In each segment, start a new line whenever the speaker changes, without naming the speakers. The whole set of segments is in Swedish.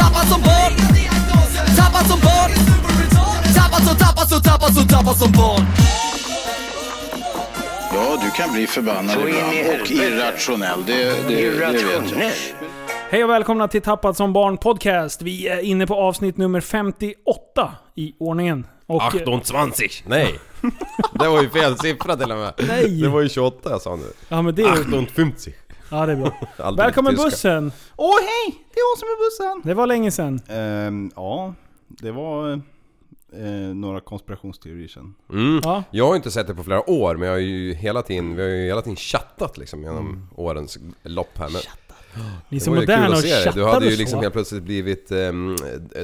Tappad som barn Tappad som barn Tappad som, tappad som, tappad som, tappad som barn
Ja, du kan bli förbannad
Så in i
ibland och
helvete.
irrationell. Det, det, det vet jag.
Hej och välkomna till Tappad som barn podcast. Vi är inne på avsnitt nummer 58 i ordningen. Och, eh,
28. Nej. Det var ju fel siffra till och med.
Nej.
Det var ju 28 jag sa nu.
ja, men det är,
58.
ja, det är bra.
Alltid
Välkommen
tyska.
bussen!
Åh hej! Det är jag som är bussen!
Det var länge sedan.
Ehm, ja, det var eh, några konspirationsteorier sen.
Ja.
Jag har ju inte sett det på flera år men jag har ju hela tiden, vi har ju hela tiden chattat liksom genom årens lopp här. Men
Ni är
det
Mm. så
var ju kul
moderna och
att se dig. Du hade
chattade
ju
så.
liksom helt plötsligt blivit ehm,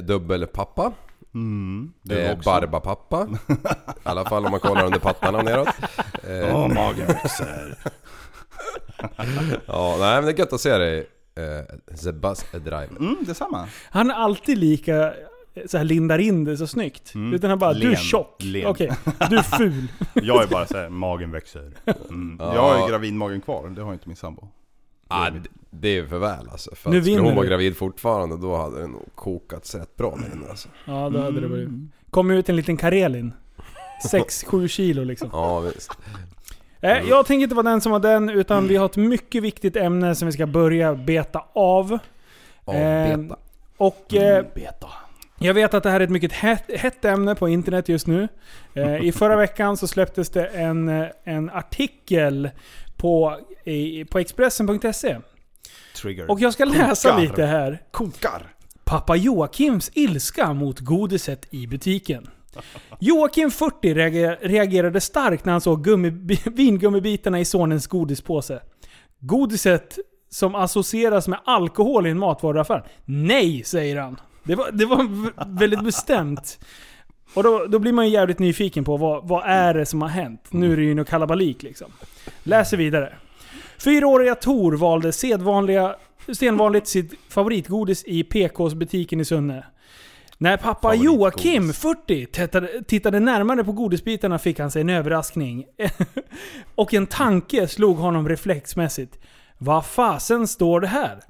dubbelpappa.
Mm.
Det
Eh, barbapappa. I alla fall om man kollar under pattarna och neråt. Eh,
Åh, magen växer.
ja, nej men det är gött att se dig. Eh, Sebastian Drive.
Mm, detsamma.
Han är alltid lika eh, så här lindar in det så snyggt.
Mm.
Utan han bara du är
Len.
tjock. Okej,
Len.
du är ful.
Jag är bara såhär, magen växer. Mm. Jag har ju gravidmagen kvar, det har ju inte min sambo.
Ah, d- det är ju för väl alltså. För
Nu
att skulle
vinner
hon vara
du.
gravid fortfarande då hade det nog kokats rätt bra med henne alltså.
Ja, då hade det varit. Kom ut en liten Karelin. 6-7 kilo liksom.
Ja visst.
Eh, Jag tänker inte vara den som var den, utan vi har ett mycket viktigt ämne som vi ska börja beta av.
Avbeta.
Eh, och eh, jag vet att det här är ett mycket hett, hett ämne på internet just nu. Eh, I förra veckan så släpptes det en, eh, en artikel på, i, på Expressen.se.
Trigger.
Och jag ska läsa
Kokar.
lite här.
kokar!
Pappa Joakims ilska mot godiset i butiken. Joakim 40 reager- reagerade starkt när han såg gummi, vingummibitarna i sonens godispåse. Godiset som associeras med alkohol i en matvaruaffär. Nej, säger han. Det var, det var v- väldigt bestämt. Och då, då blir man ju jävligt nyfiken på vad, vad är det som har hänt. Nu är det ju något kalabalik liksom. Läser vidare. Fyraåriga Tor valde sedvanliga, stenvanligt sitt favoritgodis i PKs butiken i Sunne. När pappa Joakim, 40, tittade, tittade närmare på godisbitarna fick han sig en överraskning. och en tanke slog honom reflexmässigt. Vad fasen står det här?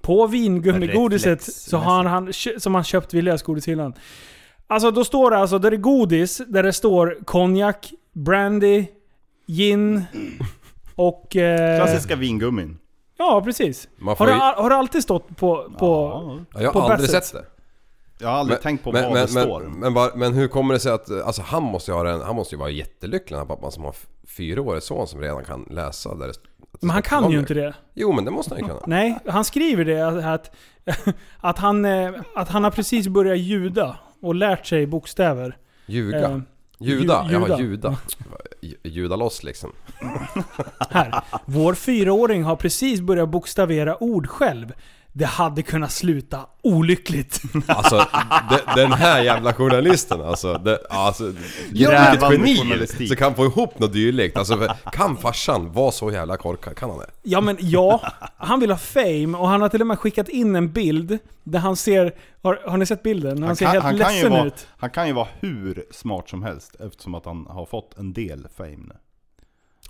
På vingummigodiset så har han, som han köpt vid lösgodishyllan. Alltså då står det alltså, där det är godis, där det står konjak, brandy, gin och... Eh,
Klassiska vingummin.
ja, precis.
Man får
Har det,
ju-
al- har det alltid stått på... på
Ja.
Ja, jag
på
har aldrig
Bassett.
sett det.
Jag har aldrig tänkt på vad
men,
det står.
Men, men, bara- men hur kommer det sig att, alltså han måste ju ha den, han måste ju vara jättelycklig den här pappan som har f- fyraårig son som redan kan läsa där det, st- att det
Men han
står
kan ju
konjak.
inte det. Mm.
Jo men det måste han ju kunna.
Nej, han skriver det att, att, att, han, eh, att han har precis börjat ljuda och lärt sig bokstäver.
Ljuga.
Eh,
Juda,
ju-
jaha
juda.
juda. Ju- Juda loss liksom.
Här. Vår fyraåring har precis börjat bokstavera ord själv. Det hade kunnat sluta olyckligt.
Alltså de, den här jävla journalisten alltså. Det, alltså vilket
Grävande
geni!
journalistik.
Så kan få ihop något dylikt. Alltså, för- kan farsan vara så jävla korkad? Kan han det?
Ja men ja, han vill ha fame och han har till och med skickat in en bild där han ser... Har, har ni sett bilden? Han, ser helt
ju
ledsen
vara,
ut.
han kan ju vara hur smart som helst eftersom att han har fått en del fame nu.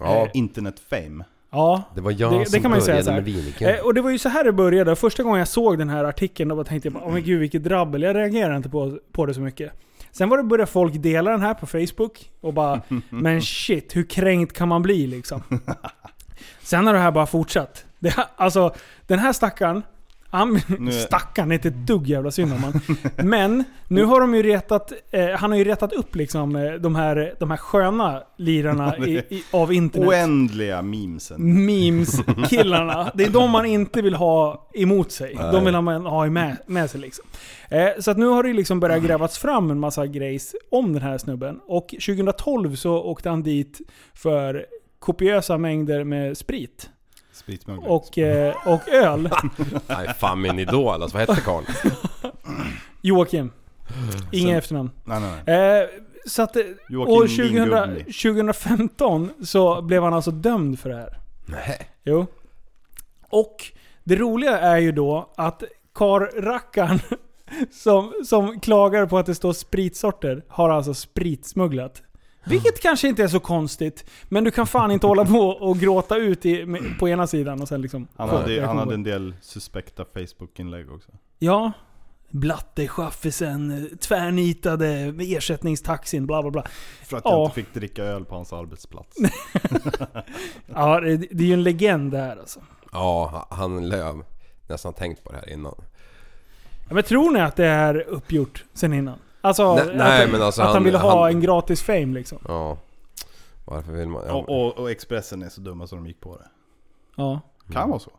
Ja,
Internet-fame.
Ja.
det var jag
Det- det
som
kan man ju säga
började
så här.
med viniken.
Eh, och det var ju så här det började. Första gången jag såg den här artikeln då bara tänkte jag bara, åh men gud vilket drabbel. Jag reagerar inte på, på det så mycket. Sen var det började folk dela den här på Facebook och bara, men shit hur kränkt kan man bli liksom? Sen har det här bara fortsatt. Det, här- alltså, den här stackaren, han,
Nu-
stackaren är inte ett dugg jävla synd om han. Men nu har de ju retat, eh, han har ju retat upp liksom eh, de här, de här sköna lirarna i, i, av internet Mm.
Oändliga memesen.
memes-killarna. Det är de man inte vill ha emot sig. De vill man ha i med, med sig liksom. Eh, så att nu har det liksom börjat grävas fram en massa grejs om den här snubben. Och 2012 så åkte han dit för kopiösa mängder med sprit.
Spritsmugglare.
och, eh, och öl.
Nej fan min idol alltså, vad hette karln?
Joakim. Inga efternamn.
Nej, nej, nej.
Eh, så att eh,
Joakim
år
Lindgubbe.
2000, 2015 så blev han alltså dömd för det här.
Nej.
Jo. Och det roliga är ju då att karrackaren som, som klagar på att det står spritsorter har alltså spritsmugglat. Vilket kanske inte är så konstigt, men du kan fan inte hålla på och gråta ut i, med- på ena sidan och sen liksom...
Han,
Fan,
hade,
jag
ju- han
kommer
hade
ihåg.
en del suspekta Facebook-inlägg också.
Ja. Blattechaffisen, tvärnitade, ersättningstaxin, bla bla bla.
För att jag
Ja.
inte fick dricka öl på hans arbetsplats.
Ja, det, det är ju en legend det här alltså.
Ja, han löv. Nästan tänkt på det här innan.
Ja, Men tror ni att det är uppgjort sen innan? Alltså,
Nej,
att,
nej, men alltså
att han,
han-
ville ha
han-
en gratis fame liksom.
Ja. Varför vill man... Ja,
Och, och, och Expressen är så dumma så de gick på det.
Ja.
Kan vara så.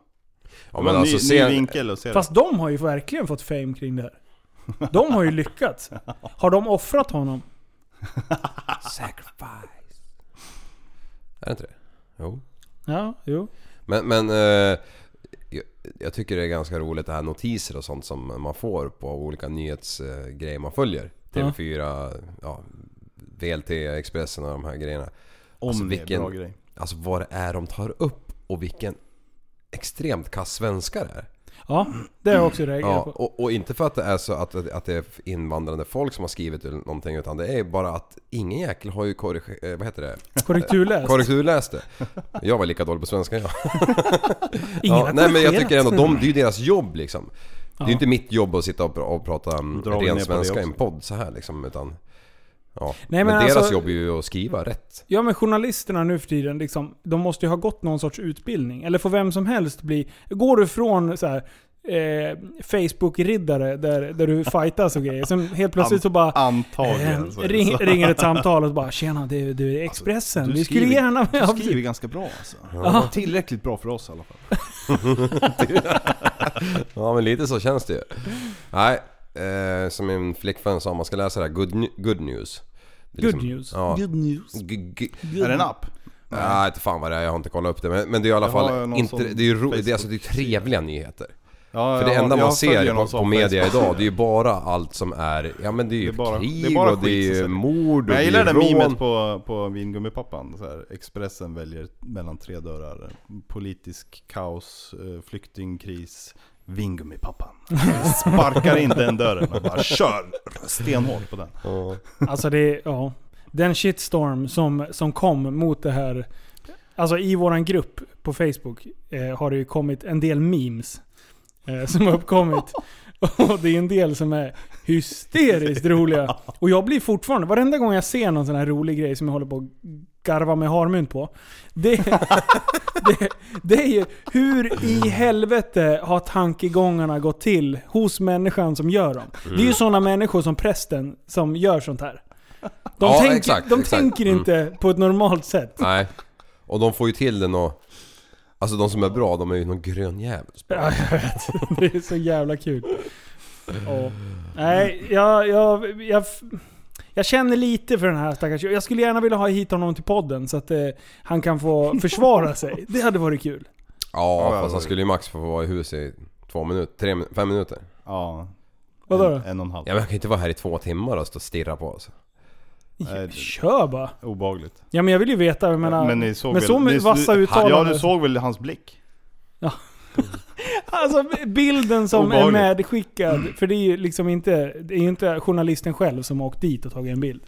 ja,
Det var
men
en
alltså
Mm. ny,
se...
ny vinkel att se det.
Fast de har ju verkligen fått fame kring det här. De har ju lyckats. Har de offrat honom?
Sacrifice. Är det inte det? Jo.
Ja, jo.
Men, men eh, jag, jag tycker det är ganska roligt det här notiser och sånt som man får på olika nyhetsgrejer man följer. TV4, ja. VLT, Expressen och de här grejerna.
Om
Alltså,
det är
vilken-
en bra grej.
Alltså vad det är de tar upp och vilken extremt kass svenska det är.
Ja, det har jag också reagerat
Ja,
på.
och, och inte för att det är så att, att det är invandrande folk som har skrivit eller någonting utan det är bara att ingen jäkel har ju korrig- eh, vad heter det?
Korrekturläst.
korrekturläst det. Jag var lika dålig på svenska jag.
Ingen
ja,
har
nej men jag
korrigerat.
tycker ändå, de, det är ju deras jobb liksom. Det är ju inte mitt jobb att sitta och, pr- och prata um,
Dra ner på
ren
det
svenska i en
också.
podd så här liksom utan... Ja.
Nej,
men
men
deras
alltså-
jobb är ju att skriva rätt.
Ja men journalisterna nu för tiden, liksom, de måste ju ha gått någon sorts utbildning. Eller får vem som helst bli... Går du från så här, eh, Facebook-riddare där, där du fightas och grejer, sen helt plötsligt så bara...
Antagligen.
Eh,
så är det
ring,
så. Alltså,
ringer ett samtal och bara ”Tjena, du, du är Expressen.
Du
vi skulle
skriver-
gärna...”
Du
Ja,
skriver
precis.
ganska bra alltså.
Ja.
Tillräckligt bra för oss i alla fall.
Ja men lite så känns det ju. Nej, eh, som min flickvän sa, man ska läsa det här good, nu- good news. Det är liksom-
Good news.
Ja,
Good news.
G- g-
Är det en app?
Nej, inte fan vad det är. Jag har inte kollat upp det. Men, men det är i alla
Jag har
fall
någon
inte,
sån
det är ju ro, det är, alltså, det är
Facebook-sida.
trevliga nyheter.
Ja,
För det
jag-
enda man
jag följer
ser
någon
på, på
sån
media
Facebook.
idag, det är ju bara allt som är... Ja men det är ju
Det är bara-
krig
det är bara
och det
skit som
är ju
sätter-
mord och
Men jag gillar
det
det
är ju
memet
rån.
på, på vingummipappan. Så här, Expressen väljer mellan tre dörrar. Politisk kaos, eh, flyktingkris, vingummipappan. Sparkar in den dörren och bara kör stenhårt på den.
Ja.
Alltså det, ja. Den shitstorm som, som kom mot det här. Alltså i våran grupp på Facebook eh, har det ju kommit en del memes. Eh, som har uppkommit. Och det är en del som är hysteriskt roliga. Och jag blir fortfarande, varenda gång jag ser någon sån här rolig grej som jag håller på att garva med harmynt på. Det, det, det är ju, hur i helvete har tankegångarna gått till hos människan som gör dem? Det är
Mm.
ju sådana människor som prästen som gör sånt här. De,
Ja,
tänker,
exakt,
de
exakt. Mm.
tänker inte på ett normalt sätt.
Nej. Och de får ju till den och... Alltså de som är bra, de är ju någon grön jävel.
Ja, jag vet. Det är så jävla kul. Ja. Nej, jag, jag, jag, jag känner lite för den här stackars... Jag skulle gärna vilja ha hit honom till podden så att eh, han kan få försvara sig. Det hade varit kul.
Ja,
ja,
fast han
ja.
skulle ju max få vara i huset i två minuter, tre, min- fem minuter.
Ja.
Vadå
en,
då?
en och en halv.
Ja men han kan ju inte vara här i två timmar och stå och stirra på oss.
Nej, det-
Kör bara.
Obehagligt.
Ja men jag vill ju veta, jag menar,
men
men,
ni såg
så
väl, ni-
med vassa
du- Ja
uttalanden.
du såg väl hans blick?
Alltså bilden som är
Obehagligt.
medskickad, för det är ju liksom inte, det är ju inte journalisten själv som har åkt dit och tagit en bild.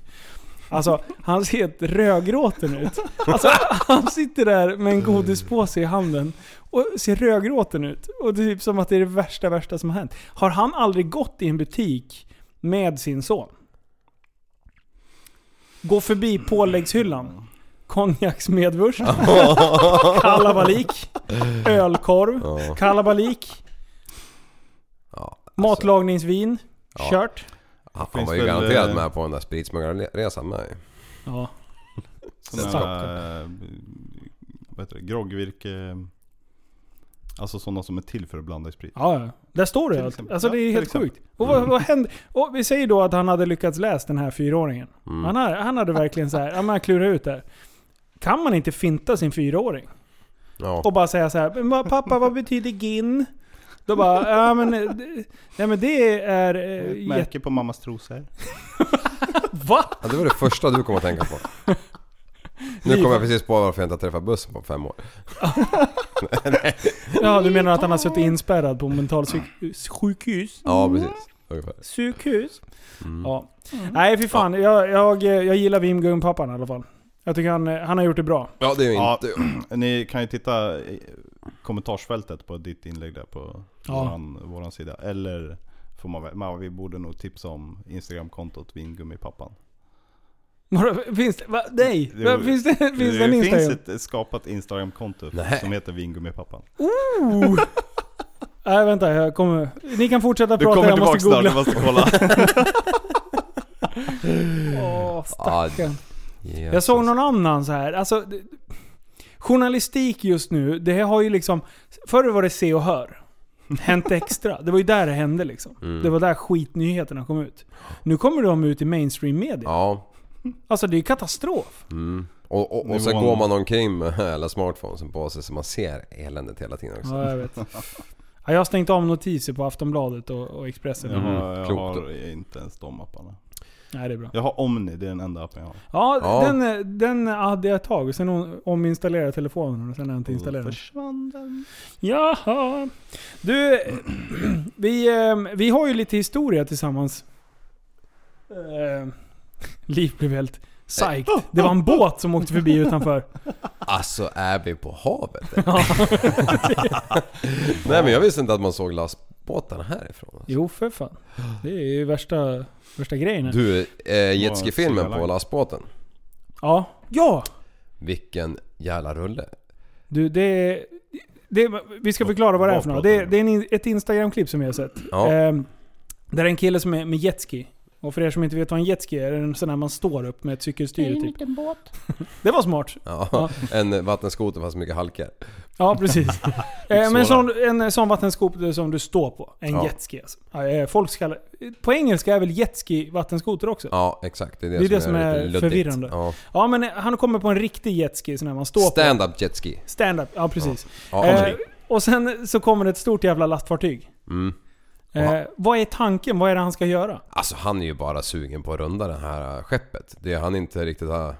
Alltså han ser helt rödgråten ut. Alltså han sitter där med en godispåse i handen och ser rödgråten ut. Och det är typ som att det är det värsta, värsta som har hänt. Har han aldrig gått i en butik med sin son? Gå förbi påläggshyllan. Konjaksmedvurs. Kalabalik. Ölkorv.
Ja.
Kalabalik.
Ja,
Matlagningsvin.
Ja.
Kört.
Han han
Finns
var ju
väl,
garanterat
eh,
med på den där spritsmuggarresan med ju.
Ja.
Sådana
Stopp.
här, eh, vad heter det, groggvirke. Alltså sådana som är till för att blanda i sprit.
ja, ja. Där står
Till
det. allt.
exempel.
Alltså det
Ja,
är
till
helt
exempel.
sjukt. Och vad, vad hände? Och vi säger då att han hade lyckats läsa den här fyraåringen.
Mm.
Han, hade, han hade verkligen så här, ja, men han klurade ut det här. Kan man inte finta sin fyraåring?
Ja.
och bara säga så här, "Men vad- pappa vad betyder gin? Då bara, ja men, eh, d- nej men det är... eh,
Ett
jätte-
märke på mammas trosor.
Va?
Ja, det var det första du kom att tänka på. Nu kom jag precis på varför jag inte har träffat bussen på fem år.
Ja du menar att han har suttit inspärrad på mentalsjukhus?
Ja, precis. Ungefär.
Sjukhus?
Mm.
Ja. Nej fy fan, jag, jag, jag gillar Wim Gunn-pappan i alla fall. Jag tycker han, han har gjort det bra.
Ja, det är ju
Ja.
inte...
Ni kan ju titta i kommentarsfältet på ditt inlägg där på
Ja.
våran, våran sida. Eller får man väl, men vi borde nog tipsa om Instagramkontot Vingummipappan.
Vadå, Finns det? Va? Nej!
Det-
Va? Finns det, finns det en
det finns
Instagram?
ett skapat Instagramkonto
Nej.
som heter Vingummipappan.
Oh. Nej vänta, jag kommer... Ni kan fortsätta
Du
prata,
kommer
jag måste
tillbaka snart, du
googla.
måste kolla.
Åh,
Ja,
stackarn.
Jesus.
Jag såg någon annan så här. Alltså, det- journalistik just nu, det har ju liksom... Förr var det Se och Hör. Hänt Extra. Det var ju där det hände liksom.
Mm.
Det var där skitnyheterna kom ut. Nu kommer de ut i mainstream media.
Ja. mm.
Alltså det är ju katastrof.
Och, och, och så
Nivån.
går man omkring med alla smartphonesen på sig så man ser eländet hela tiden också.
Ja, jag vet. Ja, jag har stängt av notiser på Aftonbladet och, och Expressen.
Jag har, jag
klokt.
har inte ens de apparna.
Nej, det är bra.
Jag har Omni, det är den enda appen jag har.
Ja,
Ja.
Den, eh, den hade jag tagit. Sen hon- ominstallerade jag telefonen och sen har jag inte installerat den.
Försvann den?
Jaha. Du, vi, eh, vi har ju lite historia tillsammans. Eh, Liv blev helt psyched. Det var en båt som åkte förbi utanför.
Alltså är vi på havet? Nej men jag visste inte att man såg lastbåtarna härifrån.
Jo, för fan. Det är ju värsta, värsta grejen. här.
Du, eh,
Sri
jetski-filmen
Lanka.
på lastbåten.
Ja. Ja!
Vilken jävla rulle.
Du, det, det Vi ska förklara vad det är för något. Det, det är en, ett Instagram-klipp som jag har sett.
Ja.
Ehm, där är en kille som är med jetski. Och för er som inte vet vad en jetski är, är det en sån där man står upp med ett cykelstyre typ. Det var smart.
Ja, en vattenskoter fast mycket halkar.
Ja, precis. eh, men sån, en sån vattenskoter som du står på. En
Ja.
jetski alltså. Ja, eh, Folk kallar, på engelska är väl jetski vattenskoter också? Ja.
Ja, exakt. Det är det,
Det är
som, är, lite luddigt.
förvirrande.
Ja.
men eh, han kommer på en riktig jetski, sån där man står på.
Stand-up jetski.
Stand-up, ja precis.
Ja,
eh, och sen så kommer det ett stort jävla lastfartyg.
Mm.
Eh, vad är tanken? Vad är det han ska göra?
Alltså han är ju bara sugen på att runda det här äh, skeppet. Det han inte riktigt har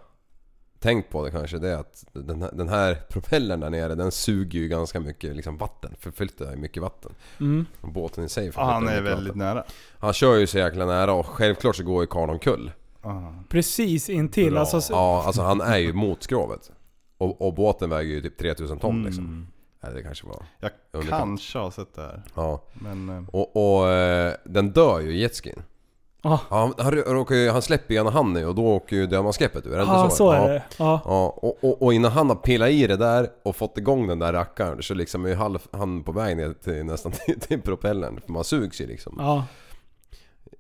tänkt på det kanske det är att den här, den här propellern där nere den suger ju ganska mycket liksom, vatten. Förflyttar ju mycket vatten. Och Båten i sig förflyttar
Han är
mycket
väldigt
vatten.
nära.
Han kör ju så jäkla nära och självklart så går ju karln omkull.
Ah.
Precis intill. Alltså, så-
Ja, alltså han är ju mot skrovet. Och, och båten väger ju typ 3000 ton liksom. Eller det kanske var...
Jag
Underkant.
kanske har sett det här.
Ja.
Men eh,
Och, och eh, den dör ju i jetskin.
Ah.
Ja, Han, han, råkar ju, han släpper ju ena handen och då åker ju dödmanskeppet ur. Eller
ja, Ah, så är
Ja.
det. Ja.
Ja, och, och, och innan han har pillat i det där och fått igång den där rackaren så liksom är ju halv, han på väg ner till, nästan till, till propellern. För man sugs ju liksom.
Ja.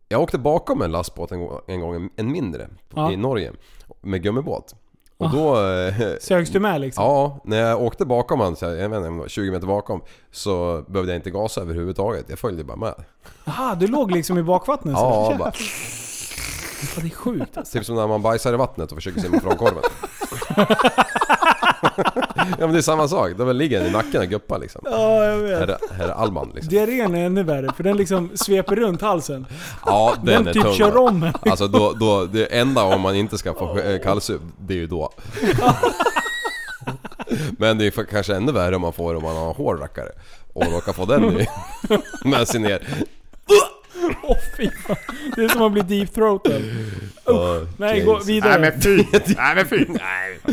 Jag åkte bakom en lastbåt en, gång- en gång, en mindre, på-
Ja. Ah.
i Norge. Med gummibåt. Och då... eh,
Sögs du med liksom?
Ja, när jag åkte bakom han, så här, jag vet inte, om det var 20 meter bakom. Så behövde jag inte gasa överhuvudtaget. Jag följde bara med.
Aha, du låg liksom i bakvattnet? så.
Ja, bara,
Ja, det är sjukt alltså.
typ som när man bajsar i vattnet och försöker simma från korven. ja men det är samma sak. De ligger den i nacken och guppar liksom.
Ja, jag vet.
Herre, herre Alman liksom.
Diarrén är ännu värre, för den liksom sveper runt halsen.
Ja
Den,
den är
typ
tung.
kör om en.
Alltså då, då, det enda om man inte ska få eh, kallsup, det är ju då. Men det är för- kanske ännu värre om man får om man har en hård rackare. Och råkar få den i, med sig ner.
Åh fy fan. Det är som att bli deep-throated.
Oh,
Nej, gå vidare. men,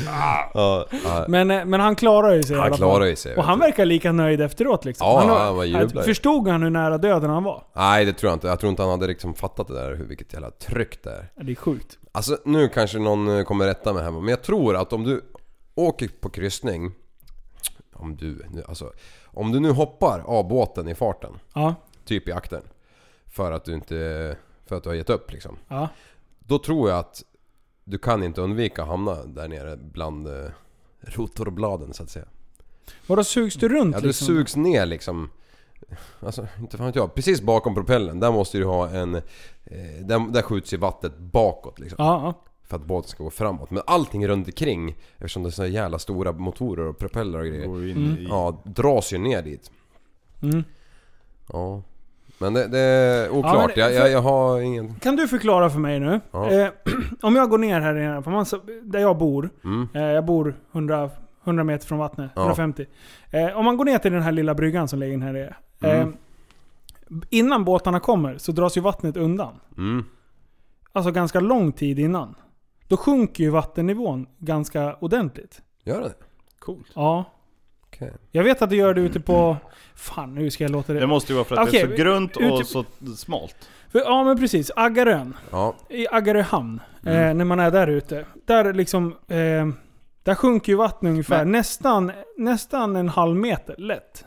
Ja, ja.
eh, men han klarar ju sig i
Han
alla fall.
klarar ju sig,
Och
vet
han
du.
verkar lika nöjd efteråt liksom.
Ja,
har-
han var jublare.
Förstod han hur nära döden han var?
Nej det tror jag inte. Jag tror inte han hade liksom fattat det där hur- vilket jävla tryck det är.
Ja, Det är sjukt.
Alltså nu kanske någon eh, kommer rätta mig här men jag tror att om du åker på kryssning. Om du, nu- alltså, om du nu hoppar av båten i farten.
Ja,
typ i akten. För att du inte... För att du har gett upp liksom.
ja.
Då tror jag att du kan inte undvika att hamna där nere bland eh, rotorbladen så att säga.
Vadå sugs du runt
Ja, du
liksom?
sugs ner liksom. Alltså, inte fan vet jag. Precis bakom propellen, där måste du ha en... eh, Där, där skjuts ju vattnet bakåt liksom.
Ja, ja.
För att båten ska gå framåt. Men allting runt omkring eftersom det är såna jävla stora motorer och propeller och grejer.
Går ju in i...
Ja, dras ju ner dit.
Mm.
Ja. Men det, det är oklart.
Ja, men- alltså-
jag, jag, jag har ingen...
Kan du förklara för mig nu?
Ja.
Eh, om jag går ner här nere, på massa, där jag bor.
Mm.
Eh, jag bor 100, 100 meter från vattnet.
Ja.
150. Eh, om man går ner till den här lilla bryggan som ligger här nere. Eh,
Mm.
innan båtarna kommer så dras ju vattnet undan.
Mm.
Alltså ganska lång tid innan. Då sjunker ju vattennivån ganska ordentligt.
Gör det?
Coolt.
Ja.
Okej.
Jag vet att du gör det ute på... Fan, nu ska jag låta
Det
det...
måste ju vara för att det är
Okej,
så grunt och
ut-
så smalt.
För, ja men precis, Aggarön.
Ja.
i Aggarö hamn, eh,
Mm.
när man är där ute. Där liksom... Eh, där sjunker ju vattnet ungefär
Men-
nästan, nästan en halv meter lätt.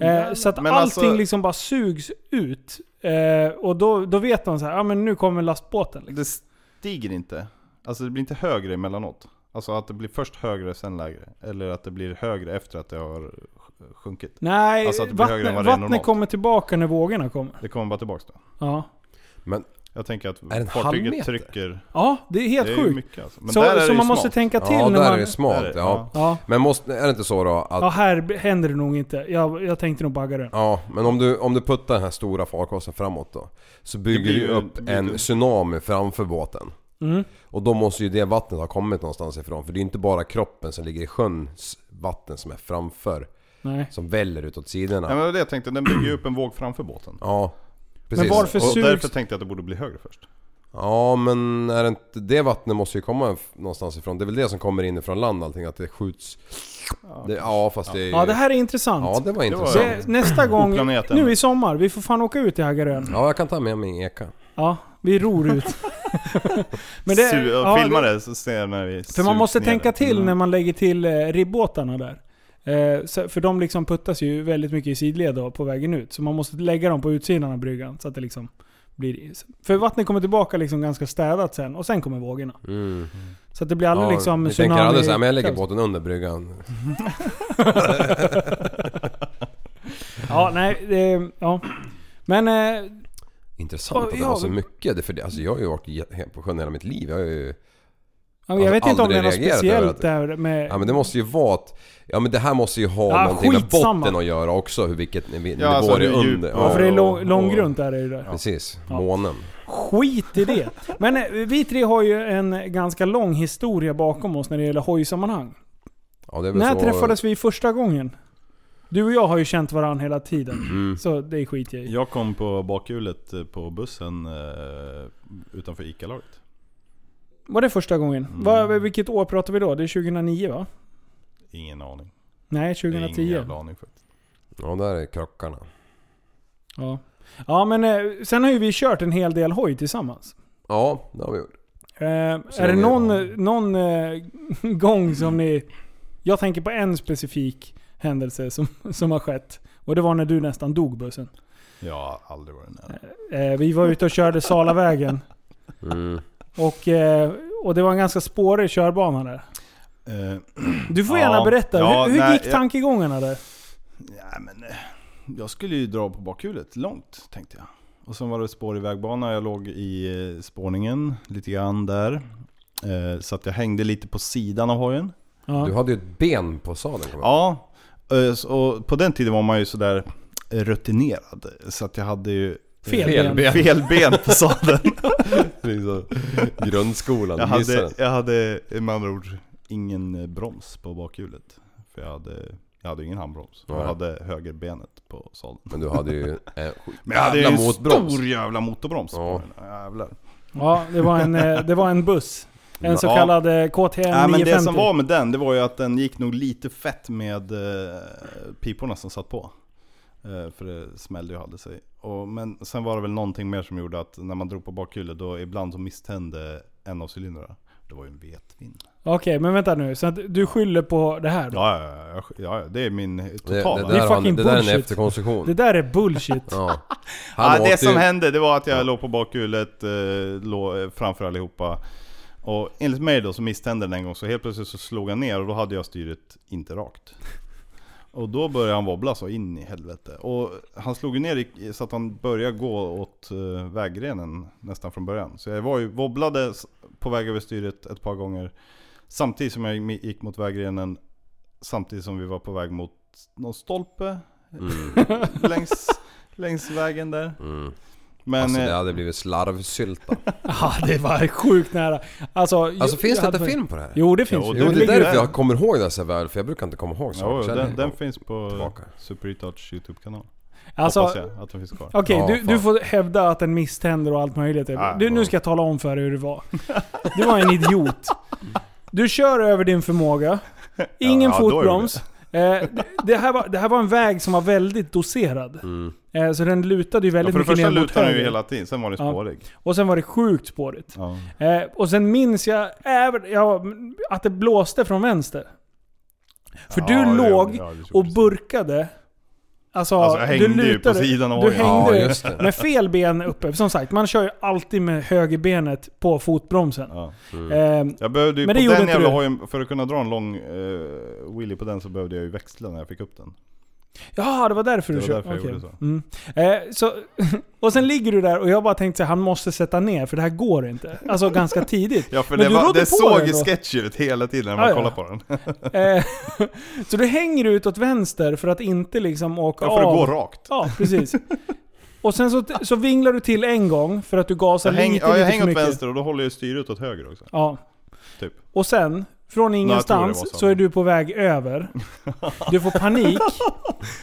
Eh, så att
Men
allting
alltså-
liksom bara sugs ut. Eh, och då, då vet man så här, ja men nu kommer lastbåten. Liksom.
Det stiger inte. Alltså det blir inte högre emellanåt. Alltså att det blir först högre sen lägre. Eller att det blir högre efter att det har sj- sjunkit.
Nej,
Alltså att det blir högre än
vattnet,
vad det är
vattnet
normalt.
kommer tillbaka när vågorna kommer.
Det kommer bara tillbaks då.
Ja,
Men
Jag tänker att
det en halv meter?
fartyget trycker.
ja det är helt
det är ju
sjukt.
mycket alltså. Men
så
där är det
så
ju
man måste
smalt.
tänka till
ja,
när
där
man...
är det
Där är
smalt.
det,
Ja.
Ja.
Men måste, är det inte så då att...
ja, här händer det nog inte. Jag, jag tänkte nog på Aggarön.
Ja, men om du, om du puttar den här stora farkosten framåt då. Så bygger
blir
du
ju-
upp
det blir
en
dumt.
tsunami framför båten.
Mm.
Och då måste ju det vattnet ha kommit någonstans ifrån. För det är ju inte bara kroppen som ligger i sjöns vatten som är framför.
Nej.
Som väller ut åt sidorna.
Ja, men det var det jag tänkte, den bygger ju upp en våg framför båten.
Ja, precis.
varför-
Och,
Och
Sugs-
därför tänkte jag att det borde bli högre först.
ja, men är det inte... Det vattnet måste ju komma f- någonstans ifrån. Det är väl det som kommer inifrån land allting, att det skjuts... Det, ja, fast det är ju...
Ja, det här är intressant.
Ja, det var intressant.
Det, nästa gång,
Oplanerat ämne.
nu i sommar, vi får fan åka ut till Haggarön.
Ja, jag kan ta med mig en eka.
Ja, vi ror ut. Men
Su-
ja,
filma det så ser jag när vi
För man
sugs
måste
ner
tänka
det. Mm.
till när man lägger till eh, ribbåtarna där. Eh, så, för de liksom puttas ju väldigt mycket i sidled då, på vägen ut. Så man måste lägga dem på utsidan av bryggan. Så att det liksom blir, för vattnet kommer tillbaka liksom ganska städat sen och sen kommer vågorna.
Mm.
Så att det blir aldrig
Ja,
liksom
jag tänker aldrig såhär, men jag lägger
kaos.
båten under bryggan.
Ja, nej. Det, ja. Men eh,
Intressant
Ja,
att det
ja,
har så
men-
mycket. Det, för det, alltså jag har ju varit je- he- på sjön hela mitt liv. Jag har ju,
jag vet inte om det är något
Alltså, aldrig reagerat över
speciellt
att-
där med...
ja men det måste ju vara att... Ja men det här måste ju ha
Ja,
någonting
skitsamma.
med botten att göra också. Hur vilket niv- nivå
alltså,
det är
hur djup-
under.
Ja,
Ja,
för det är
och-
lång,
och-
långgrunt där är det där.
Precis,
Ja.
månen.
Skit i det. Men eh, vi tre har ju en ganska lång historia bakom oss när det gäller hojsammanhang.
Ja, det är väl
När
så...
träffades vi första gången? Du och jag har ju känt varandra hela tiden.
Mm.
Så det skit jag i.
Jag kom på bakhjulet eh, på bussen eh, utanför ICA-laget.
Var det första gången?
Mm.
Var, vilket år pratar vi då? Det är 2009 va?
Ingen aning.
Nej,
Det är
2010.
Ingen jävla aning faktiskt.
Ja, där är krockarna.
Ja. ja, men eh, sen har ju vi kört en hel del hoj tillsammans.
Ja, det har vi gjort.
Eh, är
det
det
är-
någon, någon eh, gång som ni... Jag tänker på en specifik händelse som, som har skett. Och det var när du nästan dog bussen.
Jag har aldrig varit nära.
Eh, vi var ute och körde Salavägen.
Mm.
Och, eh, och det var en ganska spårig körbana där.
Eh,
Du får
Ja,
gärna berätta.
ja,
hur hur
nej,
gick
jag-
tankegångarna där?
Ja, men, eh, jag skulle ju dra på bakhjulet långt tänkte jag. Och sen var det spår i vägbana, jag låg i eh, spårningen lite grann där. Eh, Så att jag hängde lite på sidan av hojen.
Ja.
Du hade ju ett ben på sadeln kommer jag
Ja, eh, så- och på den tiden var man ju sådär eh, rutinerad. Så att jag hade ju eh,
Fel
fel
ben.
ben.
fel ben på sadeln. Liksom.
ihåg. Grundskolan,
jag,
du missade
hade,
den.
jag hade med andra ord ingen eh, broms på bakhjulet. För jag hade, jag hade ingen handbroms. Jag
Nej.
hade högerbenet på sadeln.
Men du hade ju en
Men jag hade ju
jävla
en
motbroms.
stor jävla motorbroms
Ja.
på den. Jävlar.
Ja, det var en, eh, det var en buss. En så
Ja.
kallad eh, KTM
Nej, men
950.
det som var med den, det var ju att den gick nog lite fett med eh, piporna som satt på. Eh, för det smällde ju och hade sig. Och, men sen var det väl någonting mer som gjorde att när man drog på bakhjulet då ibland så misstände en av cylindrarna. Det var ju en vetvin.
Okej, men vänta nu. Så att du skyller på det här då?
Ja, ja, ja, ja, ja, det är min
Det, det,
totala.
där,
Det är
har han,
fucking
det där är
bullshit.
en efterkonstruktion.
Det där är bullshit.
Ja. Han
Ja, det
åt
som
ju-
hände det var att jag låg på bakhjulet, eh, låg eh, framför allihopa. Och enligt mig då så misstände den en gång, så helt plötsligt så slog jag ner och då hade jag styret inte rakt. Och då började han wobbla så in i helvete. Och han slog ju ner i, så att han började gå åt eh, väggrenen nästan från början. Så jag var ju, wobblade s- på väg över styret ett par gånger. Samtidigt som jag mi- gick mot vägrenen. Samtidigt som vi var på väg mot någon stolpe.
Mm.
längs, längs vägen där. Men
Alltså det
eh,
hade blivit slarvsylta.
Ja, det var sjukt nära. Alltså,
Alltså
jag-
finns det
jag
inte
hade-
film på det här?
Jo, det finns.
Jo,
det.
Jo, det är
ligger
därför
där.
jag kommer ihåg det så väl, för jag brukar inte komma ihåg
ja,
saker.
den, den finns på
Tillbaka.
Super Retouch YouTube-kanal. Hoppas
Alltså,
jag att den finns kvar.
Okej,
Ja,
du, du
fan.
får hävda att den misständer och allt möjligt. typ.
Ja,
Du, nu
ja.
ska jag tala om för dig hur det var. Du var en idiot. Du kör över din förmåga. Ingen
Ja, ja, då är det
fotbroms. Eh, det- det, här var, det här var en väg som var väldigt doserad. Eh, så den lutade ju
Mm. Ja,
väldigt
för det
mycket
första
ner mot
lutade den ju
höger.
hela tiden, sen var den
Ja.
spårig.
Och sen var det sjukt spårigt.
Ja.
Eh, och sen minns jag även ja, att det blåste från vänster. För
Ja,
du
det-
låg
ja, det gjorde
och
det.
burkade. Alltså,
Alltså, jag hängde
du
ju på
lutade,
sidan av
Du
hojen.
hängde
Ja, just det.
med fel ben uppe. Som sagt, man kör ju alltid med högerbenet på fotbromsen.
Ja.
Eh,
Jag behövde ju Men
Men det
på
gjorde
den
inte
jävla
du.
hojen, för att kunna dra en lång eh, wheelie på den så behövde jag ju växla när jag fick upp den.
Jaha, det var därför
Det
du
var
kör-
därför jag
okej.
gjorde så.
Mm. Eh, så, och sen ligger du där och jag bara tänkte att han måste sätta ner för det här går inte. Alltså ganska tidigt.
Ja för
Men
det,
du
var,
rådde
det
på
såg
den
ju
då.
sketch ut hela tiden när
Ja,
man
ja.
kollade på den.
Eh, så du hänger ut åt vänster för att inte liksom åka
Ja, för det
av.
går rakt.
Ja, precis. Och sen så, så vinglar du till en gång för att du gasar
Jag, häng,
lite,
ja, jag
lite för
hänger åt
mycket.
vänster och då håller jag styret åt höger också.
Ja.
Typ.
Och sen, från
det var
ingenstans,
så.
så är du på väg över. Du får panik.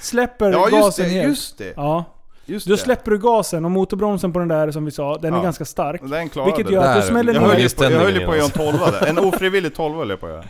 Släpper
Ja just
gasen
det,
helt.
just det!
Ja.
Just
Då
det.
släpper du gasen och motorbromsen på den där som vi sa, den är
Ja.
ganska stark.
Den klarade
Vilket gör
det.
att du
Där.
smäller
Jag
Jag
ner.
höll ju på, jag höll ju
Ställningen
på att göra en
alltså.
tolva där. En ofrivillig tolva höll jag på att göra.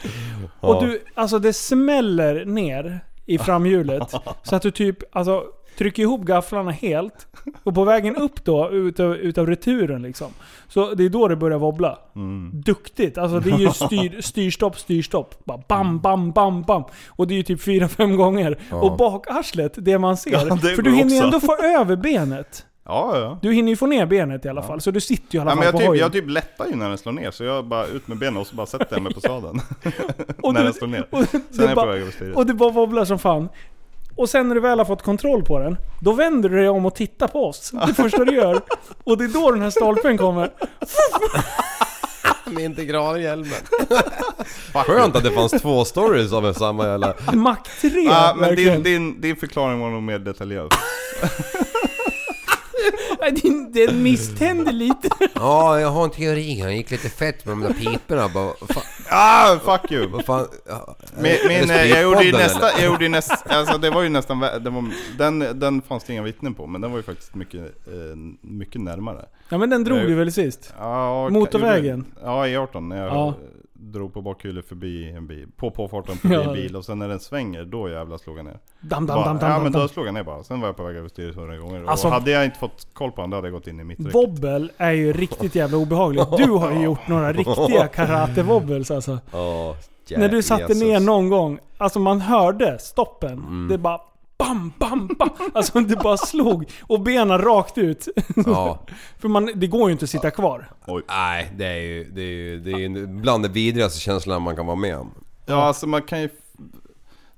Och du, alltså det smäller ner i framhjulet. så att du typ, alltså trycker ihop gafflarna helt. Och på vägen upp då, utav, utav returen liksom. Så det är då det börjar wobbla.
Mm.
Duktigt! Alltså det är ju styr, styrstopp, styrstopp. Bara bam, bam, bam, bam. Och det är ju typ fyra fem gånger. Och bakarslet, det man ser.
Ja, det
för du
går
hinner ju
också.
ändå få över benet.
Ja ja.
Du hinner ju få ner benet i alla fall. Så du sitter ju i alla
Ja,
fall
men jag,
på
typ,
hojen.
jag typ lättar ju när den slår ner, så jag bara ut med benen och så bara sätter jag mig på sadeln.
Och
när
du-
den slår ner.
och
Sen är jag
bara-
på väg över styret.
Och det bara wobblar som fan. Och sen när du väl har fått kontroll på den, då vänder du dig om och tittar på oss. Det första du gör. Och det är då den här stolpen kommer.
Med integralhjälmen. Skönt att det fanns två stories av samma jävla...
Mack 3
Ja, men
verkligen.
din, din, din förklaring var nog mer detaljerad.
Nej, din, den misständer lite.
Ja, jag har en teori. Han gick lite fett med de där piporna. Bara, fan,
Ah, fuck you!
vad fan... ja.
Min,
Är det
min, eh, jag gjorde ju
spritpodden,
nästa,
eller?
jag gjorde ju nästa, alltså det var ju nästan, vä- det var, den, den fanns det inga vittnen på, men den var ju faktiskt mycket, eh, mycket närmare.
Ja men den drog du väl sist?
Ja, och-
Motorvägen?
Ja, i 18 när jag
Ja.
drog på bakhjulet förbi en bil, på påfarten förbi
Ja.
en bil och sen när den svänger, då jävlar slog jag ner.
Dam, dam,
Bara,
dam,
ja
dam,
men
dam,
då
dam.
slog jag ner bara, sen var jag på väg över styret hundra gånger.
Alltså-
och hade jag inte fått koll på honom, då hade jag gått in i mitt räcke.
Wobbel är ju riktigt jävla obehagligt. Du har ju gjort några riktiga karate-wobbles alltså.
Ja,
När du satte
Jesus.
ner någon gång, alltså man hörde stoppen.
Mm.
Det bara bam, bam, bam. Alltså det bara slog. Och benen rakt ut.
Ja.
För man, det går ju inte att sitta kvar.
Nej, det är ju... Det är ju det är ju bland det vidrigaste känslan man kan vara med om.
Ja, alltså man kan ju...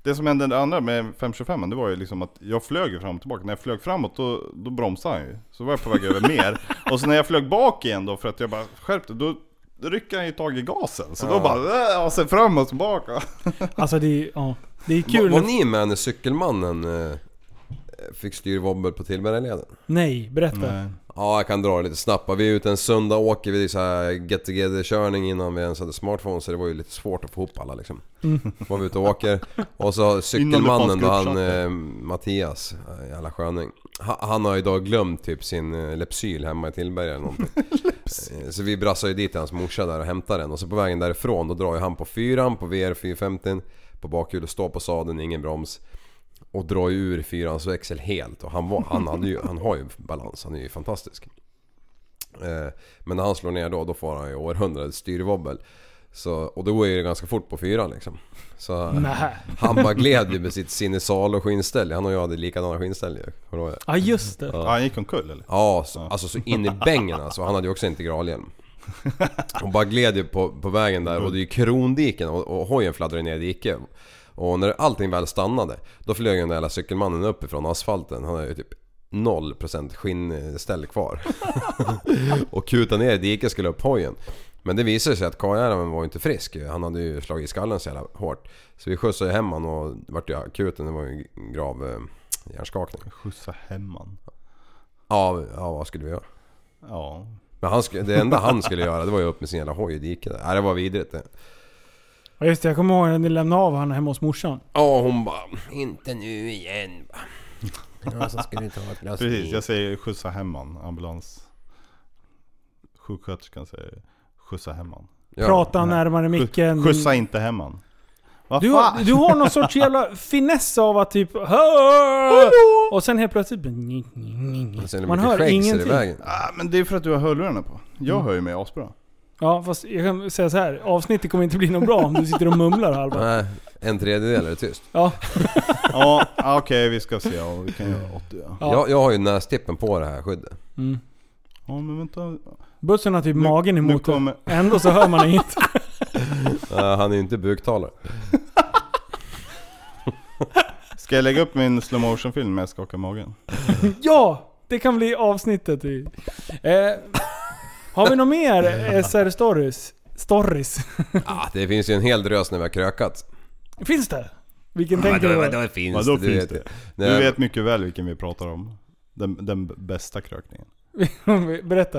Det som hände det andra med 525 det var ju liksom att jag flög ju fram och tillbaka. När jag flög framåt då, då bromsade han ju. Så var jag på väg över mer. Och så när jag flög bak igen då för att jag bara skärpte då ryckte han ju tag i gasen. Så då bara äh, och sen fram och tillbaka.
Alltså det är, ja, det är
Var,
kul.
var
När,
ni med när cykelmannen eh, fick styrvobbel på Tillbergaleden?
nej, berätta.
Ja, jag kan dra det lite snabbt. Vi är ute en söndag och åker, vi är så här get together körning innan vi ens hade smartphones så det var ju lite svårt att få ihop alla liksom. Var vi ute och åker. Och så har cykelmannen då, han eh, Mattias, eh, jävla sköning. Ha- Han har idag glömt typ sin eh, Lepsyl hemma i Tillberga eller någonting. Eh, Så vi brassar ju dit till hans morsa där och hämtar den och så på vägen därifrån då drar ju han på fyran på VR 450 på bakhjulet, står på sadeln, ingen broms. Och drar ju ur fyrans växel helt och han, var, han, hade ju, han har ju balans, han är ju fantastisk. Eh, Men när han slår ner då, då får han ju århundradets styrvobbel. Så, och då går ju det ganska fort på fyran liksom. Så
Nej.
han bara gled ju med sitt sinisal och skinnställ. Han och jag hade likadana skinnställ ju. Kommer du ihåg det?
Ja just det.
Ja, han gick omkull eller?
Ja, så, alltså så in i bängen alltså. Han hade ju också integralhjälm. Och bara gled ju på, på vägen där och det är ju krondiken och, och hojen fladdrade ner i diket. Och när allting väl stannade, då flög den där jävla cykelmannen upp ifrån asfalten. Han hade ju typ 0% skinnställ kvar. och kutade ner i diket skulle upp hojen. Men det visade sig att karljäveln var ju inte frisk. Han hade ju slagit i skallen så jävla hårt. Så vi skjutsade hem han och det vart ju akuten. Det var ju en grav eh, hjärnskakning.
Skjutsa hem han.
Ja, ja, vad skulle vi göra?
Ja.
Men han skulle, det enda han skulle göra det var ju upp med sin jävla hoj i diket. där. Nej, det var vidrigt det.
Ja just det, jag kommer ihåg när ni lämnade av honom hemma hos morsan.
Ja, hon bara... Inte nu igen va. Ja, så ska du ta ett glas
Precis,
vin.
jag säger skjutsa hem han. Ambulans. Sjuksköterskan säger skjutsa hem han.
Ja.
Prata närmare micken.
Skjutsa inte hem han. Vad
Du
fan?
har, du har någon sorts jävla finess av att typ... Och sen helt plötsligt...
Sen är det
Man
mycket
hör
skägg, så är det
ingenting.
vägen.
Ah, men det är för att du har hörlurarna på. Jag hör ju mig asbra.
Ja fast jag kan säga så här. avsnittet kommer inte bli något bra om du sitter och mumlar halva.
Nej, en tredjedel är det tyst.
Ja,
Ja, ah, okej vi ska se. Ja, vi kan göra 80 ja.
Ja.
Jag, jag har ju nästippen på det här skyddet.
Ja men vänta.
bussen har typ magen
Nu
emot
kommer...
Ändå så hör man inget.
Eh, han är ju inte buktalare.
Ska jag lägga upp min slow motion film med jag skakar magen?
Ja! Det kan bli avsnittet. i- Eh, har vi något mer SR-stories? Stories?
Ah, det finns ju en hel drös när vi har krökat.
Finns det? Vilken tänker du på?
vadå finns
Vadå
det?
finns
vet
det?
ju.
Du
Nej,
vet mycket väl vilken vi pratar om. Den, den b- bästa krökningen.
Berätta.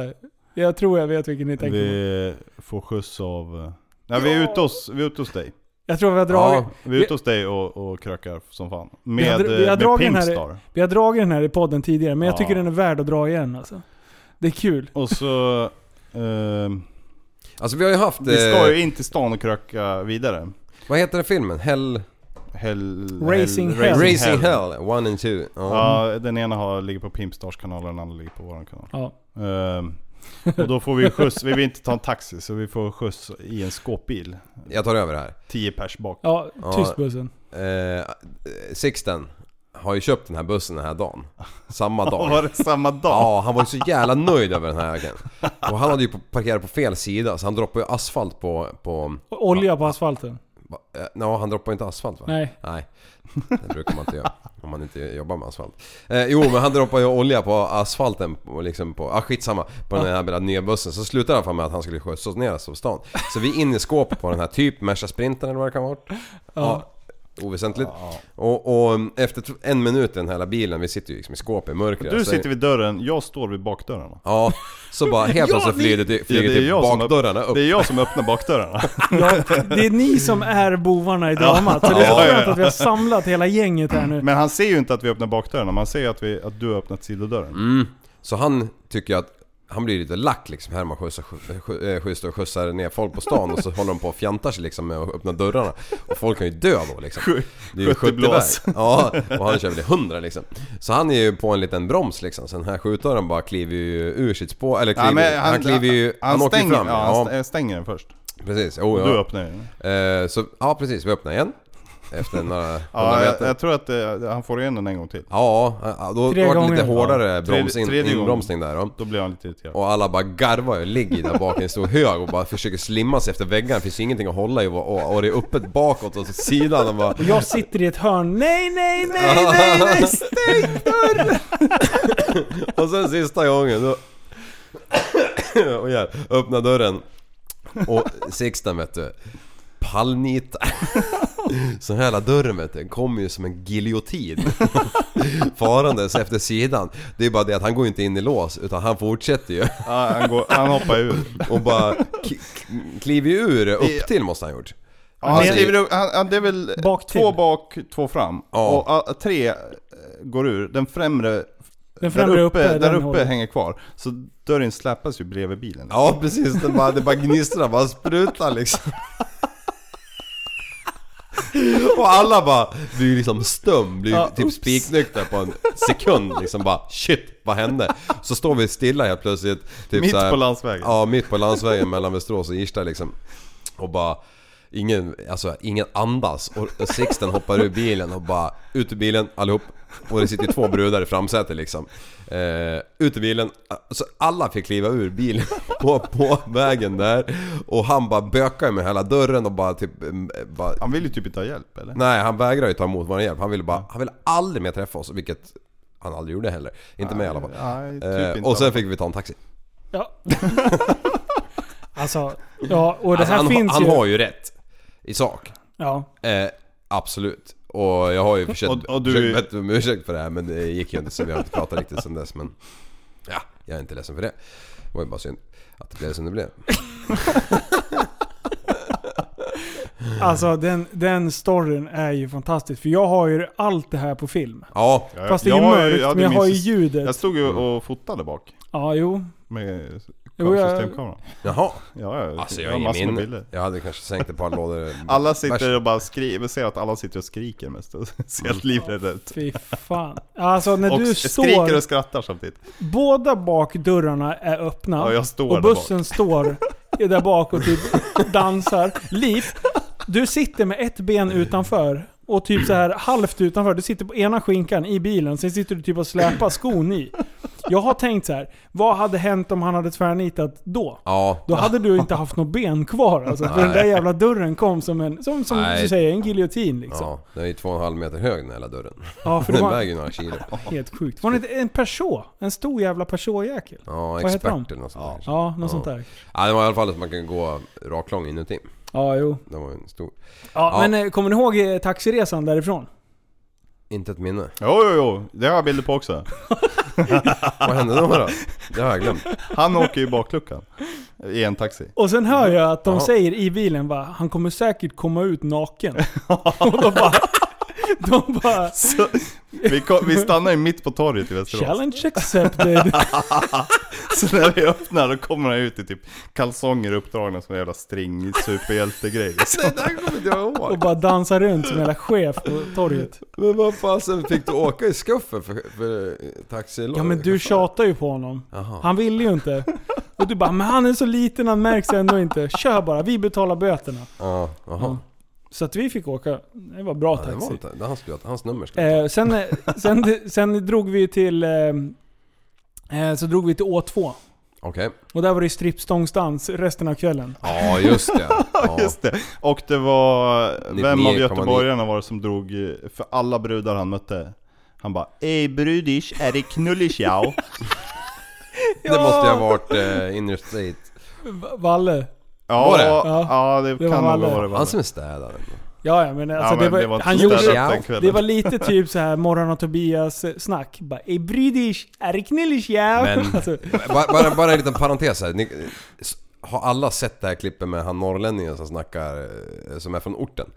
Jag tror jag vet vilken ni tänker på.
Vi får skjuts av... eh, Nej vi är ute hos, vi är ute hos dig.
Jag tror vi har dragit,
Ja,
Vi är ute hos dig och, och krökar som fan. Med,
har dra- vi
eh,
har
med
dragit den här-
Pimstar.
vi har dragit den här i podden tidigare, men jag
Ja.
tycker den är värd att dra igen alltså. Det är kul.
Och så... ehm,
alltså vi har ju haft...
vi ska ju
Eh,
in till stan och kröka vidare.
vad heter den filmen? Hell...
Hell,
Racing Hell.
Racing Hell, One and Two. Ja.
Ja, den ena har, ligger på Pimpstars kanal och den andra ligger på våran kanal.
Ja.
Ehm, och då får vi skjuts, vi vill inte ta en taxi så vi får skjuts i en skåpbil.
Jag tar över det här.
10 pers bak.
Ja,
Ja.
tyst bussen.
Eh, Sixten har ju köpt den här bussen den här dagen. Samma dag.
Var det samma dag?
Ja, han var ju så jävla nöjd över den här vägen. Och han hade ju på- parkerat på fel sida så han droppade ju asfalt på... på
Och Olja på asfalten.
va, eh, no, han droppade inte asfalt va?
Nej.
Nej, det brukar man inte göra. Om man inte jobbar med asfalt. Eh, jo, men han droppade ju olja på asfalten och liksom på... Ah, skitsamma. På den här jävla nya bussen. Så slutade han fan med att han skulle skjutsas ner oss av stan. Så vi är inne i skåpet på den här typ Merca Sprintern eller vad det kan vara. Ja. Oväsentligt. Och, och efter t- en minut i den här jävla bilen, vi sitter ju liksom i skåpet i mörkret.
Du
så-
sitter vid dörren, jag står vid bakdörrarna.
Ja, så bara helt plötsligt flyger, till, flyger
det är
till
jag som-
bakdörrarna upp.
Det är jag som öppnar bakdörrarna.
Ja, det är ni som är bovarna i dramat, så det är
Ja, ja,
skönt
ja.
att vi har samlat hela gänget här nu.
Men han ser ju inte att vi öppnar bakdörrarna, man ser ju att, vi, att du har öppnat sidodörren.
Så han tycker ju att han blir lite lack liksom här man skjutsar, skj- skj- eh, skjutsar, skjutsar ner folk på stan och så håller de på och fjantar sig liksom med att öppna dörrarna. Och folk kan ju dö då liksom. Det är ju
70 blås.
väg. Ja, och han kör väl i 100 liksom. Så han är ju på en liten broms liksom. Så den här skjutdörren bara kliver ju ur sitt spår, eller kliver,
men
han, kliver ju, han, åker ju
stänger,
fram.
ja, han
Ja,
st- stänger den först.
precis. Oh,
Du
ja.
öppnar ju den.
Eh, så, ja precis, vi öppnar igen. Efter några hundra
Ja, jag,
meter.
jag tror att eh, han får igen den en gång till.
Ja, ja, då
Tre
var det lite
gånger.
hårdare
Ja,
broms
tredje-
in,
tredje gången.
inbromsning där då.
Då blir han lite irriterad.
Och alla bara garvar och ligger där bak i en stor hög och bara försöker slimma sig efter väggarna. Det finns ju ingenting att hålla i och, och, och det är öppet bakåt och så sidan och bara...
Jag sitter i ett hörn. Nej, nej, nej, nej, nej, stäng dörren!
Och sen sista gången då... och jag öppnar dörren. Och Sixten vet du. Pallnitar. Så här hela dörren vet du, kommer ju som en giljotin. Farandes efter sidan. Det är bara det att han går ju inte in i lås utan han fortsätter ju.
Ja, han, går, han hoppar ur.
Och bara k- kliver ju ur upp till måste han ha gjort. Alltså,
Ja, han skriver upp, han, han, det är väl
Bak till.
två bak, två fram.
Ja.
Och ah, tre eh, går ur. Den främre,
Den främre
där
uppe,
uppe, där
den
uppe
håller.
hänger kvar. Så dörren släpas ju bredvid bilen.
Ja precis, det bara, det bara gnistrar, bara sprutar liksom. Och alla bara blir ju liksom stum, blir ju
Ja,
typ
oops.
spiknyktra på en sekund liksom bara shit, vad hände? Så står vi stilla helt plötsligt. Typ
Mitt
så här-
på landsvägen.
Ja, mitt på landsvägen mellan Västerås och Irsta liksom. Och bara Ingen, alltså, ingen andas och och Sixten hoppar ur bilen och bara ut ur bilen allihop och det sitter två brudar i framsätet liksom. Eh, ut ur bilen, alltså, alla fick kliva ur bilen på, på vägen där och han bara bökar med hela dörren och bara typ... eh, Bara,
Han vill ju typ inte ha hjälp eller?
Nej, han vägrar ju ta emot vår hjälp. Han ville bara, han ville aldrig mer träffa oss, vilket han aldrig gjorde heller. Inte mig i alla fall.
Nej, typ
Eh,
inte
och sen
alla.
fick vi ta en taxi.
Ja. alltså, ja och det här
han,
finns
han
ju.
har ju rätt i sak.
Ja.
Eh, absolut. Och jag har ju försökt,
Och- och du-
försökt bett om ursäkt för det här men det gick ju inte så vi har inte pratat riktigt sen dess men... Ja, jag är inte ledsen för det. Det var ju bara synd att det blev som det blev.
Alltså den, den storyn är ju fantastisk. För jag har ju allt det här på film.
Ja,
Ja,
Fast det är ju
Eh, jag har ju-
mörkt,
ja, du
men jag har ju
minns-
ljudet.
Jag stod ju
Mm.
och fotade bak
Ja, jo.
med
Jo, jag-
systemkameran.
jaha.
Ja, jag,
Alltså
jag
jag
har
har
massor
ingen
med
minne.
bilder.
Jag hade kanske sänkt ett par lådor.
Alla
Vars-
sitter och bara skriker, ser att alla sitter och skriker mest och ser
Mm.
helt livrädda ut.
Fy fan. Alltså när
Och
du
s- skriker
står...
och skrattar samtidigt.
Båda bakdörrarna är öppna.
Ja, jag står
och
där
bussen står där bak och typ dansar. Liv, du sitter med ett ben utanför. Och typ så här halvt utanför. Du sitter på ena skinkan i bilen, sen sitter du typ och släpar skon i. Jag har tänkt så här. vad hade hänt om han hade tvärnitat då?
Ja,
Då hade du inte haft något ben kvar alltså. För den där
Nej.
jävla dörren kom som en, som, som du
Nej.
säger, en giljotin liksom. Ja,
ja. Den är ju två och en halv meter hög den här hela dörren.
för det
Den
var
väger ju några kilo.
helt sjukt. Var det inte en Peugeot? En stor jävla Peugeot-jäkel?
Ja,
Vad heter de?
expert eller något sånt där. kanske.
Ja, något sånt där.
Ja, det var i alla fall att man kan gå raklång inuti.
Ja, jo.
Det var ju en stor...
Ja,
Ja.
men eh, kommer ni ihåg eh, taxiresan därifrån?
Inte ett minne.
Jo, jo, jo. Det har jag bilder på också.
Vad hände då då? Det har jag glömt.
Han åker ju i bakluckan. I en taxi.
Och sen hör jag att de
Ja.
säger i bilen bara, han kommer säkert komma ut naken. och de bara... De bara...
Så, vi, kom, vi stannar ju mitt på torget i Västerås.
Challenge accepted.
Så när vi öppnar då kommer han ut i typ kalsonger uppdragna som en jävla string superhjälte-grej.
Nej, det här kommer inte jag
och
ihåg.
bara dansar runt som en jävla chef på torget.
Men vad fasen fick du åka i skuffen för, för taxilådan?
Ja men du tjatar ju på honom. Han ville ju inte. Och du bara, men han är så liten han märks ändå inte. Kör bara, vi betalar böterna.
Ja, jaha.
Så att vi fick åka. Det var bra
Ja, det var
taxi.
inte... Det hans, hans nummer skulle jag
Eh, sen, eh, sen, sen drog vi till... Eh, eh, så drog vi till Å2.
ta. Okej.
Och där var det strippstångsdans resten av kvällen.
Ja, just det. Ja.
Just det. Och det var,
Ni-
vem
ni
av
kommer
göteborgarna var det som drog, eh, för alla brudar han mötte, han bara "Eh, Ey brudisch, är det knullisch ja?
Det måste ju ha varit eh, Inner State.
V- Valle.
Ja,
Var det?
Ja, det,
Det var
kan nog
Valle.
ha varit
Han
Valle.
som är städare.
Ja, ja men, alltså,
ja, men
det var,
inte
han
så
gjorde...
städat den
Det
kvällen.
var lite typ så här Morran och Tobias eh, snack. Bara "Ey British, är det knillish ja?"
Men-
Alltså,
Bara, bara, bara en liten parentes här. Ni, s- har alla sett det här klippet med han norrlänningen som snackar, eh, som är från orten?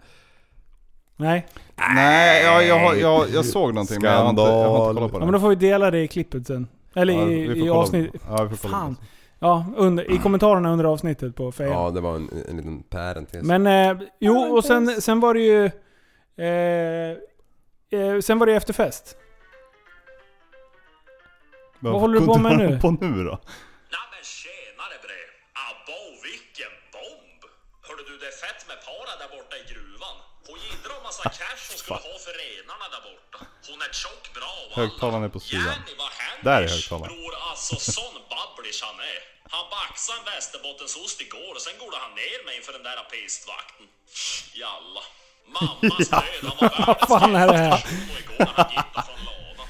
nej.
Nej, jag, jag, har- jag, jag såg någonting men jag har, inte, jag har inte kollat på
Ja,
det.
men då får vi dela det i klippet sen. Eller
Ja, vi får
i, i
kolla på-
avsnitt...
Ja, vi får kolla på
Fan.
det.
Ja, under, i kommentarerna under avsnittet på Fejan.
Ja, det var en, en liten parentes.
Men eh, jo, och sen, sen var det ju... Eh, eh, sen var det ju efterfest.
Men
Vad håller du på
kunde
med
han
nu?
på nu då?
Nej men tjenare bre! Abba och vilken bomb! Hörde du det är fett med para där borta i gruvan. Hon gidrar om massa cash hon skulle ha för renarna där borta. Hon är tjock bra och alla.
Högtalaren är på sidan.
Jenny, vad händer?
Där är högtalaren.
Bror alltså sån babblish han är. Han baxade en västerbottensost igår och sen går han ner mig inför den där pistvakten. Jalla. Mammas död, han var världens
Vad fan är det här?
och igår när han gittade från ladan.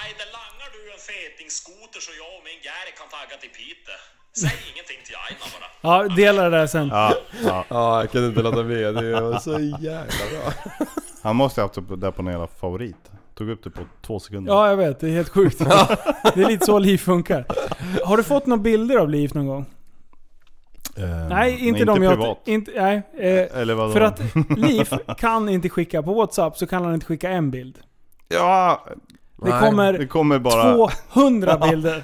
Aj, det langar du en fetingskoter så jag och min Gary kan tagga till Piteå. Säg ingenting till Aina bara.
Ja, dela det där sen.
Ja, ja.
Ja, jag kunde inte låta bli. Det var så jävla bra.
Han måste ha haft det där på någon jävla favorit. Tog upp det på två sekunder.
Ja, jag vet. Det är helt sjukt. det är lite så liv funkar. Har du fått några bilder av liv någon gång?
Eh,
Nej, inte, de
inte
jag...
privat.
Inte, nej, eh,
Eller vadå?
för att Liv kan inte skicka på WhatsApp så kan han inte skicka en bild.
Ja,
Det
Nej,
det
kommer
kommer bara...
200 bilder.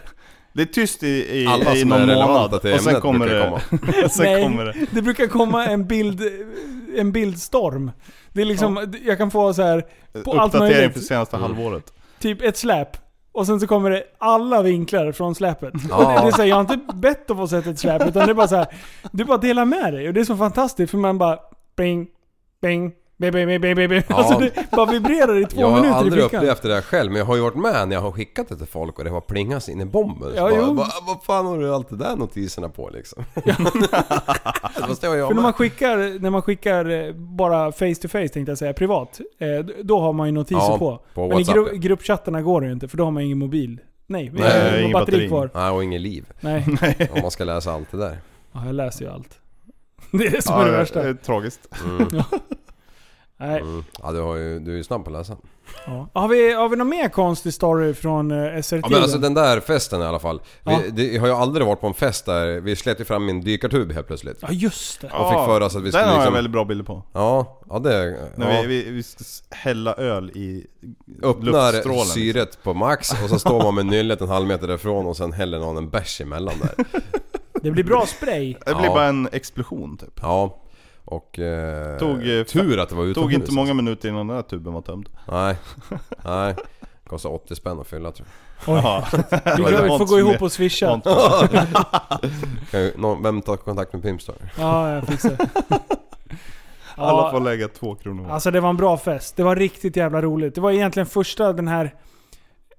Det är tyst i, i,
Alla
i
som
någon
är relevanta
månad
till
och sen
ämnet
kommer
brukar
det... sen
Nej,
kommer det.
brukar komma en, bild, en bildstorm. Det är liksom, jag kan få så här på allt
Uppdatering
möjligt.
för senaste
Mm.
halvåret.
Typ ett släp. Och sen så kommer det alla vinklar från släpet.
Ja.
Och det, det är så här, jag har inte bett att få sett ett släp, utan det är bara så här. Du bara delar med dig. Och det är så fantastiskt, för man bara... Bing, bing, bing, bing, bing, bing, bing, bing. Alltså det bara vibrerar i två
Jag har
minuter i
aldrig
fickan.
upplevt det där själv men jag har ju varit med när jag har skickat det till folk och det har plingat in i bomben. Så
Ja,
bara,
jo.
Vad, vad fan har du allt det där notiserna på liksom? Fast det har jag
För när man
med.
skickar, när man skickar eh, bara face to face tänkte jag säga, privat. eh, d- Då har man ju notiser
Ja,
på.
på
Men i
WhatsApp,
gru-
ja.
gruppchattarna går det ju inte för då har man ingen mobil. Nej, vi
Nej,
har
ingen
batteri,
batteri.
batteri kvar.
Nej, och inget liv.
Nej,
Om man ska läsa allt det där.
ja, jag läser ju allt. Det är det som är eh, det värsta.
är tragiskt.
Nej.
Mm. Ja, du, har ju, du är ju snabb på att läsa.
Ja. Har, vi, har vi någon mer konstig story från eh, SRT?
Ja, men alltså den där festen i alla fall. Vi,
Ja.
det, jag har ju aldrig varit på en fest där vi slet ju fram min dykartub helt plötsligt.
Ja, just det.
Och fick för oss att vi skulle
Den har jag
liksom...
väldigt bra bilder på.
Ja, ja det...
När
ja.
vi, vi, vi ska s- hälla öl i
Öppnar
luftstrålen. liksom.
syret på max och så står man med nyllet en halv meter därifrån och sen häller någon en bärs emellan där.
Det blir bra spray.
Det blir
Ja.
bara en explosion typ.
Ja. Och... Eh,
Tog, eh,
tur att det var utomhus. alltså.
Tog inte många minuter innan den här tuben var tömd.
Nej. Nej. Kostar 80 spänn att fylla tror jag.
Ja.
Vi
var
får
inte
gå
så
ihop
mer.
och swisha.
Kan ju, någon, vem tar kontakt med Pimpstar?
Ja, jag fixar det.
Alla får
Ja,
lägga två kronor var.
alltså det var en bra fest. Det var riktigt jävla roligt. Det var egentligen första den här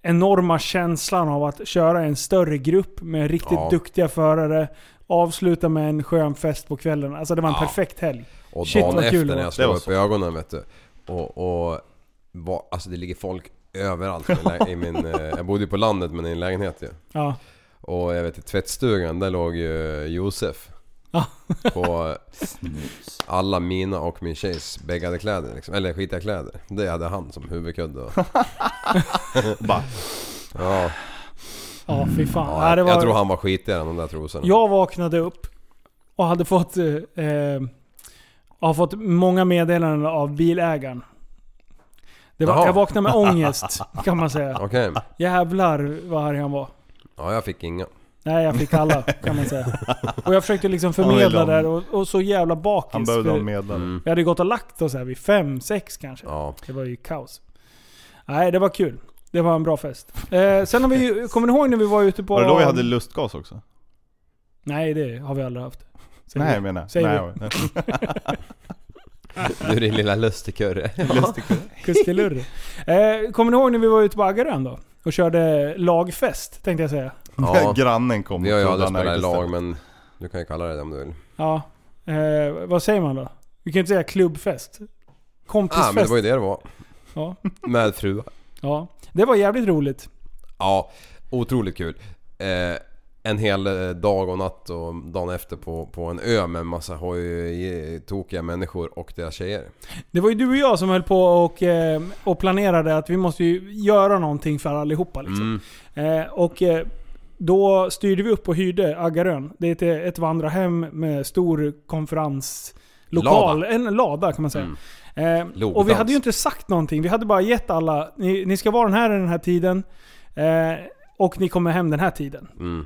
enorma känslan av att köra en större grupp med riktigt
Ja.
duktiga förare. Avsluta med en skön fest på kvällen. Alltså det var en
Ja.
perfekt helg.
Och
Shit,
dagen
vad kul det
efter
var.
när jag
Det
slog
var
upp
så.
ögonen vet du. Och, och va, alltså det ligger folk överallt i lä- i min... Eh, jag bodde ju på landet men i en lägenhet ju.
Ja.
Och jag vet i tvättstugan där låg ju Josef.
Ja.
På alla mina och min tjejs bäggade kläder liksom. Eller skitiga kläder. Det hade han som huvudkudde. Och,
Bara,
ja,
Ja, fy fan.
ja,
Ja, det
Jag
var...
tror han var skitigare än de där trosorna.
Jag vaknade upp och hade fått, eh, eh, har fått många meddelanden av bilägaren. Det var,
Jaha.
jag vaknade med ångest kan man säga.
Okej.
Jävlar vad arg han var.
Ja, jag fick inga.
Nej, jag fick alla kan man säga. Och jag försökte liksom förmedla
Han ville
där
ha-
och, och så jävla bakis.
han behövde
för
ha en medlare.
Mm.
Vi hade gått och lagt oss här vid fem, sex kanske.
Ja.
Det var ju kaos. Nej, det var kul. Det var en bra fest. Eh, sen har vi ju, kommer ni ihåg när vi var ute på...
Var det då vi hade lustgas också?
Nej, det har vi aldrig haft. Säg
Nej
det.
jag menar
Säg
Nej, nej.
Du din lilla lustigkurre.
Kuskelurre. Eh, kommer ni ihåg när vi var ute på Aggarön då? Och körde lagfest, tänkte jag säga.
Ja.
Grannen kom
Vi har ju
och
aldrig
trodde han
spelat
ägde
i lag
stället.
men du kan ju kalla det det om du vill.
Ja. Eh, vad säger man då? Vi kan ju inte säga klubbfest.
Ah, men det
Kompisfest.
var ju det det var.
ja.
Med fruar.
ja. Det var jävligt roligt.
Ja, otroligt kul. Eh, en hel eh, dag och natt och dagen efter på, på en ö med en massa hoj, eh, tokiga människor och deras tjejer.
Det var ju du och jag som höll på och, eh, och planerade att vi måste ju göra någonting för allihopa. Liksom.
Mm.
Eh, och eh, då styrde vi upp och hyrde Aggarön. Det är ett, eh, ett vandrarhem med stor konferenslokal.
Lada. Mm.
En lada kan man säga. Eh, och vi
Logdans.
hade ju inte sagt någonting. Vi hade bara gett alla, ni, ni ska vara den här i den här tiden. Eh, och ni kommer hem den här tiden.
Mm.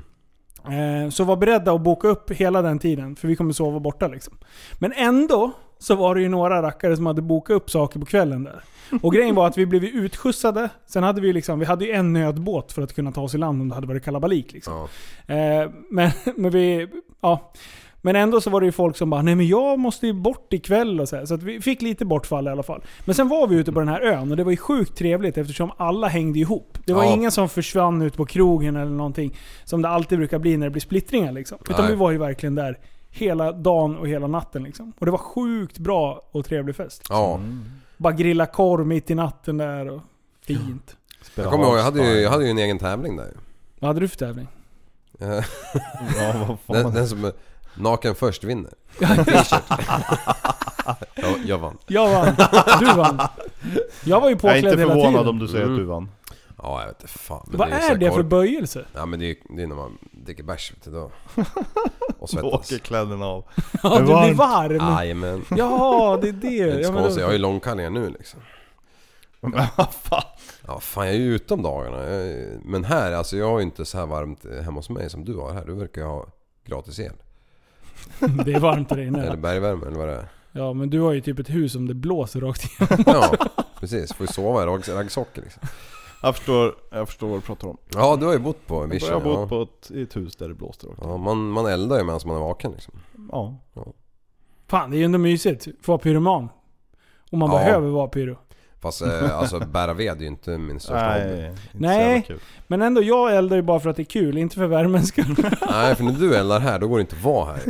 Eh, Så var beredda att boka upp hela den tiden, för vi kommer sova borta liksom. Men ändå så var det ju några rackare som hade bokat upp saker på kvällen där. Och grejen var att vi blev ju utskjutsade, sen hade vi liksom, vi hade ju en nödbåt för att kunna ta oss i land om det hade varit kalabalik liksom.
Ja.
Eh, Men, men vi, ja. Men ändå så var det ju folk som bara Nej men jag måste ju bort ikväll och så här. Så att vi fick lite bortfall i alla fall. Men sen var vi ute på den här ön och det var ju sjukt trevligt eftersom alla hängde ihop. Det var
Ja.
ingen som försvann ut på krogen eller någonting. Som det alltid brukar bli när det blir splittringar liksom. Utan
Nej.
vi var ju verkligen där hela dagen och hela natten liksom. Och det var sjukt bra och trevlig fest.
ja.
Mm. Bara grilla korv mitt i natten där och fint.
Jag kommer ihåg, jag hade, ju, jag hade ju en egen tävling där.
Vad hade du för tävling?
Eh,
Ja, vad fan.
Den, den som är naken först vinner. En t-shirt. jag, jag vann.
Jag vann. Du vann. Jag var
jag
ju
är
påklädd hela
inte
tiden.
förvånad om du säger
Mm.
att du vann.
Ja, jag vet inte fan. men
Vad
ju så
är
här
det för
korv-
böjelse?
Ja men det är, det är när man dricker bärs vet du då. Och
Då
svettas.
åker kläderna av.
Ja, du blir
varmt.
varm.
Jajamän.
Jaha, det är det.
Det är inte
Ja,
så
men
konstigt, jag har
då,
ju långkallingar nu liksom.
Men vad fan.
Ja fan jag är ju ute om dagarna. Jag är- Men här, alltså jag har ju inte så här varmt hemma hos mig som du har här. Du verkar ju ha gratis el.
det är varmt där
Eller
inne.
bergvärme eller vad det är.
Ja, men du har ju typ ett hus som det blåser rakt igenom.
Ja precis, får ju sova i ragg- raggsockor liksom.
Jag förstår, jag förstår vad du pratar om.
Ja du har ju bott på
Jag
vischan
har bott
ja.
på ett, i ett hus där det blåste rakt.
ja man, man eldar ju medan man är vaken liksom.
Ja.
Ja.
Fan, det är ju ändå mysigt. Få vara pyroman. Om man
Ja.
behöver vara pyro.
Fast eh, alltså bära ved är ju inte min största
Nej,
hobby.
inte så
Nej.
jävla kul.
Men ändå, jag eldar ju bara för att det är kul, inte för värmens skull.
Nej, för när du eldar här då går det inte att vara här.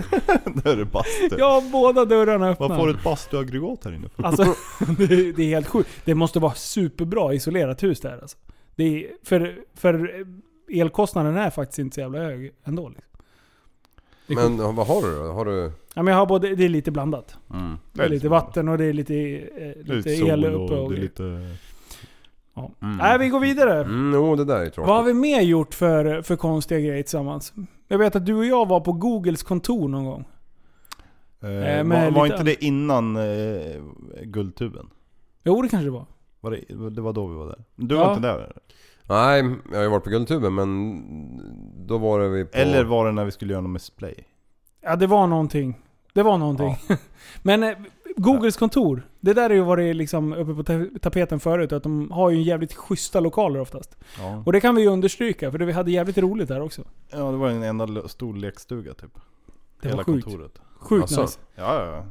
Då är det bastu.
Jag har båda dörrarna öppna.
Vad får du ett bastuaggregat här inne för?
Alltså, det, är- det är helt sjukt. Det måste vara superbra isolerat hus där alltså. Det är, för, för elkostnaden är faktiskt inte så jävla hög ändå. Liksom. Det är sjukt.
Men vad har du då? Har du...
ja, men jag har både, det är lite blandat. Det är lite vatten och det är lite, eh,
Det är
lite
lite
el
sol
uppe.
och
Och,
det är lite...
ja. Nej, vi går vidare.
Mm, jo, det där är ju
Vad har
tråkigt.
vi mer gjort för, för konstiga grejer tillsammans? Jag vet att du och jag var på Googles kontor någon gång.
Eh,
men
var, var
lite-
inte det innan eh, Guldtuben?
Jo, det kanske det var.
Var det, det var då vi var där. Du
Ja.
var inte där?
Nej, jag har ju varit på Guldtuben men då var det vi på...
Eller var det när vi skulle göra något med Splay?
Ja, det var någonting. Det var någonting. Men eh, Googles kontor, det där har ju varit liksom uppe på ta- tapeten förut. Att de har ju jävligt schyssta lokaler oftast.
Ja.
Och det kan vi ju understryka, för det, vi hade jävligt roligt där också.
ja, det var en enda lo- stor lekstuga typ.
Det
Hela
var sjukt.
kontoret.
Sjukt
Asså.
nice.
Ja, ja, ja.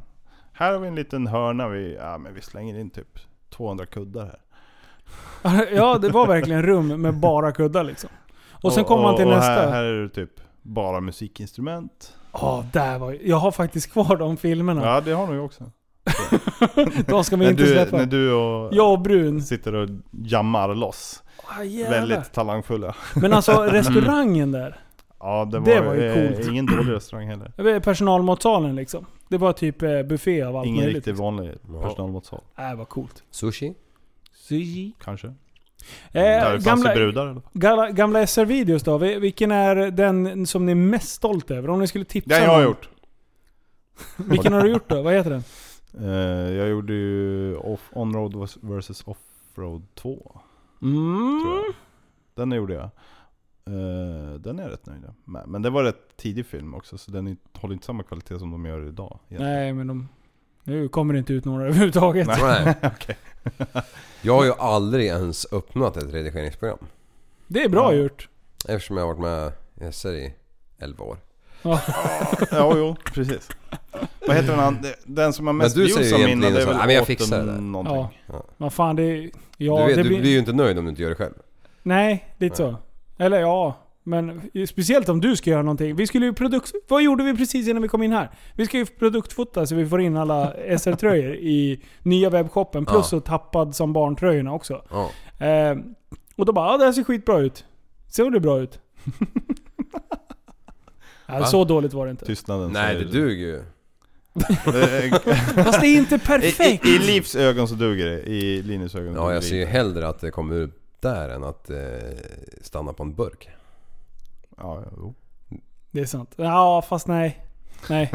Här har vi en liten hörna. Vi, ja, men vi slänger in typ 200 kuddar här.
Ja, det var verkligen rum med bara kuddar liksom. Och sen kom man till
och Här,
nästa.
här är det typ bara musikinstrument.
Ja, där var Jag har faktiskt kvar de filmerna.
Ja, det har nog jag också.
De ska vi
När
inte
du,
släppa.
när du och
Jag och Brun.
sitter och jammar loss.
Ah, jävlar.
Väldigt Mm. talangfulla.
Men alltså restaurangen där.
Ja, det var,
Det var ju
eh,
coolt.
ingen dålig restaurang heller.
det var Personalmatsalen liksom. Det var typ eh, buffé av allt
Ingen
möjligt.
riktigt vanlig
Ja.
personalmatsal.
Äh, vad coolt.
Sushi?
Kanske. Eh, Där
Eh,
det fanns ju
gamla,
brudar i alla fall.
gamla, gamla SR-videos då? Vi- Vilken är den som ni är mest stolt över? Om ni skulle tipsa
Den jag
någon.
har gjort.
Vilken har du gjort då? Vad heter den?
Eh, jag gjorde ju off, On-Road vs Off-Road 2. tror
Mm.
jag. Den gjorde jag. Eh, den är jag rätt nöjd med. Men det var rätt tidig film också, så den är- håller inte samma kvalitet som de gör idag. egentligen.
Nej, men de... Nu kommer det inte ut några överhuvudtaget.
Nej.
Okej.
Jag har ju aldrig ens öppnat ett redigeringsprogram.
Det är bra gjort.
Eftersom jag har varit med i SR i 11 år.
ja, jo, precis. Vad heter den an- Den som har mest
du säger
views av
ju
mina,
egentligen
det är
så
väl
här, "Nej, men jag
Autumn
fixar det där."
någonting.
Ja. Men fan, det är... Ja,
du, vet,
det
du
blir...
blir ju inte nöjd om du inte gör det själv.
Nej, lite så. Eller ja, men speciellt om du ska göra någonting. Vi skulle ju produkt... Vad gjorde vi precis innan vi kom in här? Vi ska ju produktfota så vi får in alla SR-tröjor i nya webbshoppen. Plus så tappad som barntröjorna också.
Ja.
Eh, och då bara ja, det här ser skitbra ut. Såg det bra ut? ja,
Va?
så dåligt var det inte.
Tystnaden
Nej, det
säger- Eh,
duger ju.
Fast det är inte
I, i,
perfekt.
I Livs ögon så duger det, i Linus ögon
Ja,
duger
jag
det
ser ju
inte.
hellre att det kommer ut där än att eh, stanna på en burk.
Ja, jo.
Det är sant. Ja, fast nej. Nej.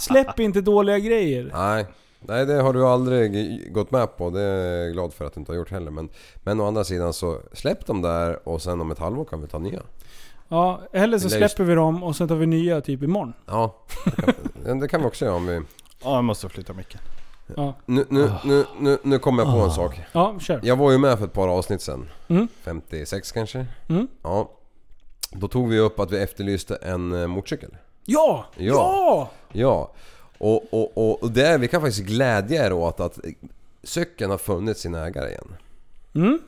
Släpp inte dåliga grejer.
Nej. Nej, det har du aldrig gått med på. Det är jag glad för att du inte har gjort heller. Men, men å andra sidan så släpp dem där och sen om ett halvår kan vi ta nya.
Ja, eller så
Eller just-
släpper vi dem och sen tar vi nya typ imorgon.
Ja, det kan, det kan vi också göra om vi...
ja, jag måste flytta micken.
Ja,
Nu, nu, nu, nu, nu kommer jag på en sak.
ja kör.
Jag var ju med för ett par avsnitt sen.
Mm.
56 kanske?
Mm.
Ja. Då tog vi upp att vi efterlyste en eh, motorcykel.
Ja! Ja!
Ja. Ja. Och, och, och, och det, vi kan faktiskt glädja er åt att eh, cykeln har funnit sin ägare igen.
Mm.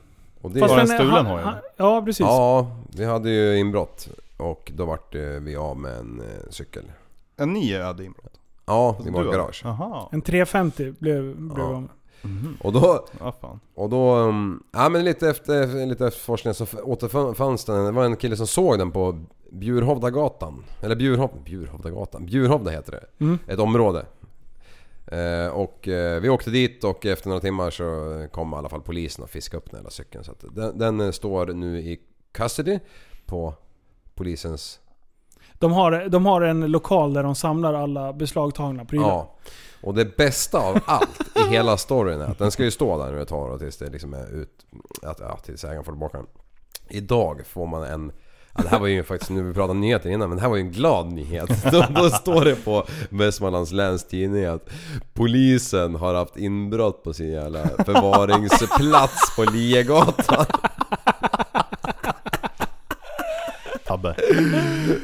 Och det,
Fast
ja,
den stolen
han-
har jag.
han- Ja, precis.
ja, vi hade ju inbrott. Och då vart eh, vi av med en eh, cykel.
En ny hade inbrott.
Ja, i
Du
vårt
har-
garage.
Jaha,
En 350 blev, blev
Ja.
av med.
Och då,
ja fan.
Och då, um, ja men lite efter, lite efter forskningen så f- återfanns den, det var en kille som såg den på Bjurhovdagatan. Eller Bjurhov, Bjurhovdagatan, Bjurhovda heter det. Ett område. Eh, och eh, vi åkte dit och efter några timmar så kom i alla fall polisen och fiskade upp den hela cykeln. Så att den, den eh, står nu i custody på polisens...
De har, de har en lokal där de samlar alla beslagtagna prylar.
Ja. Och det bästa av allt i hela storyn är att den ska ju stå där nu ett tag då, tills det liksom är ut... Att, ja, tills ägaren får tillbaka den. Idag får man en... Ja, det här var ju faktiskt, nu vi pratade om nyheter innan, men det här var ju en glad nyhet. Då, då står det på Västmanlands Läns Tidning att polisen har haft inbrott på sin jävla förvaringsplats på Liegatan.
Tabbe.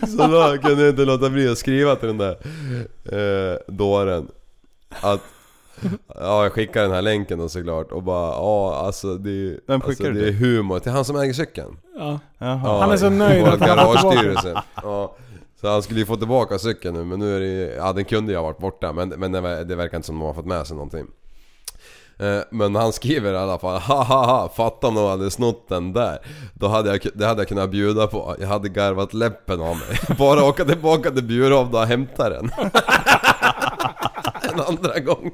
Så då kunde jag inte låta bli att skriva till den där eh, dåren. att... Ja, jag skickar den här länken då såklart och bara ja alltså det är ju...
Vem
alltså,
skickar du
det är humor till han som äger cykeln.
Ja.
Jaha.
Ja,
Han är så nöjd
vår
att han har fått tillbaka.
garagestyrelse. Ja. Så han skulle ju få tillbaka cykeln nu men nu är det ju, Ja den kunde ju ha varit borta men, men det ver- det verkar inte som de har fått med sig någonting. Eh, Men han skriver i alla fall ha ha ha fatta om de hade snott den där. Då hade jag, ku- det hade jag kunnat bjuda på. Jag hade garvat läppen av mig. Bara åka tillbaka till Bjurholm och hämta den. en andra gång.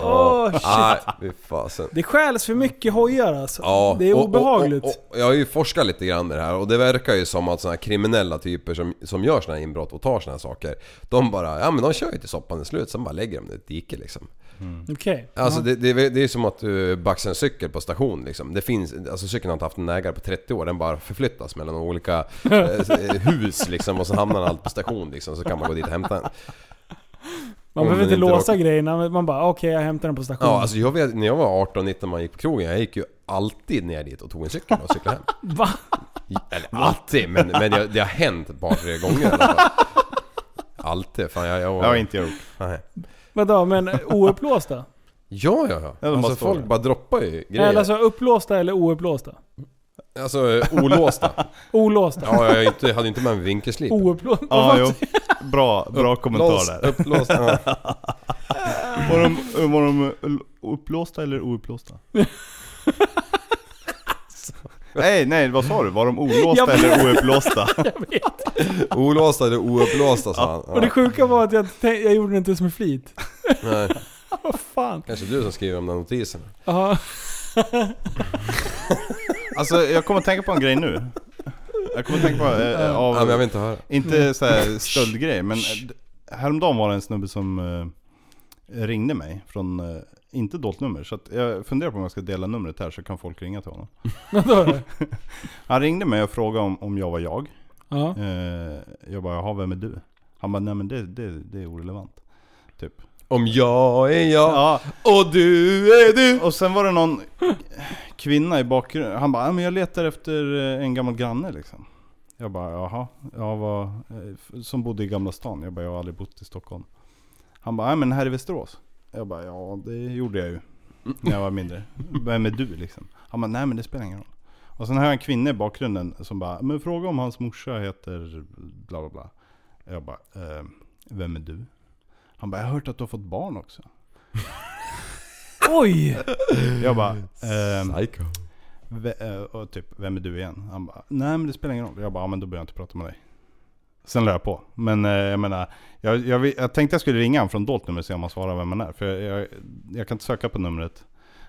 Åh, shit.
Nej, fy fasen.
Det stjäls för mycket hojar alltså.
Ja,
det är
och- och-
obehagligt.
Och, och, jag har ju forskat lite grann i det här och det verkar ju som att såna här kriminella typer som, som gör såna här inbrott och tar såna här saker. De bara, ja men de kör ju till soppan är slut, sen bara lägger de det i ett dike liksom.
Okej.
Alltså det, det, det är ju som att du baxar en cykel på station liksom. Det finns, alltså cykeln har inte haft en ägare på 30 år, den bara förflyttas mellan olika eh, hus liksom och så hamnar allt på station liksom, så kan man gå dit och hämta den.
man
om
behöver
den
inte
inte
låsa
råkar-
grejerna, men man bara okej jag hämtar den på stationen.
Ja, alltså jag vet, när jag var 18-19 man gick på krogen, jag gick ju alltid ner dit och tog en cykel och cyklade hem.
Va?
Eller alltid, men, men det, det har hänt ett par tre gånger i alla fall. Alltid, fan jag... jag,
Jag har inte gjort.
Nej.
Vadå, men oupplåsta?
Ja, ja, ja.
de bara
Alltså
står
folk
där.
bara droppar ju grejer.
Eller
Alltså,
alltså upplåsta eller oupplåsta?
eh, olåsta.
Olåsta.
Ja, jag har ju inte, hade ju inte med mig vinkelslip.
Oupplåsta?
Ja, jo. Bra, bra kommentar
Lås-
där.
Upplåsta. Ja.
Var de, eh, var de upplåsta eller ouppblåsta? nej, nej, vad sa du? Var de olåsta
Jag vet.
eller ouppblåsta?
Jag vet.
Olåsta eller ouppblåsta sa han.
Och det
Ja.
sjuka var att jag, tänk- jag gjorde det inte som flit.
Nej,
Vad fan?
kanske du som skriver de där notiserna.
Jaha.
Alltså, jag kommer att tänka på en grej nu. Jag kommer att tänka på... Eh, eh,
Ja, men jag
av,
vill inte höra.
inte så här stöldgrej, men eh, d- häromdagen var det en snubbe som eh, ringde mig från, eh, inte dolt nummer, så att jag funderar på om jag ska dela numret här så kan folk ringa till honom.
Vadå?
Han ringde mig och frågade om, om jag var jag.
Ja.
Eh, jag bara, jaha vem är du? Han bara, nej men det, det, det är orelevant. Typ.
Om jag är jag
Ja,
och du är du.
och sen var det någon kvinna i bakgrunden. Han bara, ja men jag letar efter eh, en gammal granne liksom. Jag bara, jaha. Jag var, eh, f- som bodde i Gamla stan. Jag bara, jag har aldrig bott i Stockholm. Han bara, nej men här i Västerås. Jag bara, ja det gjorde jag ju. När jag var mindre. Vem är du liksom? Han bara, nej men det spelar ingen roll. Och sen har jag en kvinna i bakgrunden som bara, men fråga om hans morsa heter bla bla bla. Jag bara, eh, vem är du? Han bara, jag har hört att du har fått barn också.
Oj!
Jag bara, ehm,
Psycho.
Ve- eh, och typ, vem är du igen? Han bara, nej men det spelar ingen roll. Jag bara, ja, men då behöver jag inte prata med dig. Sen la jag på. Men eh, jag menar, jag, jag, vi- jag tänkte jag skulle ringa honom från dolt nummer och se om han svarar vem man är. För jag, jag, jag kan inte söka på numret.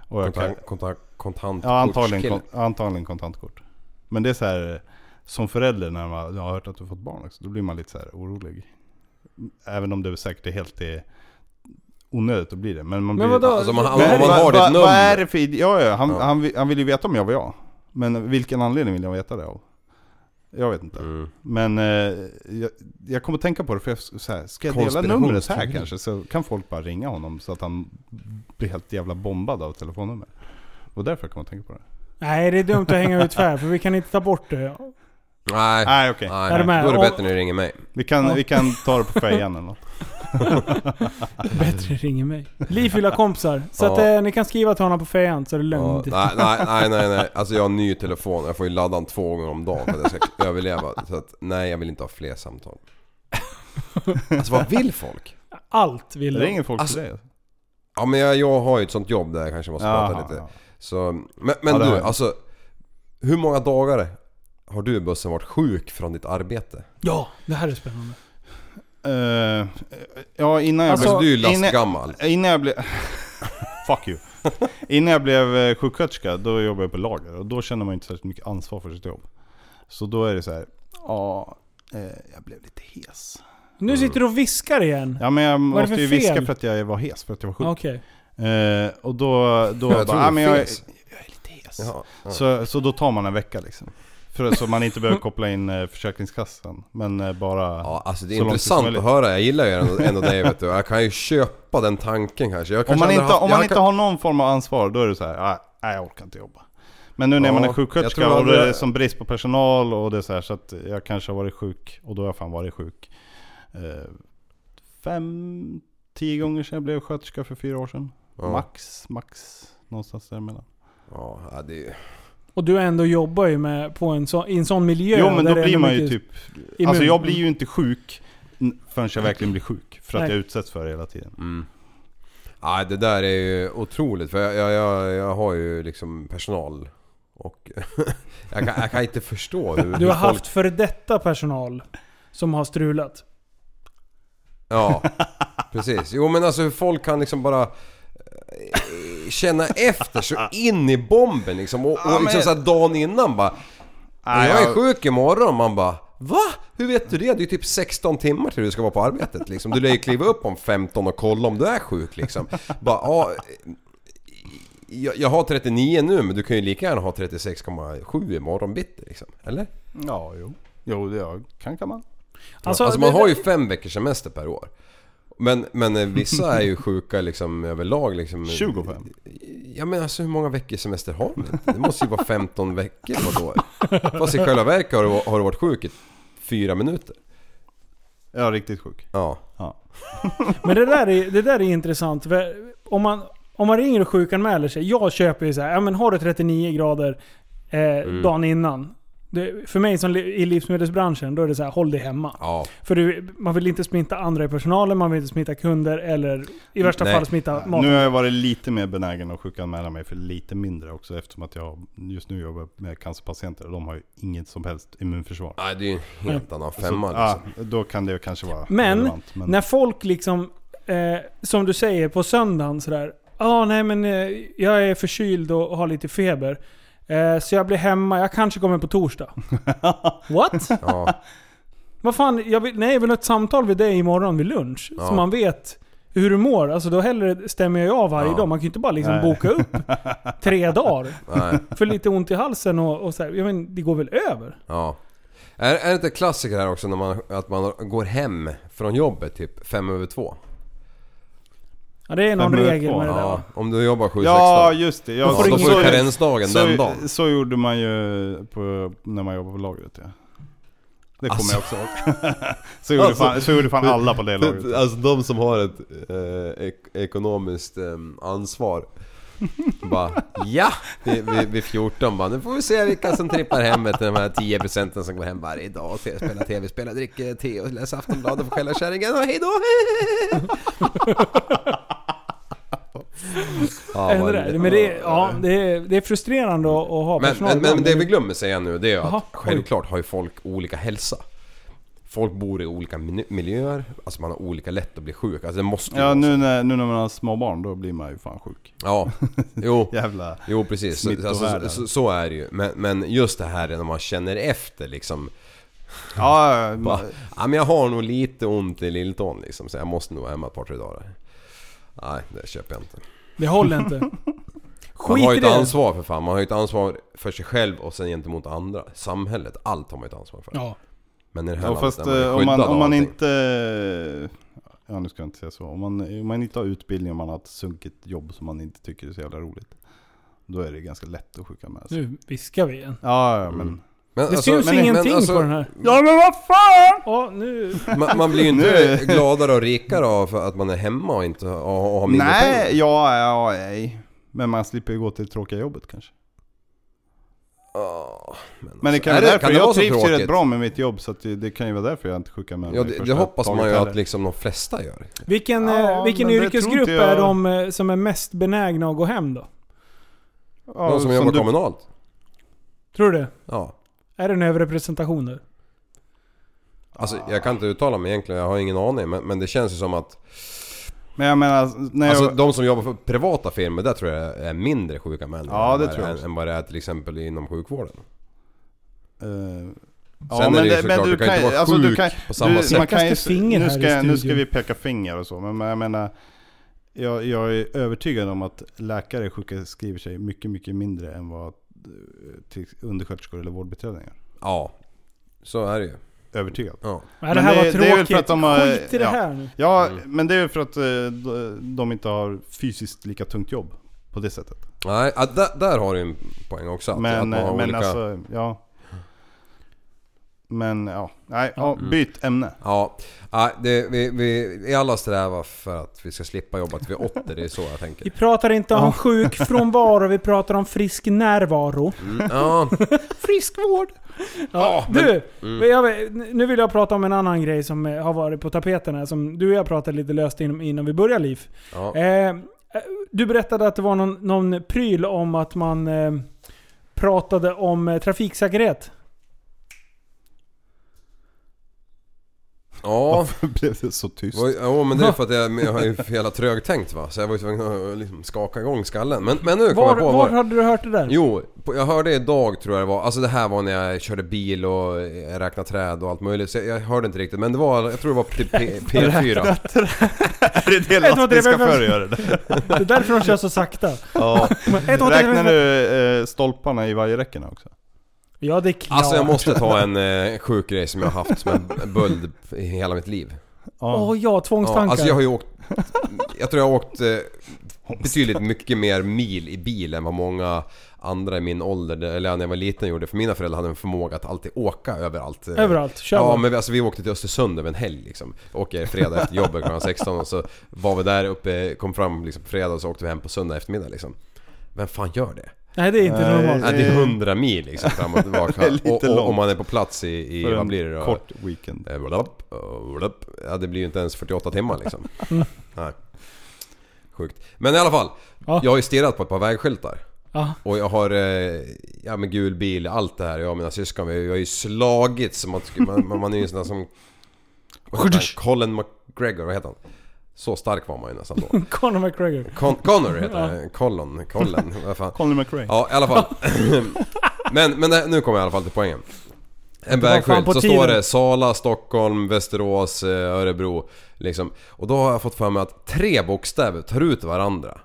Och jag kan,
Kontant, kontant, kontant
ja, antagligen, kon, antagligen kontantkort. Men det är så här, eh, som förälder när man jag har hört att du fått barn också, då blir man lite så här orolig. Även om det säkert är helt eh, onödigt att bli det. Men, man
Men
blir,
vadå?
Alltså om man, om
men
man
vad-
har ditt
vad- Vad är
nummer.
det för id- ja, ja, han,
Ja.
Han, vill- han vill ju veta om jag var jag. Men vilken anledning vill jag veta det av? Jag vet inte.
Mm.
Men eh, jag, jag kommer tänka på det för jag, så här, ska jag dela
Konspirationsteori.
numret här kanske så kan folk bara ringa honom så att han blir helt jävla bombad av telefonnummer. Och därför kommer jag tänka på det.
Nej, det är dumt att hänga ut tvär, för vi kan inte ta bort det.
Nej.
Nej okej,
Nej,
Är du med?
då är det
Om-
bättre när du ringer mig.
vi, kan, vi kan ta det på fejan eller något.
Bättre ringer mig. Liv vill ha kompisar. Så att
Ja.
eh, ni kan skriva till honom på fejan så är det
Ja,
lugnt.
nej, nej, nej, nej, nej. Alltså jag har en ny telefon. Jag får ju ladda den två gånger om dagen för att jag ska överleva. Så att nej, jag vill inte ha fler samtal. Alltså vad vill folk?
Allt vill de.
Ringer folk
Alltså,
till dig?
Ja men jag, jag har ju ett sånt jobb där jag kanske måste prata
Jaha,
lite.
ja.
Så, men men
Ja, det har
du,
jag.
alltså. Hur många dagar har du bussen varit sjuk från ditt arbete?
Ja, det här är spännande.
Eh, ja, innan jag
Alltså,
Alltså du är ju
innan-
lastgammal.
Innan jag blev... Fuck you. Innan jag blev eh, sjuksköterska, då jobbade jag på lager. Och då känner man inte särskilt mycket ansvar för sitt jobb. Så då är det så här, ja, eh, jag blev lite hes.
Nu sitter du och viskar igen.
Ja men jag
Vad är det
måste
för
ju viska
fel?
för att jag var hes, för att jag var sjuk.
Okej.
Eh, och då, då
Jag tror
bara, ah,
det
men jag, jag är
finns."
lite hes.
Jaha, ja.
Så, så då tar man en vecka liksom. För, så man inte behöver koppla in eh, Försäkringskassan. Men eh, bara...
Ja, alltså det är
så långt som
intressant
möjligt.
att höra. Jag gillar ju ändå, ändå dig vet du. Jag kan ju köpa den tanken kanske. Jag
Om
kanske
man,
aldrig
inte,
haft-
om
jag
man inte
kan-
har någon form av ansvar, då är det så här, "Ah, nej jag orkar inte jobba. Men nu när
Ja,
man är
jag
sjuksköterska
tror
och det är
aldrig-
som brist på personal och det är så här, så att jag kanske har varit sjuk, och då har jag fan varit sjuk. Eh, fem, tio gånger sedan jag blev sköterska för fyra år sedan.
Ja.
Max, max någonstans däremellan.
Ja, ja, det är,
Och du ändå jobbar ju med, på en så, i en sån miljö.
jo men
där
då
det är
blir man ju
mycket
typ...
immun.
Alltså jag blir ju inte sjuk n- förrän jag verkligen blir sjuk. För att
Nej.
jag utsätts för det hela tiden.
Mm. ja, det där är ju otroligt. För jag, jag, jag, jag har ju liksom personal. Och jag, kan, jag kan inte förstå hur,
Du
hur
har
folk
haft för detta personal som har strulat.
Ja, precis. Jo men alltså hur folk kan liksom bara eh, känna efter så in i bomben liksom. Och, och liksom
men-
såhär dagen innan bara.
Nej,
jag är
jag-
sjuk imorgon. Man bara. Va? Hur vet du det? Det är typ 16 timmar till du ska vara på arbetet liksom. Du lär ju kliva upp om 15 och kolla om du är sjuk liksom. Bara, ja, eh, jag, jag har 39 nu men du kan ju lika gärna ha 36,7 imorgon bitti liksom. Eller?
Ja, jo. Jo, det jag kan kan man.
Alltså, man har ju fem veckors semester per år. Men, men eh, vissa är ju sjuka liksom överlag liksom...
25.
Ja men alltså hur många veckors semester har man inte? Det måste ju vara 15 veckor på ett år. Fast i själva verket har du, har du varit sjuk i fyra minuter.
Jag är riktigt sjuk.
Ja.
Ja.
Men det där är, det där är intressant. För Om man, om man ringer och sjukanmäler sig. Jag köper ju så här, ja men har du 39 grader eh,
Mm.
dagen innan. Det, för mig som li, i livsmedelsbranschen, då är det så här, håll dig hemma.
Ja.
För du, man vill inte smitta andra i personalen, man vill inte smitta kunder eller i värsta
Nej.
fall smitta
Nu
mat.
har jag varit lite mer benägen att sjukanmäla mig för lite mindre också eftersom att jag just nu jobbar med cancerpatienter och de har ju inget som helst immunförsvar.
Nej det är ju en helt annan
Så,
femma liksom.
ah, då kan det kanske vara
Men,
relevant. Men
När folk liksom, eh, som du säger, på söndagen sådär. Ja, nej men eh, jag är förkyld och har lite feber. Eh, så jag blir hemma, jag kanske kommer på torsdag. What?
Ja.
Vad fan, jag vill, nej jag vill ha ett samtal vid dig imorgon vid lunch. Så
Ja.
man vet hur du mår. Alltså då hellre stämmer jag av varje
Ja.
dag. Man kan ju inte bara liksom
Nej.
boka upp tre dagar.
Nej.
För lite ont i halsen och, och så här. Jag menar, det går väl över?
Ja. Är, är det inte klassiker här också när man, att man går hem från jobbet typ fem över två?
Ja, det är någon
Fem över
regel
två,
med det där.
Ja.
va?
Om du jobbar 7-16.
ja, just det.
Ja,
Ja,
då får du karensdagen
så,
den dagen.
så gjorde man ju på, när man jobbade på lagret. Ja. Det kommer
Alltså.
jag också ihåg. så, gjorde
Alltså.
fan, så gjorde fan alla på det lagret.
Alltså de som har ett eh, ek ekonomiskt eh, ansvar. Bara ja! Vid, vid, vid 14 bara, nu får vi se vilka som trippar hem till de här 10 procenten som går hem varje dag och ser- spelar TV, spelar, dricker te och läser Aftonbladet och skäller kärringen och hejdå! ja,
Händer det? Men det, är- ja, det, är, det är frustrerande att, att ha
men,
personal.
men, men det vi glömmer säga nu det är ju
Jaha,
att
oj.
självklart har ju folk olika hälsa. Folk bor i olika mil- miljöer, alltså man har olika lätt att bli sjuk. Alltså det måste ju
Ja,
vara så.
nu när, nu när man har små barn då blir man ju fan sjuk.
Ja, jo.
Jävla...
Jo precis, så,
Smittovärden.
alltså, så, så är det ju. Men, men just det här när man känner efter liksom.
Ja, ja,
Bara,
Mm.
ja.
ja men jag har nog lite ont i lilltån liksom så jag måste nog vara hemma ett par tre dagar. Nej, det köper jag inte.
Det håller inte.
Man
Skit
har ju
i
ett
det.
ansvar för fan. Man har ju ett ansvar för sig själv och sen gentemot andra. Samhället, allt har man ju ett ansvar för.
Ja.
Men i det här
Ja,
landet
fast
där man är
eh, om
skyddad
man, om
av
man
allting.
inte... Ja, nu ska jag inte säga så. Om man, om man inte har utbildning och man har ett sunkigt jobb som man inte tycker är så jävla roligt. Då är det ganska lätt att sjuka med sig.
Nu viskar vi igen.
Ja, ja, men...
Men,
Det syns
men- men
ingenting
alltså,
på den här.
Ja, men vad fan!
Ja, nu...
Man, man blir ju inte
Nu-
gladare och rikare av för att man är hemma och inte och, och har mindre
Nej,
pengar.
ja, ja, nej. Men man slipper ju gå till det tråkiga jobbet kanske.
Ja,
Men det
alltså,
kan
är
vara därför.
kan det vara
jag
så
trivs ju rätt
tråkigt?
bra med mitt jobb så att det, det kan ju vara därför jag inte sjukar med mig
Ja, det, det
första
hoppas man ju
taget
att
heller.
liksom de flesta gör.
Vilken,
Ja,
eh, vilken
men det tror
yrkesgrupp
inte jag-
är de eh, som är mest benägna att gå hem då?
Ja,
de som, jobbar
du-
kommunalt.
Tror du det?
Ja.
Är det en överrepresentation där?
Alltså jag kan inte uttala mig egentligen, jag har ingen aning. Men, men det känns ju som att...
Men jag menar, när
Alltså
jag...
de som jobbar för privata firmor, där tror jag är mindre sjuka män.
Ja,
än
det
vad-
tror jag
än,
också.
än vad det är till exempel inom sjukvården.
eh,
Sen är det ju såklart, du kan ju inte vara
du
sjuk på samma sätt.
Man kan ju,
Kastar finger
nu,
här i
ska, nu ska
studion.
vi peka finger och så, men men jag menar... Jag, jag är övertygad om att läkare sjukskriver sig mycket, mycket mindre än vad eh, till undersköterskor eller vårdbiträden gör.
Ja. Så är det ju.
Övertygad.
Ja.
Nej, det
Men
här
det-
var
det är väl
tråkigt.
för att de har-
Skit i det
ja.
här nu.
Ja, men det är ju för att eh, de- de inte har fysiskt lika tungt jobb på det sättet.
Nej, ja, där, där har du en poäng också. Att,
Men, alltså-
att man har
men
olika...
alltså, ja. Men ja, nej, ja,
Mm.
byt ämne.
Ja, ja, det, vi, vi, vi alla strävar för att vi ska slippa jobba till vi är 80, det är så jag
Vi
tänker.
pratar inte om sjuk frånvaro, vi pratar om frisk närvaro.
Mm, Ja,
Friskvård! Ja, du, jag, nu vill jag prata om en annan grej som eh, har varit på tapeten här, som du och jag pratade lite löst innan, innan vi började Liv.
ja.
Eh, eh, du berättade att det var någon, någon pryl om att man eh, pratade om eh, trafiksäkerhet.
ja.
Varför blev det så tyst?
Oj, Ja men det är för att jag, jag har ju för jävla trögtänkt va, så jag var ju tvungen att liksom skaka igång skallen. Men, men nu kom
Var,
jag på...
var hade du hört det där?
Jo, på- jag hörde idag tror jag det var. Alltså det här var när jag körde bil och eh, räknade träd och allt möjligt. Så jag, jag hörde inte riktigt men det var, jag tror det var till P, P4.
Är det det
Ett, två, tre,
lastbil ska
fem, fem.
föregöra det?
Det är därför de kör så sakta.
Ja.
Ett, två, tre,
Räknar
fem.
du eh, stolparna i vajerräckena också?
Ja, det är klart.
Alltså jag måste ta en eh, sjuk grej som jag har haft som en böld i hela mitt liv.
Åh ja,
Ja,
tvångstankar.
alltså jag har ju åkt... Jag tror jag har åkt eh, betydligt mycket mer mil i bil än vad många andra i min ålder, eller när jag var liten gjorde. För mina föräldrar hade en förmåga att alltid åka överallt. eh,
Överallt, kör
Ja
bara.
men vi, alltså, vi åkte till Östersund över en helg liksom. Åker fredag efter jobbet klockan 16 och så var vi där uppe, kom fram liksom på fredag och så åkte vi hem på söndag eftermiddag liksom. Vem fan gör det?
Nej, det är inte
Nej.
normalt.
Ja, det är 100 mil liksom fram och tillbaka.
Eh. Det är lite
och, och, om
långt.
man är på plats i, i
För
vad
en
blir det då?
Kort weekend.
Eh, blapp, eh, blapp. Ja, det blir ju inte ens 48 timmar liksom. Nej. Sjukt. Men i alla fall.
Ja.
Jag har ju stirrat på ett par vägskyltar.
Ja.
Och jag har, eh, ja men gul bil, allt det här. Jag och mina syskon, vi har ju slagit som att, man, man man är ju en sån där som... vad heter han? Colin McGregor, vad heter han? Så stark var man ju nästan då.
Conor McGregor.
Con Connor heter han, Colin, Colin, vad fan.
Colin McRae.
Ja, i alla fall. men, men nej, nu kommer jag i alla fall till poängen. En
var fan
vägskylt,
på
så
tiden.
står det Sala, Stockholm, Västerås, eh, Örebro. Liksom. Och då har jag fått för mig att tre bokstäver tar ut varandra.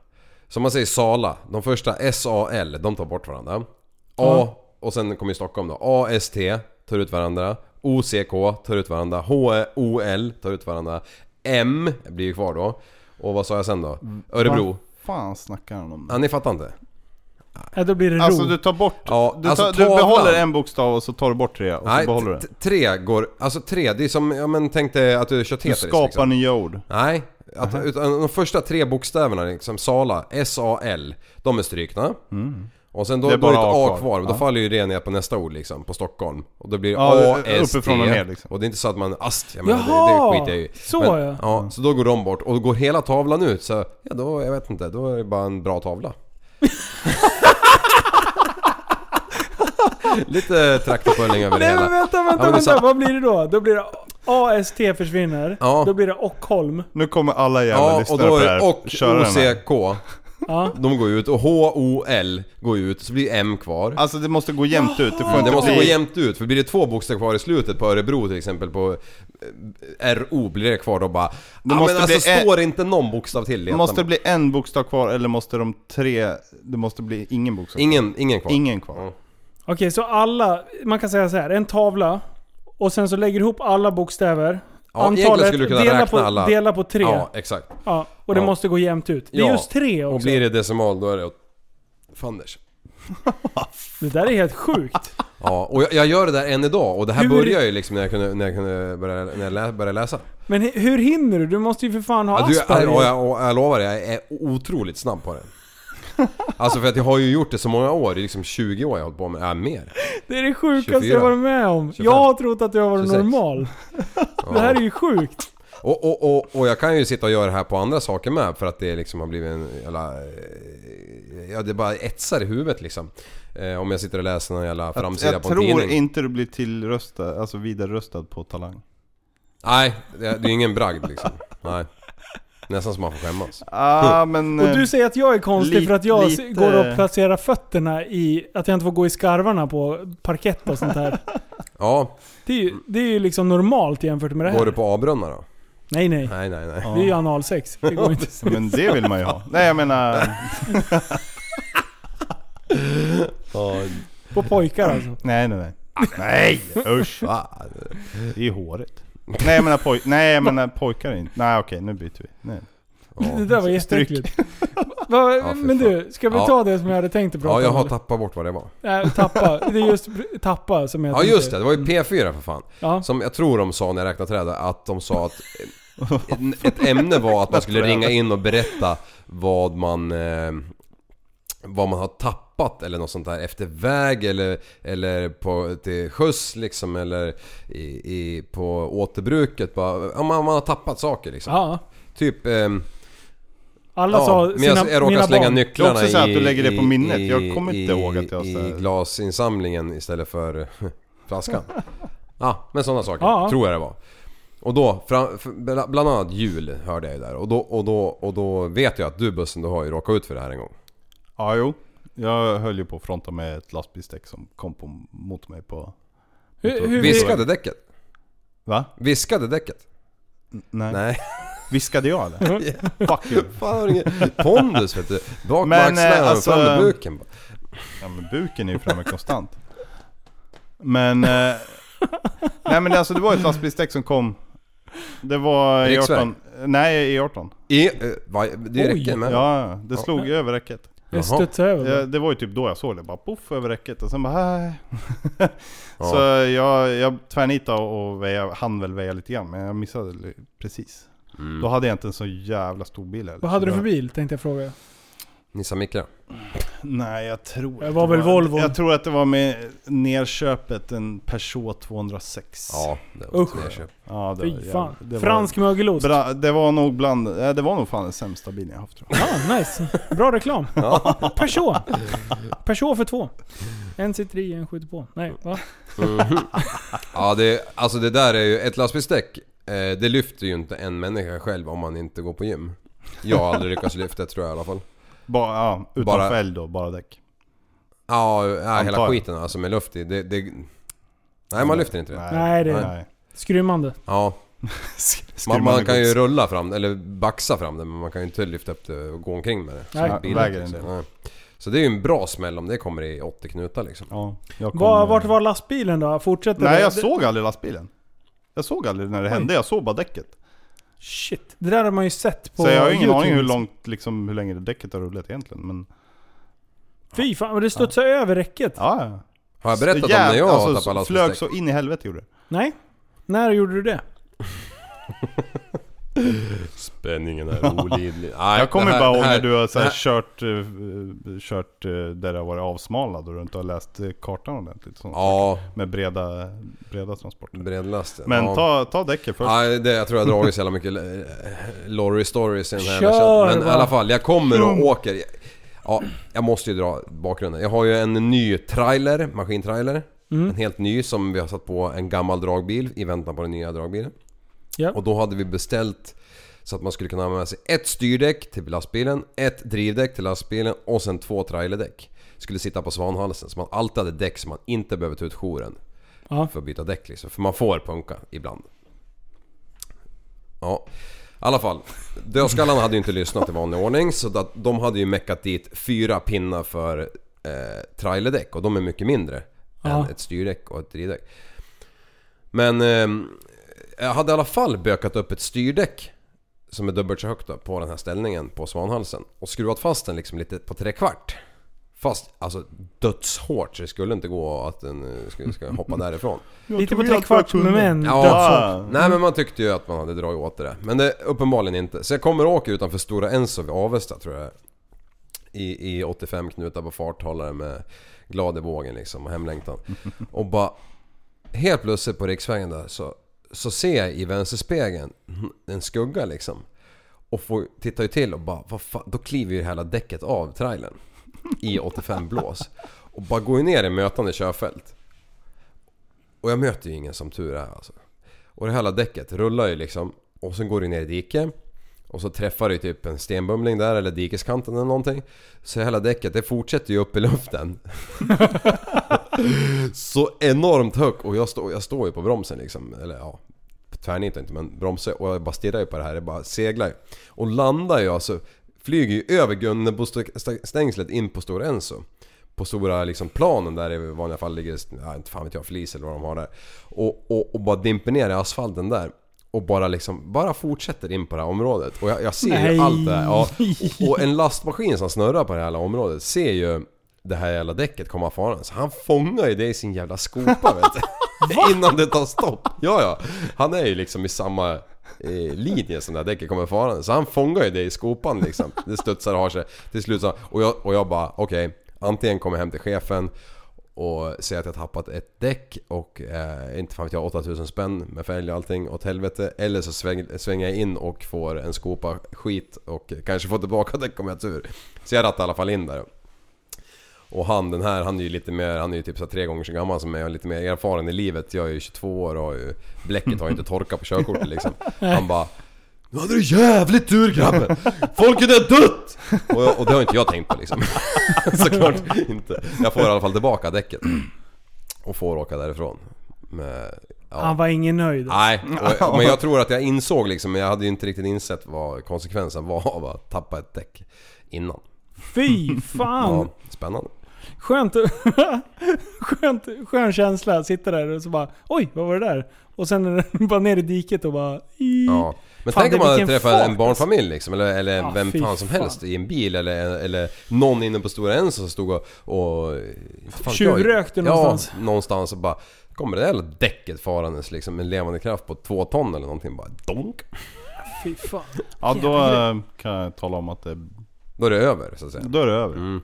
Så om man säger Sala, de första S-A-L, de tar bort varandra. A, och sen kommer ju Stockholm då. A-S-T tar ut varandra. O-C-K tar ut varandra. H-O-L tar ut varandra. M blir ju kvar då. Och vad sa jag sen då? Örebro.
fan snackar han om?
Ja, ni fattar inte?
Ja, då blir det
Alltså
ro.
du tar bort...
Ja,
du,
alltså,
tar, du
tavlan.
behåller en bokstav och så tar du bort tre och så behåller du
t-
det.
tre går... Alltså tre, det är som... Ja men tänk dig att du kör
Du
Tetris
skapar
liksom.
nya ord.
Nej, att, utan de första tre bokstäverna liksom, Sala, S-A-L, de är strykna. Och sen då,
Det är
då är det
bara
ett
A
A
kvar.
kvar, men då faller ju det ner på nästa ord liksom, på Stockholm. Och då blir det
Ja,
A, S, T.
uppifrån och ner, liksom.
Och det är inte så att man, ast, jag menar,
Jaha,
det, det skiter jag i.
så ja.
ja. så då går de bort. Och går hela tavlan ut så, ja då, jag vet inte, då är det bara en bra tavla. Lite traktorpullning över det
Nej
hela.
men vänta,
Ja,
vänta,
men alltså- det
vänta.
är så-
Vad blir det då? Då blir det AST försvinner.
Ja.
Då blir det Ockholm.
Nu kommer alla jävla
Ja, och
lyssnare
då
på det
är
här
och
köra den här.
OCK.
Ja.
De går ut och HOL går ut, så blir M kvar.
Alltså det måste gå jämnt ut. Det får inte
Mm, det måste
bli...
gå jämnt ut, för blir det två bokstäver kvar i slutet på Örebro till exempel på eh, RO blir det kvar då bara... Det
måste
måste men alltså
bli ä-
står det inte någon bokstav till
Det
letar
måste
man.
bli en bokstav kvar eller måste de tre... Det måste bli ingen bokstav
Ingen, ingen kvar.
Ingen kvar.
Ja.
Okej, så alla... Man kan säga så här. En tavla. Och sen så lägger du ihop alla bokstäver.
Ja, egentligen skulle du kunna
dela,
räkna
på,
alla.
dela på tre.
Ja,
Ja.
exakt.
och det
Ja.
måste gå jämnt ut. Det är
Ja,
just tre också.
Och blir det decimal då är det åt fanders.
Det där är helt sjukt.
Ja, och jag, jag gör det där än idag och det här
Hur-
började ju liksom när jag kunde, när jag kunde börja, när jag lä, började läsa.
Men he- hur hinner du? Du måste ju för fan ha
Ja, du, jag,
Asperger.
jag, jag, jag lovar, jag är otroligt snabb på det. Alltså för att jag har ju gjort det så många år, det är liksom 20 år jag har hållit på med det, ja, mer.
Det är det sjukaste
24.
jag varit med om.
25.
Jag har trott att jag var
26.
normal. Det här är ju sjukt.
Och, och, och, och jag kan ju sitta och göra det här på andra saker med för att det liksom har blivit en jävla... eh, Ja, det bara etsar i huvudet liksom. Eh, om jag sitter och läser någon jävla framsida
Jag
på en
tror
tidning.
inte du blir tillröstad, alltså vidareröstad på Talang.
Nej, det, det är ingen bragd liksom. Nej. Nästan som man får skämmas.
Ah,
Mm.
men...
Och du säger att jag är konstig
Li-
för att jag
lite-
går och placerar fötterna i... Att jag inte får gå i skarvarna på parkett och sånt här.
Ja,
Det är ju, det är ju liksom normalt jämfört med det här.
går du på A-brunnar då?
Nej nej.
Nej, nej, nej.
Det är ju analsex. Det går inte.
eh, Men det vill man ju ha. Nej jag menar...
På pojkar alltså.
Nej nej nej. Nej! Usch!
Va?
Det är håret. Nej jag menar, poj- nej, jag menar pojkar är inte... Nej okej, nu byter vi. Nej.
Det där var
stryk.
jätteäckligt. Va,
Ja, fy
men
fan.
du, ska vi
Ja.
ta det som jag hade tänkt att prata
Ja, jag har
om?
tappat bort vad det var.
Nej, tappa. Det är just tappa som jag
Ja
tänkte.
just det, det var ju P4 för fan.
Ja.
Som jag tror de sa när jag räknade träd, att de sa att ett- ett ämne var att man skulle ringa in och berätta vad man, eh, vad man har tappat eller något sånt där efter väg eller, eller på, till sjöss liksom eller i, i, på återbruket. Bara, ja, man, man har tappat saker liksom.
Ja.
Typ... ehm,
Alla
ja,
sa
men
sina,
jag, jag råkar
mina
slänga
barn.
nycklarna
Det är också så här
i,
att du lägger det på
i-
minnet.
i-
Jag kommer inte
i-
ihåg att jag så
I
här-
glasinsamlingen istället för flaskan. ja, men sådana saker
Ja.
tror jag det var. Och då, fram, för- bla- bland annat jul hörde jag ju där. Och då, och då, och då vet jag att du bussen, du har ju råkat ut för det här en gång.
Ja, jo. Jag höll ju på att fronta med ett lastbilsdäck som kom på, mot mig på...
Hur, hur,
Viskade däcket?
Va?
Viskade däcket?
Nej.
Nej.
Viskade jag eller? Fuck you.
Fan, har ingen pondus vet du. Bak med
Men, eh,
axlarna och
alltså-
fram med buken. bara.
Ja men buken är ju framme konstant. Men... Eh, nej men alltså det var ett lastbilsdäck som kom. Det var
Riksväg?
E18. Nej, E18.
I, eh, va, det är
Oj.
räcken
Ja,
med.
Ja, det slog ju över räcket.
jag
Jaha.
studsade över.
Eh, Det var ju typ då jag såg det, bara poff över räcket och sen bara "Hej." Så jag, jag tvärnitade och väja, hann väl väja lite grann men jag missade li- precis. Då hade jag inte en så jävla stor bil heller.
Mm. Vad
så
hade du
det-
för bil? Tänkte jag fråga.
Nissan Micra.
Nej jag tror...
Det
att
var väl Volvo.
Jag tror att det var med nerköpet en Peugeot 206.
Ja, det var ett
Usch.
nedköp.
Ja, det var
Fy fan.
jävligt- det
Fransk mögelost.
Var, bra, det var nog bland... eh, Det var nog fan den sämsta bilen jag haft tror jag.
Ah, nice. Bra reklam. Peugeot. Peugeot för två. En sitter i, en skjuter på. Nej, va?
Ja, det, alltså det där är ju... Ett lastbilsdäck, eh, det lyfter ju inte en människa själv om man inte går på gym. Jag har aldrig lyckats lyfta det tror jag i alla fall.
Bara, ja, utan
Bara-
fälg då, bara däck.
Ja, ja hela
Antagligen.
skiten alltså med luft i. Det, det, nej, man lyfter inte det.
Nej, det-
nej.
Skrymmande.
Ja, man, man kan ju rulla fram eller baxa fram det men man kan ju inte lyfta upp det och gå omkring med det. som
Nej.
en bil,
Väger en del.
Nej. Så det är ju en bra smäll om det kommer i 80 knutar liksom.
Ja, jag kom,
Var, vart var lastbilen då? Fortsätter
Nej,
det?
jag såg aldrig lastbilen. Jag såg aldrig när det hände, jag såg bara däcket.
Shit. Det där har man ju sett på
Så jag har ingen
YouTube.
aning hur långt, liksom hur länge det däcket har rullat egentligen. Men
Fy fan, men det studsar över räcket.
ja, ja.
Har jag berättat om
Jävlar,
när jag
alltså,
tappade
flög
lastbilsdäck?
så in i helvete gjorde det.
Nej. När gjorde du det?
Spänningen är olidlig. Nej,
Jag kommer
det här-
bara ihåg
det här-
när du har så här,
det här-
kört, eh, eh, kört eh, där det har varit avsmalad och du inte har läst eh, kartan ordentligt. Sånt.
Ja,
Med breda, breda transporter.
bredlast.
Men
ja.
ta, ta däcket först.
Nej, det, jag tror jag har dragit så jävla mycket eh, lorry stories i den här
Kör,
jävla chatten. Men i
va. Mm.
alla fall, jag kommer och åker. Ja, jag måste ju dra bakgrunden. Jag har ju en ny trailer, maskintrailer.
Mm.
En helt ny som vi har satt på en gammal dragbil i väntan på den nya dragbilen.
Ja.
Och då hade vi beställt så att man skulle kunna ha med sig ett styrdäck till lastbilen, ett drivdäck till lastbilen och sen två trailerdäck. Skulle sitta på svanhalsen så man alltid hade däck som man inte behöver ta ut jouren.
Ja.
För att byta däck liksom. För man får punka ibland. Ja. I alla fall. Dödskallarna hade ju inte lyssnat i vanlig ordning så att de hade ju meckat dit fyra pinnar för eh, trailerdäck och de är mycket mindre
Ja.
än ett styrdäck och ett drivdäck. Men ehm, jag hade i alla fall bökat upp ett styrdäck som är dubbelt så högt då, på den här ställningen på svanhalsen och skruvat fast den liksom lite på trekvart. Fast alltså dödshårt så det skulle inte gå att den eh, skulle ska hoppa därifrån.
Lite på
tror jag att
trekvarts
jag
men
kunde.
men
Ja.
dödshopp.
Nej men man tyckte ju att man hade dragit åt det där. Men det, uppenbarligen inte. Så jag kommer och åker utanför Stora Enso vid Avesta tror jag. I, i 85 knutar på farthållare med glad i vågen liksom och hemlängtan. Och bara... Helt plötsligt på riksvägen där så, så ser jag i vänsterspegeln en skugga liksom. Och får, tittar ju till och bara vad fan, då kliver ju hela däcket av trailern. I 85 blås. Och bara går ju ner i mötande körfält. Och jag möter ju ingen som tur är alltså. Och det här däcket rullar ju liksom och sen går det ner i diket. Och så träffar det ju typ en stenbumling där eller dikeskanten eller någonting. Så hela däcket det fortsätter ju upp i luften. så enormt högt och jag, står jag står ju på bromsen liksom. Eller ja, tvärnitar inte men bromsar och jag bara stirrar ju på det här. Det bara seglar ju. Och landar ju alltså, flyger ju över Gunnebo-stängslet in på Stora Enso. På stora liksom planen där i vanliga fall ligger, ja, inte fan vet jag, flis eller vad de har där. Och, och, och bara dimper ner i asfalten där. Och bara liksom, bara fortsätter in på det här området. Och jag, jag ser
Nej.
ju allt det här. Ja, och en lastmaskin som snurrar på det här jävla området ser ju det här jävla däcket komma farandes. Han fångar ju det i sin jävla skopa vet du. Innan det tar stopp. Ja, ja. Han är ju liksom i samma eh, linje som det här däcket kommer farandes. Så han fångar ju det i skopan liksom. Det studsar och har sig. Till slut så, och jag, och jag bara okej. antingen kommer jag hem till chefen och säger att jag tappat ett däck och eh, inte fan vet jag 8000 spänn med fälg och allting åt helvete. Eller så sväng, svänger jag in och får en skopa skit och kanske får tillbaka däck om jag har tur. Så jag rattar i alla fall in där. Och han den här, han är ju lite mer, han är ju typ så här tre gånger så gammal som mig och lite mer erfaren i livet. Jag är ju 22 år och har ju, bläcket har ju inte torkat på körkortet liksom. Han bara nu hade du jävligt tur grabben! Folket är dött! Och, jag, och det har inte jag tänkt på liksom. Såklart inte. Jag får i alla fall tillbaka däcket. Och får åka därifrån. Med, ja.
Han var ingen nöjd.
Nej, och, men jag tror att jag insåg liksom, men jag hade ju inte riktigt insett vad konsekvensen var av att tappa ett däck innan.
Fy fan.
Ja, spännande.
Skönt, skönt, skön känsla. Sitta där och så bara oj, vad var det där? Och sen är det bara ner i diket och bara i.
Ja. Men
Mm. Fan,
tänk
det-
om man hade
vilken
träffat
fart, alltså.
en barnfamilj liksom, eller, eller
Ja,
vem
fy
fan som
fan.
helst i en bil eller, eller någon inne på Stora Enso som stod och... och fan vet jag.
Tjuvrökte någonstans.
Ja, någonstans och bara... Kommer det där jävla däcket farandes liksom med levande kraft på två ton eller någonting bara donk.
Fy fan.
Ja, då eh, kan jag tala om att det,
Då är det över så att säga.
då är det över.
Mm.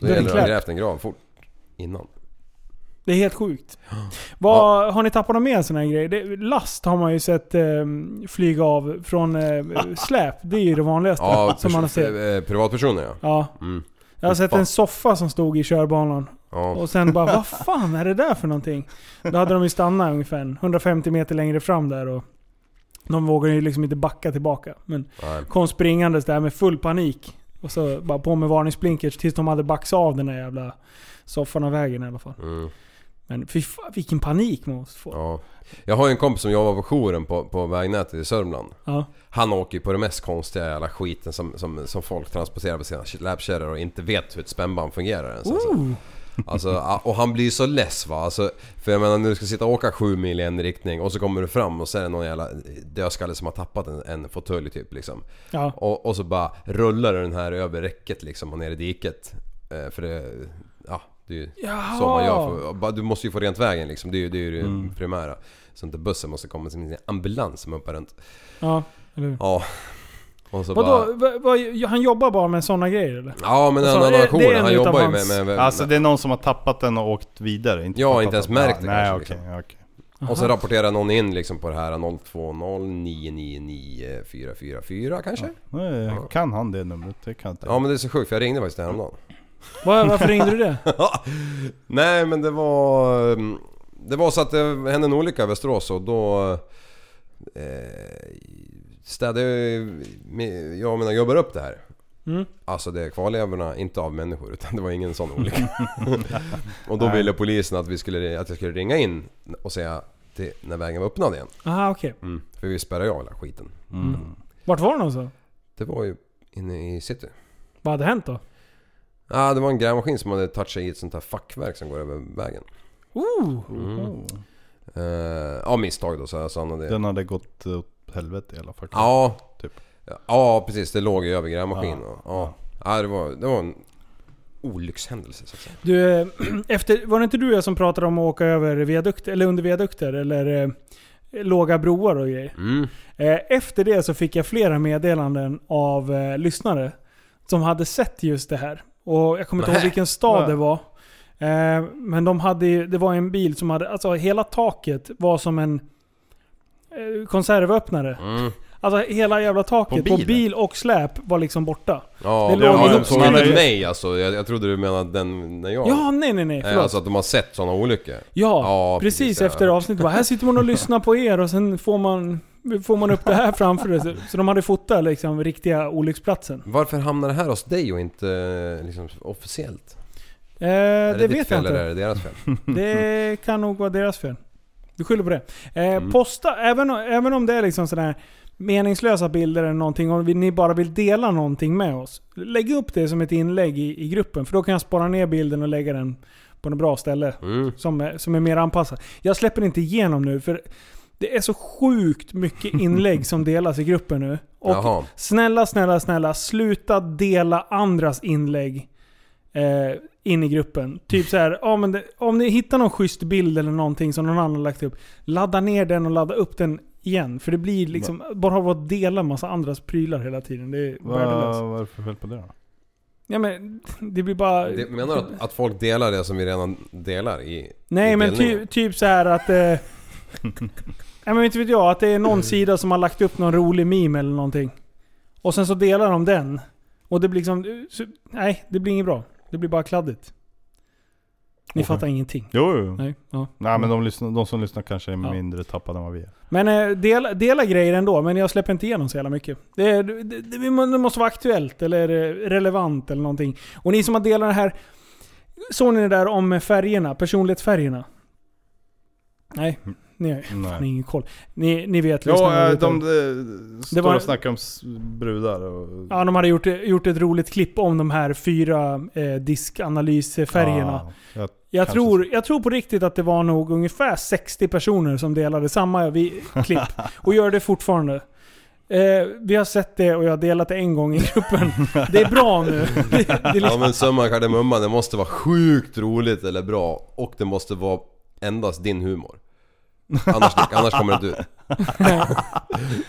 Då
är det
gäller det att
klart.
ha grävt en grav fort. Innan.
Det är helt sjukt. Vad, Har ni tappat någon mer sån här grej? Det, last har man ju sett eh, flyga av från eh, släp. Det är ju det vanligaste
Ja,
som man har
pers-
sett.
eh, privatpersoner ja.
Ja.
Mm.
Jag har sett
Fan.
en soffa som stod i körbanan.
ja.
Och sen bara, vad fan är det där för någonting? Då hade de ju stannat ungefär 150 meter längre fram där och de vågade ju liksom inte backa tillbaka. Men
Nej.
kom springandes där med full panik. Och så bara på med varningsblinkers tills de hade baxat av den där jävla soffan av vägen i alla fall.
Mm.
Men fy fan, vilken panik man måste få.
Ja. Jag har ju en kompis som jobbar på jouren på, på vägnätet i Sörmland.
Ja.
Han åker ju på det mest konstiga jävla skiten som, som, som folk transporterar på sina släpkärror och inte vet hur ett spännband fungerar ens. Alltså.
Oh,
Alltså, a- och han blir ju så less va. Alltså, för jag menar när du ska sitta och åka sju mil i en riktning och så kommer du fram och så är det någon jävla dödskalle som har tappat en, en fåtölj typ liksom.
Ja.
Och, och så bara rullar du den här över räcket liksom och ner i diket. Eh, för det, ja, det är ju
Jaha.
så man gör. För, bara- du måste ju få rent vägen liksom. Det är ju det, är ju det primära. Så inte bussen måste komma som en ambulans som hoppar runt.
ja. Eller hur?
Ja. Och så bara...
Vadå? Va, va, han jobbar bara med såna grejer eller?
Ja men
Och
den
så- det-
andra
det är en
auktionen, han
utav
jobbar ju med,
hans-
med, med
Alltså det är någon som har tappat den och åkt vidare? Inte
Ja,
fattat
inte ens
den.
märkt det
Nej,
kanske, liksom.
okej. okej.
Och så rapporterar någon in liksom på det här 0209994444 kanske?
Nej, Kan han det numret? Det kan jag inte.
Ja men det är så sjukt för jag ringde faktiskt häromdagen.
Va, varför ringde du det?
Nej men det var... mm, Det var så att det hände en olycka i Västerås och då... Eh, städade jag med- jag och mina gubbar upp det här. Alltså det är kvarlevorna, inte av människor utan det var ingen sån olycka. och då ville polisen att, vi skulle, att jag skulle ringa in och säga till, när vägen var öppnad igen.
Aha, okej.
För vi spärrar ju av hela skiten.
Mm.
Vart var de någonstans?
Det var ju inne i city.
Vad hade hänt då?
Ja, det var en grävmaskin som hade touchat i ett sånt här fackverk som går över vägen.
Oh,
Mm.
Oh.
Uh, ja, misstag då så jag stannade.
Den hade gått åt helvete i alla fall.
Ja.
Typ.
Ja, precis. Det låg ju över grävmaskinen. Ja. Ja. det, var, det var en olyckshändelse så att säga.
Du, eh, efter, var det inte du och jag som pratade om att åka över viadukter, eller under viadukter eller eh, låga broar och grejer?
Mm.
Eh, efter det så fick jag flera meddelanden av eh, lyssnare som hade sett just det här. Och jag kommer inte
Nähä.
ihåg vilken stad
Nej.
det var. Eh, men de hade, ju- det var en bil som hade, alltså hela taket var som en eh, konservöppnare.
Mm.
Alltså hela jävla taket på,
bilen?
bil och släp var liksom borta.
Ja,
Det
det
låg
låg
ihop-
ju såg inte
Nej.
mig alltså. Jag, jag trodde du menade den när jag...
Ja, nej nej nej.
Nej,
förlåt.
alltså att de har sett sådana olyckor.
Ja,
Ja,
precis,
precis, ja.
efter avsnittet. Bara, här sitter man och lyssnar på er och sen får man, får man upp det här framför det. Så- Så de hade fotat liksom riktiga olycksplatsen.
Varför hamnar det här hos dig och inte eh, liksom, officiellt?
Eh, det
Är det, ditt
vet jag
fel eller
inte.
är det deras fel?
Det kan nog vara deras fel. Vi skyller på det. Eh,
Mm.
Posta, även, även om det är liksom sådana här meningslösa bilder eller någonting, om vi- ni bara vill dela någonting med oss. Lägg upp det som ett inlägg i, i gruppen, för då kan jag spara ner bilden och lägga den på något bra ställe.
Mm.
Som är, som är mer anpassad. Jag släpper inte igenom nu för Det är så sjukt mycket inlägg som delas i gruppen nu. Och
Jaha.
snälla, snälla, snälla, sluta dela andras inlägg eh, in i gruppen. Typ så här, ja, men det, om ni hittar någon schysst bild eller någonting som någon annan har lagt upp, ladda ner den och ladda upp den igen. För det blir liksom, bara av att dela massa andras prylar hela tiden. Det är värdelöst.
Vad är det för fel på det då?
Ja, men det blir bara...
Det, menar du att, att folk delar det som vi redan delar i
Nej
i
men
delningen?
ty, typ så här att... Eh, nej men inte vet jag, att det är någon sida som har lagt upp någon rolig meme eller någonting. Och sen så delar de den. Och det blir liksom... Så, nej, det blir inget bra. Det blir bara kladdigt. Ni
Okej.
fattar ingenting.
Jo, jo. Nej,
Nej, ja.
men de, lyssnar, de som lyssnar kanske är
Ja.
mindre tappade än vad vi är.
Men eh, dela, dela grejer ändå, men jag släpper inte igenom så jävla mycket. Det, är- det, det, vi må- det måste vara aktuellt eller eh, relevant eller någonting. Och ni som har delat det här, såg ni det där om färgerna? Personlighetsfärgerna? Nej, ni har fan
Nej.
ingen koll. Ni, ni vet,
Jo,
lyssnarna
eh,
vet
de,
om-
eh, står
var-
och snackar om s- brudar och...
Ja, de hade gjort, gjort ett roligt klipp om de här fyra eh, diskanalysfärgerna.
Ah, jag,
Jag
Kanske
tror, jag tror på riktigt att det var nog ungefär 60 personer som delade samma vi- klipp. Och gör det fortfarande. Eh, vi har sett det och jag har delat det en gång i gruppen. Det är bra nu. Det, det är
Ja
liksom,
men summa av kardemumman, det måste vara sjukt roligt eller bra och det måste vara endast din humor. Annars, annars kommer det inte ut.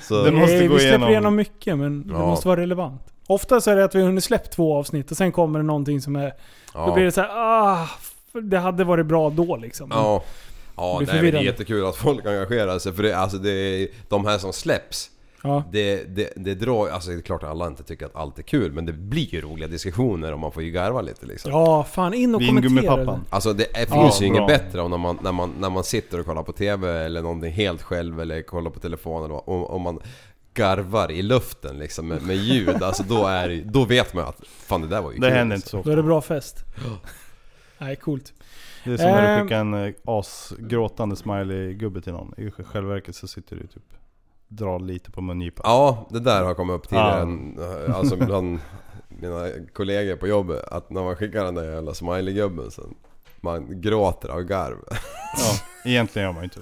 Så,
Det må- måste
eh,
gå
vi släpper
igenom.
igenom mycket men det
Ja.
måste vara relevant. Ofta så är det att vi har hunnit släppt två avsnitt och sen kommer det någonting som är... Då
ja.
blir det så här, ah, f- det hade varit bra då liksom.
Ja, ja
Det blir
nej, men det är
förvirrande.
jättekul att folk engagerar sig för det, alltså det är, de här som släpps
Ja.
det, det, det drar alltså det är klart att alla inte tycker att allt är kul men det blir ju roliga diskussioner och man får ju garva lite liksom.
ja fan in och kommentera.
Vingummipappan.
Alltså det är, finns
Ja,
ju inget
bra.
bättre om när man, när, man, när man sitter och kollar på TV eller någonting helt själv eller kollar på telefonen och, och, och man garvar i luften liksom med, med ljud. Alltså då, är, det- då vet man att fan det där var ju
Det
kul.
händer inte
liksom.
så
Då
ofta.
är det bra fest. Nej, coolt.
Det är som när du
Ehm.
skickar en eh, asgråtande smiley-gubbe till någon. I själva verket så sitter du typ drar lite på mungipan.
Ja, det där har kommit upp tidigare.
Ja.
än, Alltså bland mina kollegor på jobbet. Att när man skickar den där jävla smileygubben sen. Man gråter av garv.
Ja, egentligen gör man ju inte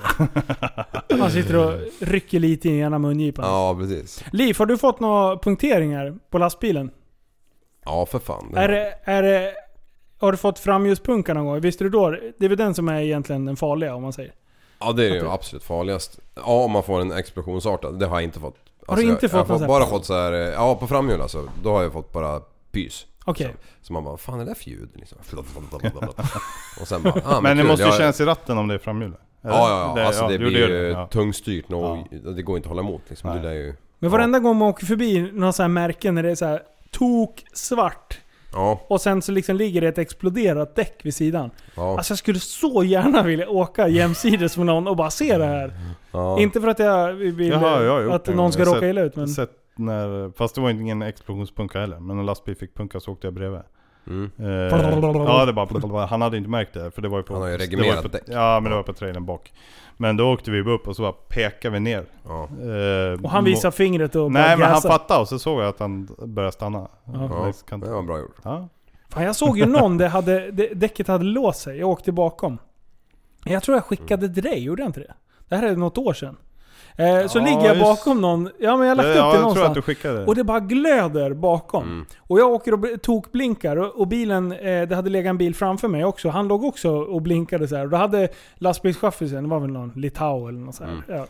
det.
Man sitter och rycker lite i ena mungipan.
Ja, precis.
Liv, har du fått några punkteringar på lastbilen?
Ja, för fan.
Är det, är det, har du fått framhjulspunka någon gång? Visste du då? Det är väl den som är egentligen den farliga om man säger.
Ja det är ju absolut farligast. Ja om man får en explosionsartad, det har jag inte fått. Alltså,
Har du inte
jag,
fått
jag
någon sån
har fått-
här-
bara fått så här, eh, ja på framhjul alltså. Då har jag fått bara pys.
Okej.
Liksom. Så man bara, vad fan är det där för ljud? Liksom. Och sen bara, ah, men,
Men det
kul,
måste ju
jag,
kännas i ratten om det är framhjulet. eller?
Ja ja, ja.
Det-
alltså det,
jo,
blir
gör
ju
Ja.
tungstyrt nog. Det går inte att hålla emot liksom. Det där är ju...
Men varenda gång man åker förbi några så här märken när det är så här tok svart
Ja,
och sen så liksom ligger det ett exploderat däck vid sidan.
ja,
Alltså jag skulle så gärna vilja åka jämsides med någon och bara se det här.
ja.
Inte för att jag vill
Jaha, jag har gjort
att
det.
någon ska
Jag har
råka
sett-
illa ut men...
Sett när, fast det var inte ingen explosionspunka heller, men en lastbil fick punka så åkte jag bredvid.
Mm.
Eh, ja, det bara, han hade inte märkt det, för det var ju på...
Han har ju
det var
regemerat
på-
däck.
Ja, men det var på trailern bak. Men då åkte vi upp och så bara pekade vi ner.
ja.
Eh,
Och han
mo-
visar fingret och bara
Nej men han
gasar.
fattade och så såg jag att han började stanna.
ja.
Det kan-
Det var bra gjort.
Ja.
Fan, jag såg ju någon där hade, det, däcket hade låst sig. Jag åkte bakom. Jag tror jag
Mm.
skickade till dig, gjorde jag inte det? Det här är något år sedan. Eh, så
Ja,
ligger jag
just-
bakom någon. Ja men jag har lagt
Ja,
upp det
jag tror att du
någonstans.
skickade det.
Och det bara glöder bakom. Och jag åker och bl- tokblinkar och, och bilen, eh, det hade legat en bil framför mig också. Han låg också och blinkade så här. Och då hade lastbilschauffören, det var väl någon Litau eller något så här. Ja.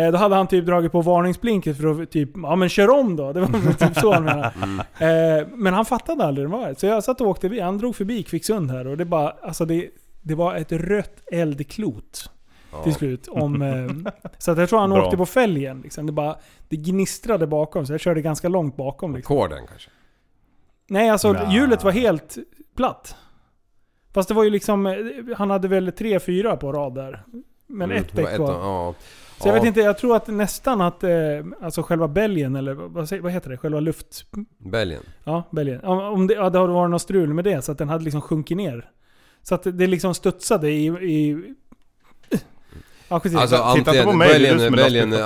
Eh, då hade han typ dragit på varningsblinket för att typ, ja men kör om då. Det var väl typ så han menade. Eh, men han fattade aldrig vad det var. Så jag satt och åkte förbi. Han drog förbi Kvicksund här och det bara, alltså det, det var ett rött eldklot till slut. Om, eh, så att jag tror han
Bra.
åkte på fälgen. Liksom. Det, bara, det gnistrade bakom, så jag körde ganska långt bakom. Liksom.
Ackorden kanske?
Nej, alltså
Nja.
hjulet var helt platt. Fast det var ju liksom, eh, han hade väl tre, fyra på rad där. Men
Mm,
ett
det var
däck var.
Ja.
Så jag
Ja,
vet inte, jag tror att nästan att eh, alltså själva bälgen, eller vad, säger- vad heter det? Själva luft...
Belgien.
Ja, bälgen. Om, om det, ja, det hade varit något strul med det, så att den hade liksom sjunkit ner. Så att det- det liksom studsade i... i ja, skit i det.
Alltså
Titta inte på
antingen,
mig, det är du
Belgien,
som är
Belgien,
lastbil.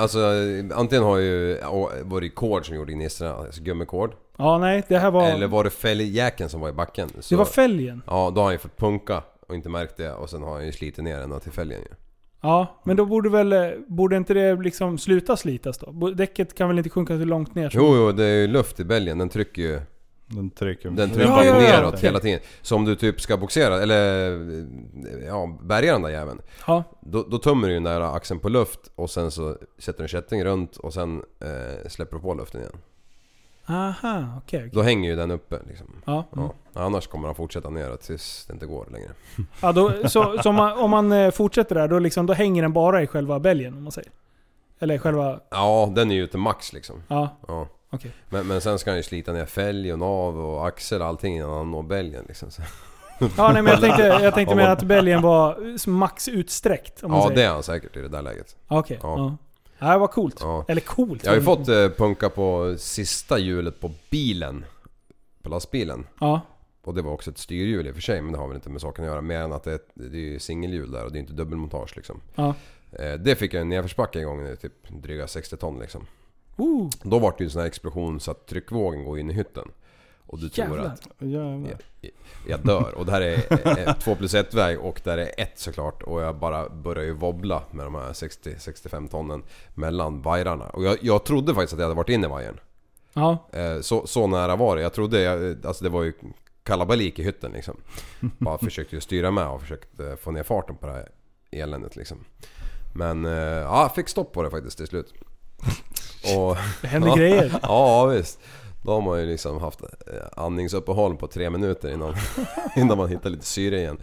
alltså, antingen har ju å- var det kord som gjorde gnistorna, alltså gummikord.
ja, nej, det här var...
Eller var det fälgjäkeln som var i backen? Så,
det var fälgen.
Ja, då har han ju fått punka och inte märkt det och sen har han ju slitit ner ända till fälgen ju.
Ja, men
Mm.
då borde väl... eh, Borde inte det liksom sluta slitas då? Bo- Däcket kan väl inte sjunka så långt ner? som-
Jo, jo, det är ju luft i bälgen. Den trycker ju
Den trycker
Den trycker
Ja, ja, ja.
neråt hela tiden. Så om du typ ska boxera eller ja, bärga den där jäveln.
Ja.
Då, då tömmer du ju nära axeln på luft och sen så sätter du en kätting runt och sen eh, släpper du på luften igen.
Aha, okej. okej.
Då hänger ju den uppe liksom.
Ja. mm.
Ja. Annars kommer han fortsätta neråt tills det inte går längre.
Ja, då, så så om, man, om man eh, fortsätter där, då, liksom, då hänger den bara i själva bälgen om man säger? Eller själva...
Ja, den är ju ute max liksom.
Ja,
Ja.
okej.
Men, men sen ska han ju slita ner fälg och nav och axel och allting innan han når bälgen liksom. Så.
Ja, nej, men jag tänkte, jag tänkte
Om
mer
man-
att bälgen var eh, max utsträckt. Om man
Ja,
säger.
det är han säkert i det där läget.
Ja, Okej. Ja.
Ja.
Ja. Det var coolt.
Ja.
Eller coolt.
Jag har ju fått eh, punka på sista hjulet på bilen. På lastbilen.
Ja.
Och det var också ett styrhjul i och för sig, men det har väl inte med saken att göra. Mer än att det är, ett, det är ju singelhjul där och det är inte dubbelmontage liksom.
Ja.
Eh, det fick jag en nedförsbacke en gång, det är typ dryga 60 ton liksom.
Ooh,
Då var det ju en sån här explosion så att tryckvågen går in i hytten. Och du tror
jävlar.
att
Jävlar.
jag dör. Och det här är 2 plus 1 väg och där är ett såklart. Och jag bara börjar ju wobbla med de här 60-65 tonnen mellan vajrarna. Och jag, jag trodde faktiskt att jag hade varit inne i vajern.
Ja.
Eh, Så, så nära var det. Jag trodde, jag, alltså det var ju kalabalik i hytten liksom. Bara försökte ju styra med och försökte eh, få ner farten på det här eländet liksom. Men eh, ja, fick stopp på det faktiskt till slut. Och,
Det händer grejer.
ja visst. Då har man ju liksom haft eh, andningsuppehåll på tre minuter innan, innan man hittar lite syre igen.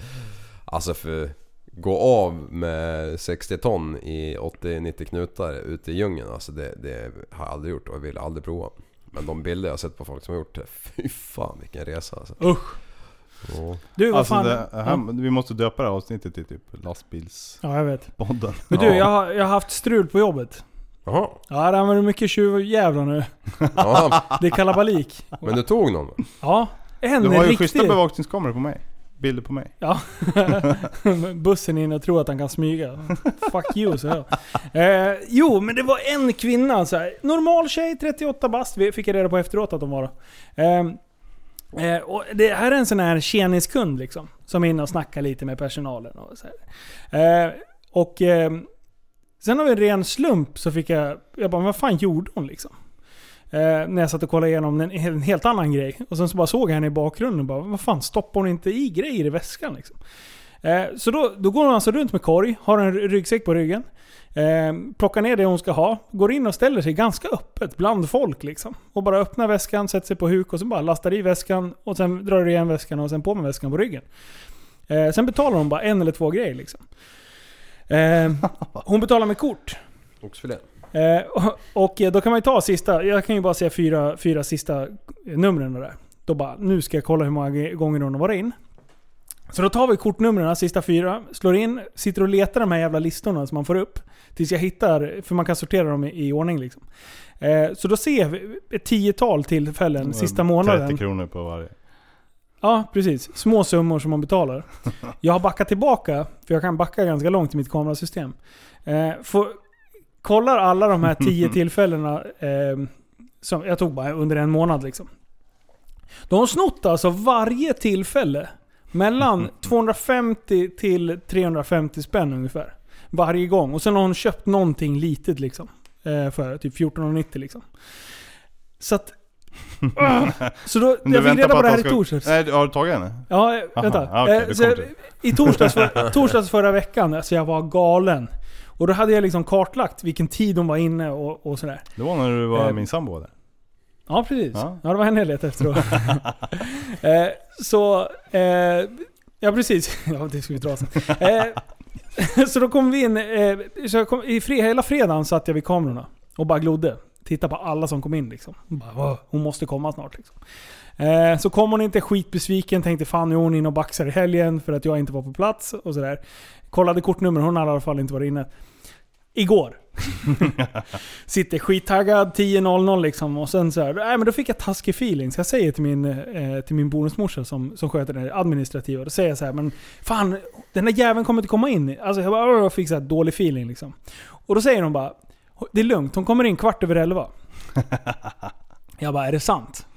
Alltså för gå av med 60 ton i 80-90 knutar ute i djungeln. Alltså det, det har jag aldrig gjort och jag vill aldrig prova. Men de bilder jag har sett på folk som har gjort det, fy fan vilken resa alltså.
Usch.
Ja.
Du, vad
Alltså
fan.
det här,
ja.
vi måste döpa det här avsnittet till typ lastbilspodden.
ja, jag vet. Men du,
Ja.
jag, har- jag har haft strul på jobbet.
Jaha,
Ja, det använder mycket tjuvjävlar nu.
ja,
Det är kalabalik.
men du tog någon?
Ja, en
Du har ju schyssta
riktig...
bevakningskameror på mig. Bilder på mig.
Bussen in och tror att han kan smyga. Fuck you, så jag. Eh, jo, men det var en kvinna. Så här. Normal tjej, 38 bast. Vi fick jag reda på efteråt att de var. Då. Eh, eh, och det här är en sån här tjenis kund liksom. Som är inne och snackar lite med personalen. Och, så här. Eh, och eh, sen av en ren slump så fick jag... Jag bara, vad fan gjorde hon liksom? Eh, när jag satt och kollade igenom en, en helt annan grej. Och sen så bara såg jag henne i bakgrunden och bara, vad fan stoppar hon inte i grejer i väskan liksom? Eh, så då, då går hon alltså runt med korg, har en ry- ryggsäck på ryggen. Eh, plockar ner det hon ska ha, går in och ställer sig ganska öppet bland folk liksom. Och bara öppnar väskan, sätter sig på huk och sen bara lastar i väskan och sen drar igen väskan och sen på med väskan på ryggen. Eh, sen betalar hon bara en eller två grejer liksom. Eh, hon betalar med kort.
Oxfilé?
Eh, och, och då kan man ju ta sista, jag kan ju bara säga fyra, fyra sista numren där. Då bara, nu ska jag kolla hur många g- gånger hon har varit in. Så då tar vi kortnumren, sista fyra, slår in, sitter och letar de här jävla listorna som man får upp. Tills jag hittar, för man kan sortera dem i, i ordning liksom. Eh, så då ser vi ett tiotal tillfällen sista månaden.
30 kronor på varje.
Ja, precis. Små summor som man betalar. Jag har backat tillbaka, för jag kan backa ganska långt i mitt kamerasystem. Eh, får, kollar alla de här tio tillfällena eh, som jag tog bara under en månad. Liksom. De har snott alltså varje tillfälle mellan 250 till 350 spänn ungefär. Varje gång. Och sen har hon köpt någonting litet liksom. Eh, för typ 1490 liksom. Så att... så då,
Men du
jag fick
väntar
reda på det
att
här i
de ska-
torsdags.
Nej, du- har du tagit henne?
Ja, eh,
Aha,
vänta.
ja, okej,
Eh,
det
så
kommer
jag- I torsdags, för, torsdags förra veckan, alltså jag var galen. Och då hade jag liksom kartlagt vilken tid hon var inne och, och sådär.
Det var när du var
Eh,
min sambo där.
Ja, precis. Ja,
Ja.
det var en hel del efteråt. eh, så... Eh, ja, precis. ja, det ska vi dra sen. Eh, så då kom vi in... Eh, så jag kom, i fre, hela fredagen satt jag vid kamerorna och bara glodde. Titta på alla som kom in liksom. Och Bara, "Åh, hon måste komma snart liksom. Eh, så kom hon inte skitbesviken, tänkte fan nu är hon inne och baxar i helgen för att jag inte var på plats och sådär. Kollade kortnummer, hon hade i alla fall inte varit inne. Igår. Sitter skittaggad 10.00 liksom och sen så här, nej men då fick jag taskig feeling. Så jag säger till min, eh, till min bonusmorsa som, som sköter det administrativa, då säger jag så här, men fan den där jäveln kommer inte komma in. Alltså jag bara, "Åh", fick så här dålig feeling liksom. Och då säger hon bara, det är lugnt, hon kommer in kvart över elva. Jag bara, är det sant?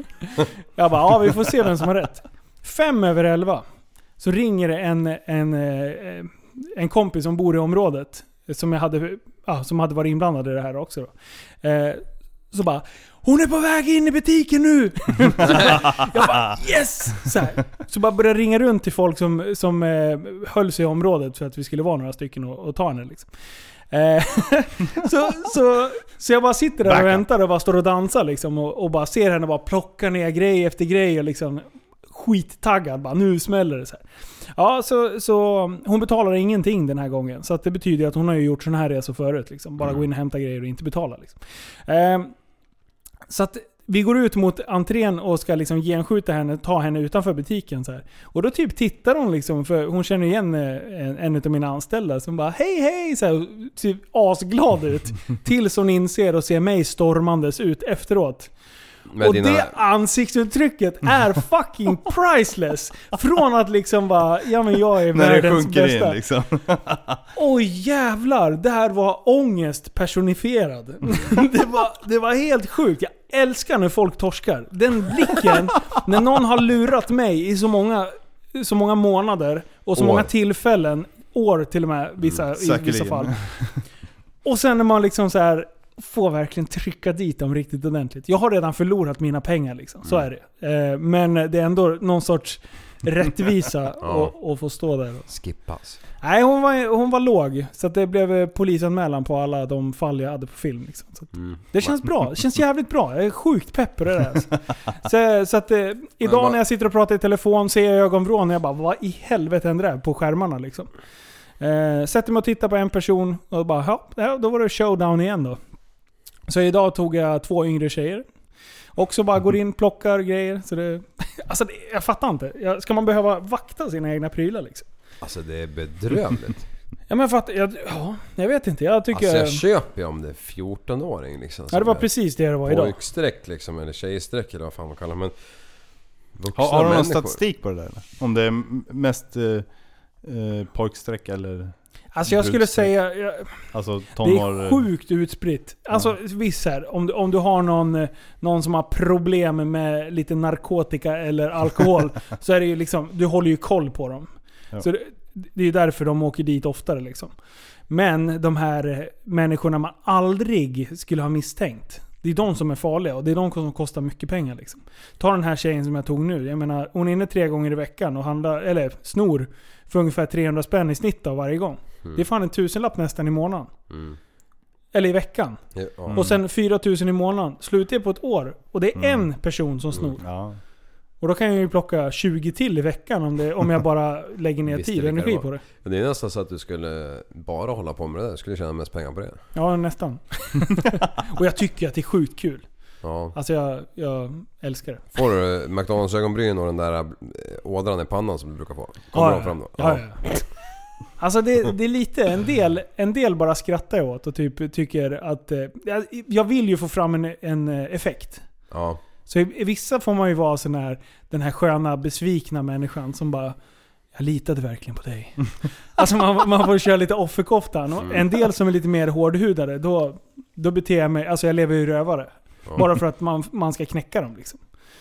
Jag bara, ja vi får se vem som har rätt. Fem över elva så ringer det en, en eh, eh, en kompis som bor i området, som, jag hade, ja, som hade varit inblandad i det här också. Då. Eh, så bara Hon är på väg in i butiken nu! jag bara yes! Så, här. så bara började jag ringa runt till folk som, som eh, höll sig i området för att vi skulle vara några stycken och, och ta henne. Liksom. Eh, så, så, så jag bara sitter där och väntar och bara står och dansar liksom, och, och bara ser henne bara plocka ner grej efter grej och liksom skittaggad bara nu smäller det så här. Ja, så, så hon betalar ingenting den här gången. Så att det betyder att hon har ju gjort sådana här resor förut. Liksom. Bara gå in och hämta grejer och inte betala. Liksom. Ehm, så att vi går ut mot entrén och ska liksom genskjuta henne, ta henne utanför butiken. Så här. Och då typ tittar hon liksom, för hon känner igen eh, en, en av mina anställda som bara hej hej! Så här, och typ asglad ut. Tills hon inser och ser mig stormandes ut efteråt.
Med
och
dina-
det ansiktsuttrycket är fucking priceless! Från att liksom bara, ja men jag är
När det
världens
sjunker
bästa.
in liksom.
Oj jävlar, det här var ångest personifierad. Det var, det var helt sjukt. Jag älskar när folk torskar. Den blicken, när någon har lurat mig i så många, så många månader och så
År. Mm,
många tillfällen, år till och med vissa, i vissa
säkerligen.
fall. Och sen när man liksom så här får verkligen trycka dit dem riktigt ordentligt. Jag har redan förlorat mina pengar liksom, så
Mm.
är det. Eh, Men det är ändå någon sorts rättvisa
Ja.
att- att få stå där och
Skippas.
Nej, hon var, hon var låg. Så att det blev eh, polisanmälan på alla de fall jag hade på film. Liksom. Så att
Mm.
Det känns bra. Det känns jävligt bra. Jag är sjukt pepp på det där. Alltså. Så, så att, eh, idag
vad-
när jag sitter och pratar i telefon ser jag ögonvrån och jag bara Vad i helvete hände där på skärmarna liksom? Eh, sätter mig och tittar på en person och bara "Ja, Ja, då var det showdown igen då. Så idag tog jag två yngre tjejer. Också bara går in, plockar grejer. Så det, alltså det, jag fattar inte. Jag- Ska man behöva vakta sina egna prylar liksom?
Alltså det är bedrövligt.
Ja men för att, jag, ja, jag vet inte. Jag tycker...
Alltså jag köper ju om det är 14-åring liksom.
ja, det var
som är
precis det det var idag.
Pojkstreck liksom, eller tjejstreck eller vad fan man kallar det. Men vuxna
Har, har du någon
människor.
statistik på det där eller? Om det är m- mest eh, eh, pojkstreck eller
Alltså jag skulle
brudstreck.
säga, jag,
alltså
det
tonår...
är sjukt utspritt. Alltså visst här, om du, om du har någon, eh, någon som har problem med lite narkotika eller alkohol. så är det ju liksom, du håller ju koll på dem.
Ja.
Så det, det är ju därför de åker dit oftare liksom. Men de här eh, människorna man aldrig skulle ha misstänkt. Det är de som är farliga och det är de som kostar mycket pengar. Liksom. Ta den här tjejen som jag tog nu. Jag menar, hon är inne tre gånger i veckan och handlar, eller snor för ungefär 300 spänn i snitt av varje gång. Det är fan en tusenlapp nästan i månaden.
Mm.
Eller i veckan.
Ja, ja.
Och sen 4000 i månaden. Slutar på ett år. Och det
Mm.
är en person som snor.
Ja.
Och då kan jag ju plocka 20 till i veckan om, det, om jag bara lägger ner
Visst, det
tid och
kan det
energi
vara.
på det.
Men det är nästan så att du skulle bara hålla på med det där. Du skulle tjäna mest pengar på det.
Ja, nästan. och jag tycker att det är sjukt kul.
Ja.
Alltså jag, jag älskar det.
Får du McDonalds-ögonbryn och den där eh, ådran i pannan som du brukar få? Kommer
Ja,
de
ja.
fram då?
Ja, ja. Alltså det, det är lite, en del, en del bara skrattar jag åt och typ tycker att... eh, jag- Jag vill ju få fram en, en eh, effekt.
ja.
Så i, i vissa får man ju vara sån här, den här sköna besvikna människan som bara jag litade verkligen på dig. Alltså man, man får köra lite offerkoftan. Och
Mm.
En del som är lite mer hårdhudade, då, då beter jag mig... Alltså jag lever ju rövare.
Ja.
Bara för att man, man ska knäcka dem liksom.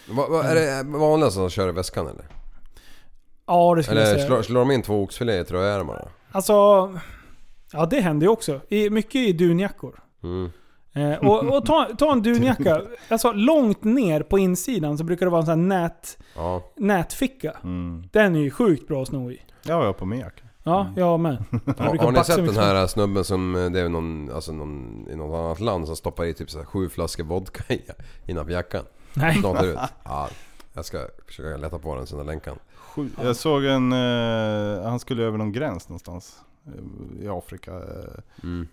Va, va, är det vanliga som kör i väskan eller?
Ja, det skulle jag
Eller
säga.
slår, slår de in två oxfiléer tror jag är de bara?
Alltså... Ja, det händer ju också. I, mycket i dunjackor.
Mm.
Eh, och och ta, ta en dunjacka. Alltså långt ner på insidan så brukar det vara en sån här nät,
Ja.
nätficka.
Mm.
Den är ju sjukt bra att sno i.
Ja, jag har på mig jacka.
Ja, jag med. Jag
Mm. Har,
brukar
har ni
baxa
sett
mycket
den här snubben som, eh, det är någon, alltså någon i något annat land som stoppar i typ så här sju flaskor vodka i, innanför jackan?
Nej.
Snart är det ut. Ja, jag ska försöka leta på den sen jag länkar den.
Sju. Jag såg en, eh, han skulle över någon gräns någonstans eh, i Afrika. eh,
Mm.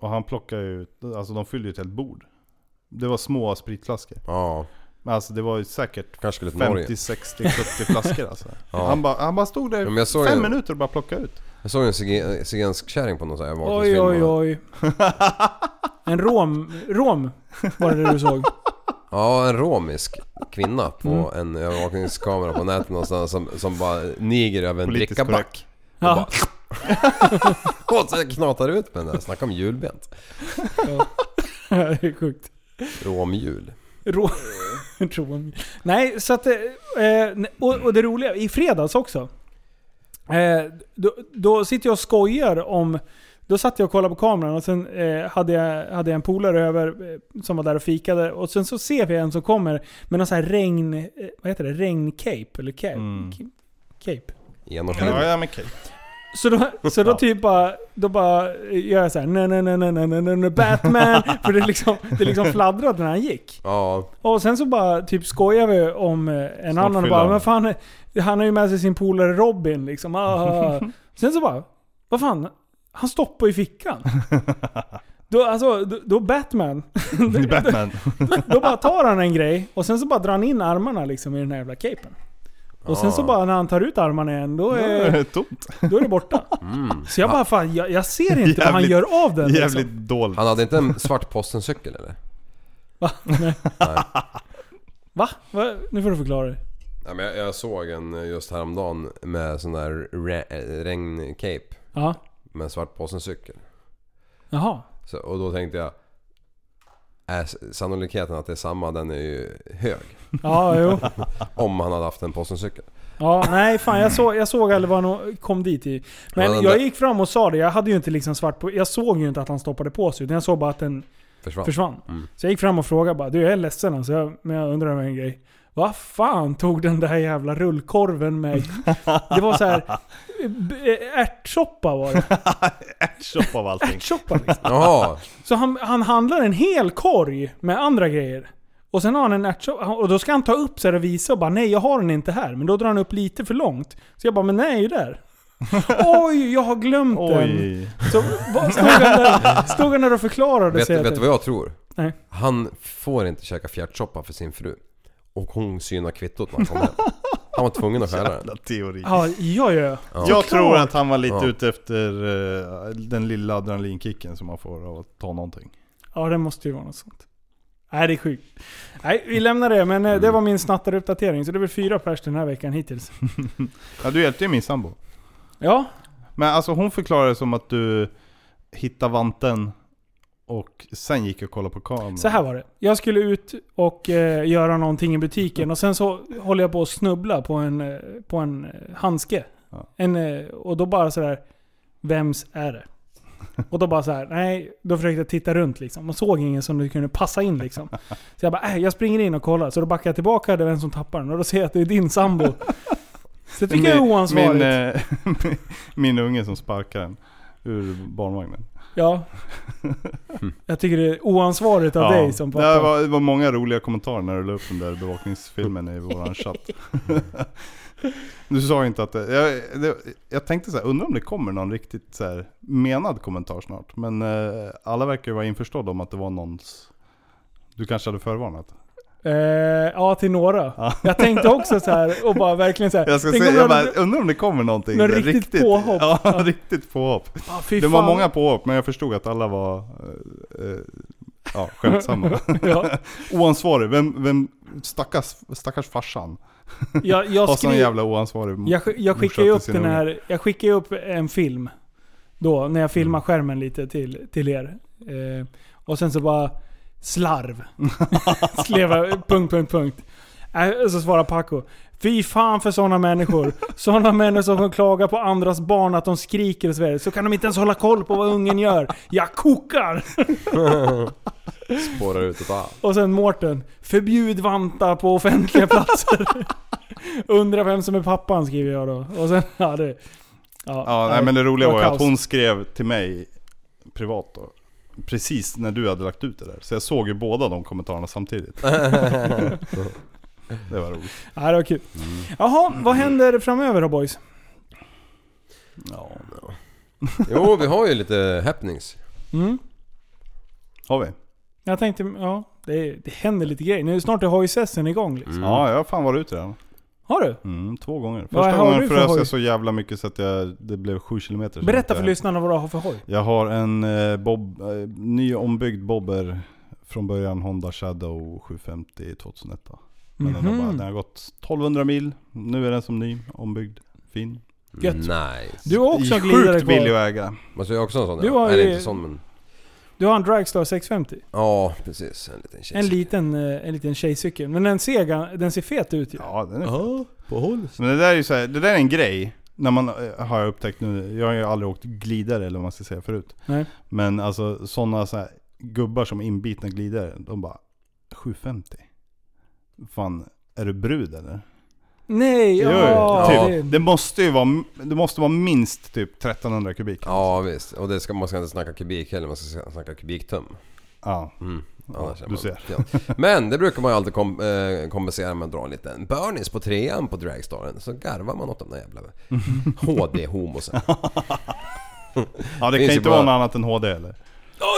Och han plockade ju, alltså de fyllde ju ett helt bord. Det var små spritflaskor.
Ja,
Men alltså det var ju säkert
kanske skulle till Norge.
50, 60, 70 flaskor alltså.
Ja.
han, bara, han bara stod där
Ja, men
i
jag såg
fem
en-
minuter och bara plockade ut.
Jag såg en sige- zigensk kärring på någon sån här
Oj, oj,
övervakningsfilm. och-
oj. En rom, rom var det du såg.
Ja, en romisk kvinna på
Mm.
en övervakningskamera på nätet någonstans som, som bara niger över en
Politiskt
drickaback.
Ja.
Och så knatar ut med den där. Snacka om julbent.
det är sjukt.
Romjul.
Rå- Rom. Nej, så att... eh, Eh, och, och det roliga, i fredags också. Eh, då, då sitter jag och skojar om... Då satt jag och kollade på kameran och sen eh, hade, jag, hade jag en polare över eh, som var där och fikade. Och sen så ser vi en som kommer med någon sån här regn... Eh, vad heter det? Regncape? Eller cape?
Mm.
cape.
Genomskinligt.
Ja, ja men okej.
Så då, så då typ bara, då bara gör jag så här, nej nej nej nej nej nej nej Batman. För det liksom, det liksom fladdrade när han gick.
Ja,
Och sen så bara typ skojar vi om eh, en
Snart
annan och
fyller
bara
han.
men fan, han har ju med sig sin polare Robin liksom. Ah. sen så bara, vad fan, han stoppar i fickan. Då, alltså, då, då Batman,
Batman.
då bara tar han en grej och sen så bara drar han in armarna liksom i den här jävla capen. Och sen
Ah.
så bara när han tar ut armarna igen, då är,
Tomt.
då är det borta. Så jag bara fan, jag, jag ser inte vad han
Jävligt-
gör av den.
Jävligt
Liksom.
dåligt.
han hade inte en svart postencykel eller?
Va? Va? Nu får du förklara dig.
Ja, men jag, jag såg en eh, just häromdagen med sån där re, eh, regncape
Ja.
med en svart postencykel.
Jaha.
Så, och då tänkte jag... Är s- sannolikheten att det är samma den är ju hög.
Ja, jo.
Om han hade haft en postencykel.
Ja, nej fan jag, såg jag såg aldrig vad han kom dit i.
Ja,
Men
den
jag
där-
gick fram och sa det, jag hade ju inte liksom svart på... Jag såg ju inte att han stoppade på sig, utan jag såg bara att den
Försvann.
försvann. Så jag gick fram och frågade bara, du jag är ledsen alltså, jag, men jag undrar över en grej. Vad fan tog den där jävla rullkorven med? Det var så här eh, b- ärtsoppa var det.
Ärtsoppa av allting.
Ärtsoppa liksom.
Jaha!
Så han, han handlar en hel korg med andra grejer. Och sen har han en ärtsoppa. Och då ska han ta upp så här och visa och bara nej jag har den inte här. Men då drar han upp lite för långt. Så jag bara men nej är ju där. Oj, jag har glömt den.
Oj.
Så vad- stod han där, stod han där och förklarade
Vet,
sig.
vet
att-
du vad jag tror?
Nej.
Han får inte käka fjärtsoppa för sin fru. Och hon synar kvittot när han kom hem. Han var tvungen att stjäla den.
Jävla teori.
Ja, ja, ja.
Jag tror att han var lite
Ja.
ute efter eh, den lilla adrenalinkicken som man får av att ta någonting.
Ja, det måste ju vara något sånt. Nej, det är sjukt. Nej, vi lämnar det. Men eh, det
Mm.
var min snattaruppdatering. Så det är väl fyra pers den här veckan hittills.
Ja, du hjälpte ju min sambo.
Ja,
Men alltså hon förklarade det som att du hittade vanten och sen gick och kollade på kameran.
Så här var det. Jag skulle ut och eh, göra någonting i butiken och sen så håller jag på att snubbla på en, eh, på en eh, handske.
Ja.
En, eh, och då bara sådär, vems är det? Och då bara så här, nej, då försökte jag titta runt liksom. Och såg ingen som du kunde passa in liksom. Så jag bara, äh, jag springer in och kollar. Så då backar jag tillbaka, det är den som tappar den. Och då ser jag att det är din sambo. Så det tycker jag är oansvarigt.
Min, eh, min unge som sparkar den ur barnvagnen.
ja. Jag tycker det är oansvarigt av dig som
det,
pappa.
var, det var många roliga kommentarer när du la upp den där bevakningsfilmen i våran chatt. du sa inte att det, jag, det, jag tänkte så här, undrar om det kommer någon riktigt så här, menad kommentar snart. Men eh, alla verkar ju vara införstådda om att det var någons... Du kanske hade förvarnat?
Eh, ja, till några. Jag tänkte också så här och bara verkligen så här.
Jag ska
tänk
säga,
om
jag
hade-
bara, undrar om det kommer någonting.
Någon
där
riktigt påhopp.
Ja, riktigt påhopp.
ah, fy
Det var
fan.
många påhopp, men jag förstod att alla var eh, eh, ja, skämtsamma.
Ja,
oansvarig, vem, vem stackars, stackars farsan.
jag, jag,
Och så en
skrev,
jävla oansvarig mo-
jag, sk- jag
morsa
skickade ju
till
upp
sin
den
unge.
här, jag skickade ju upp en film. Då, när jag filmar
Mm.
skärmen lite till, till er. Eh, och sen så bara slarv. Sleva, punkt, punkt, punkt. Äh, Så svarar Paco. Fy fan för sådana människor. Sådana människor som klagar på andras barn att de skriker och så vidare. Så kan de inte ens hålla koll på vad ungen gör. Jag kokar!
Spårar ut ett allt.
Och sen Mårten. Förbjud vantar på offentliga platser. Undrar vem som är pappan skriver jag då. Och sen, ja det... Ja,
Ja, nej, men det roliga
det
var ju att
kaos.
hon skrev till mig privat då. Precis när du hade lagt ut det där. Så jag såg ju båda de kommentarerna samtidigt. det var roligt.
Ja, det var kul. Jaha, vad händer framöver då boys?
Ja.
Jo, vi har ju lite happenings.
Har vi?
Jag tänkte, ja. Det, det händer lite grejer. Nu snart är hoj-sessen igång
Mm.
liksom.
Ja, jag har fan varit ute redan.
Har du?
Mm, två gånger.
Vad
Första
har
gången
du för
frös
hoj?
jag så jävla mycket så att jag, det blev sju kilometer. så
Berätta
att
för
jag-
lyssnarna vad du har för hoj.
Jag har en eh, bob, eh, ny ombyggd bobber från början Honda Shadow 750 2001. Men den, har bara,
Mhm.
den har gått 1200 mil, nu är den som ny, ombyggd, fin.
Gött.
Nice.
Du har också en glidare
Sjukt billig
kvar.
att äga.
Man ser ju också en sån.
Du
ja.
har
Eller
ju-
inte sån men...
Du har en Dragstar 650.
Ja, precis. En liten tjej.
En liten, eh, en liten tjejcykel. Men den ser, gan- den ser fet ut ju.
Ja, den är
Ja, på håll.
Men det där är ju så här, det där är en grej när man, eh, har jag upptäckt nu, jag har ju aldrig åkt glidare eller vad man ska säga förut.
Nej.
Men alltså sådana så här gubbar som inbitna glidare, de bara 750. Fan, är du brud eller?
Nej,
Jo,
ja,
typ.
det-
Det måste ju vara, det måste vara minst typ 1300 kubik.
Ja visst, och det ska, man ska inte snacka kubik heller, man ska snacka kubiktum.
Ja.
Mm. Annars är
du
man-
ser.
Ja. Men det brukar man ju alltid kom, eh, kompensera med att dra en liten burnies på trean på dragstaren. Så garvar man åt de där jävla HD-homosen.
Ja, det
Finns
kan
ju
inte
bara-
vara något annat än HD eller?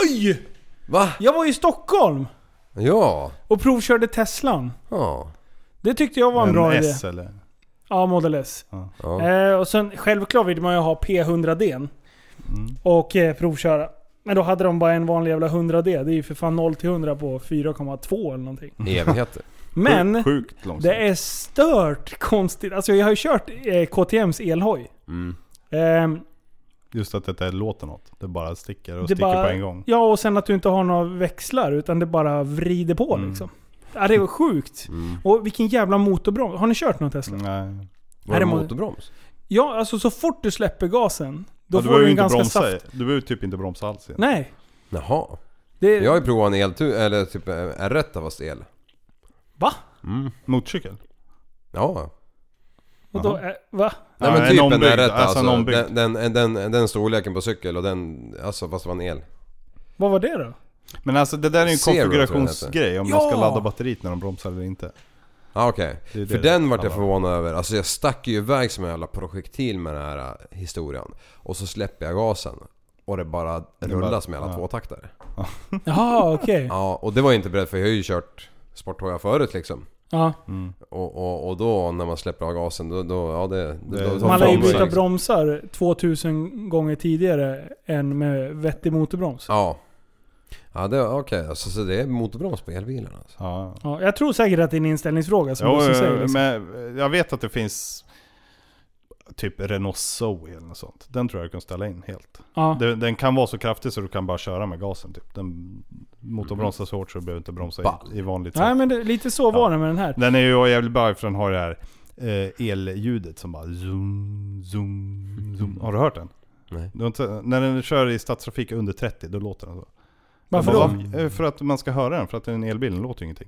Oj!
Va?
Jag var i Stockholm
Ja.
och provkörde Teslan.
ja.
Det tyckte jag var en,
en
bra idé.
S eller?
Ja, Model S.
Ja.
Eh, och sen självklart vill man ju ha P100D
Mm.
och eh, provköra. Men då hade de bara en vanlig jävla 100D. Det är ju för fan 0 till 100 på 4,2 eller någonting.
Evigheter.
Men
Sjukt långsamt.
det är stört konstigt. Alltså jag har ju kört eh, KTMs elhoj.
Mm.
Ehm,
Just att detta låter något. Det bara sticker och
det
sticker
bara-
på en gång.
Ja, och sen att du inte har några växlar utan det bara vrider på
Mm.
liksom. Ja, det var sjukt. Och vilken jävla motorbroms. Har ni kört någon
Mm.
Tesla?
Nej.
Var
Är
det
det mo-
motorbroms?
Ja, alltså så fort du släpper gasen, då
Ja, du
får
behöver
du
ju
en
inte
ganska
bromsa.
saft...
Du behöver ju typ inte bromsa alls igen.
Nej.
Jaha.
Det...
Jag har ju provat en eltur, eller typ eh, R1 fast el.
Va?
Motorcykel?
Ja.
Och då, eh, va?
Nej men
en
typ en
ombyggd,
R1
alltså
alltså.
en ombyggd.
den, den, den, den, den storleken på cykel och den, alltså fast det var en el.
Vad var det då?
Men alltså det där är ju en
Zero, tror jag den heter.
konfigurationsgrej om man ska
Ja!
ladda batteriet när de bromsar eller inte.
Ja okej.
Det är det
För
det
den vart jag
handlar
förvånad över. Alltså jag stack ju iväg som en jävla projektil med den här eh, historien. Och så släpper jag gasen. Och det bara rullar
bara-
som en jävla tvåtaktare.
Jaha, okej.
Ja, och det var jag inte beredd för. Jag har ju kört sporthojar förut liksom.
Ja.
Och, och, och då när man släpper av gasen då, då ja det... det
Det-
då tar
Man lär ju
fram-
byta bromsar 2000 gånger tidigare än med vettig motorbroms.
Ja. Ja det, okej. Alltså, så det är motorbroms på elbilarna alltså.
Ja.
Ja, jag tror säkert att det är en inställningsfråga som
Jo,
du som säger.
eh,
Liksom.
men jag vet att det finns typ Renault Zoe eller något sånt. Den tror jag du kan ställa in helt.
Ja.
Den, den kan vara så kraftig så du kan bara köra med gasen typ. Den motorbromsar så hårt så du behöver inte bromsa
Ball.
i, i vanligt sätt.
Nej men det, lite så var
Ja.
det med den här.
Den är ju jävligt bra för den har det här eh, elljudet som bara zoom, zoom, zoom. Har du hört den?
Nej.
Du har inte, när den kör i stadstrafik under 30, då låter den så.
Varför
Jag
då?
bara, "Va?" Eh, För att man ska höra den, för att en elbil den låter ju ingenting.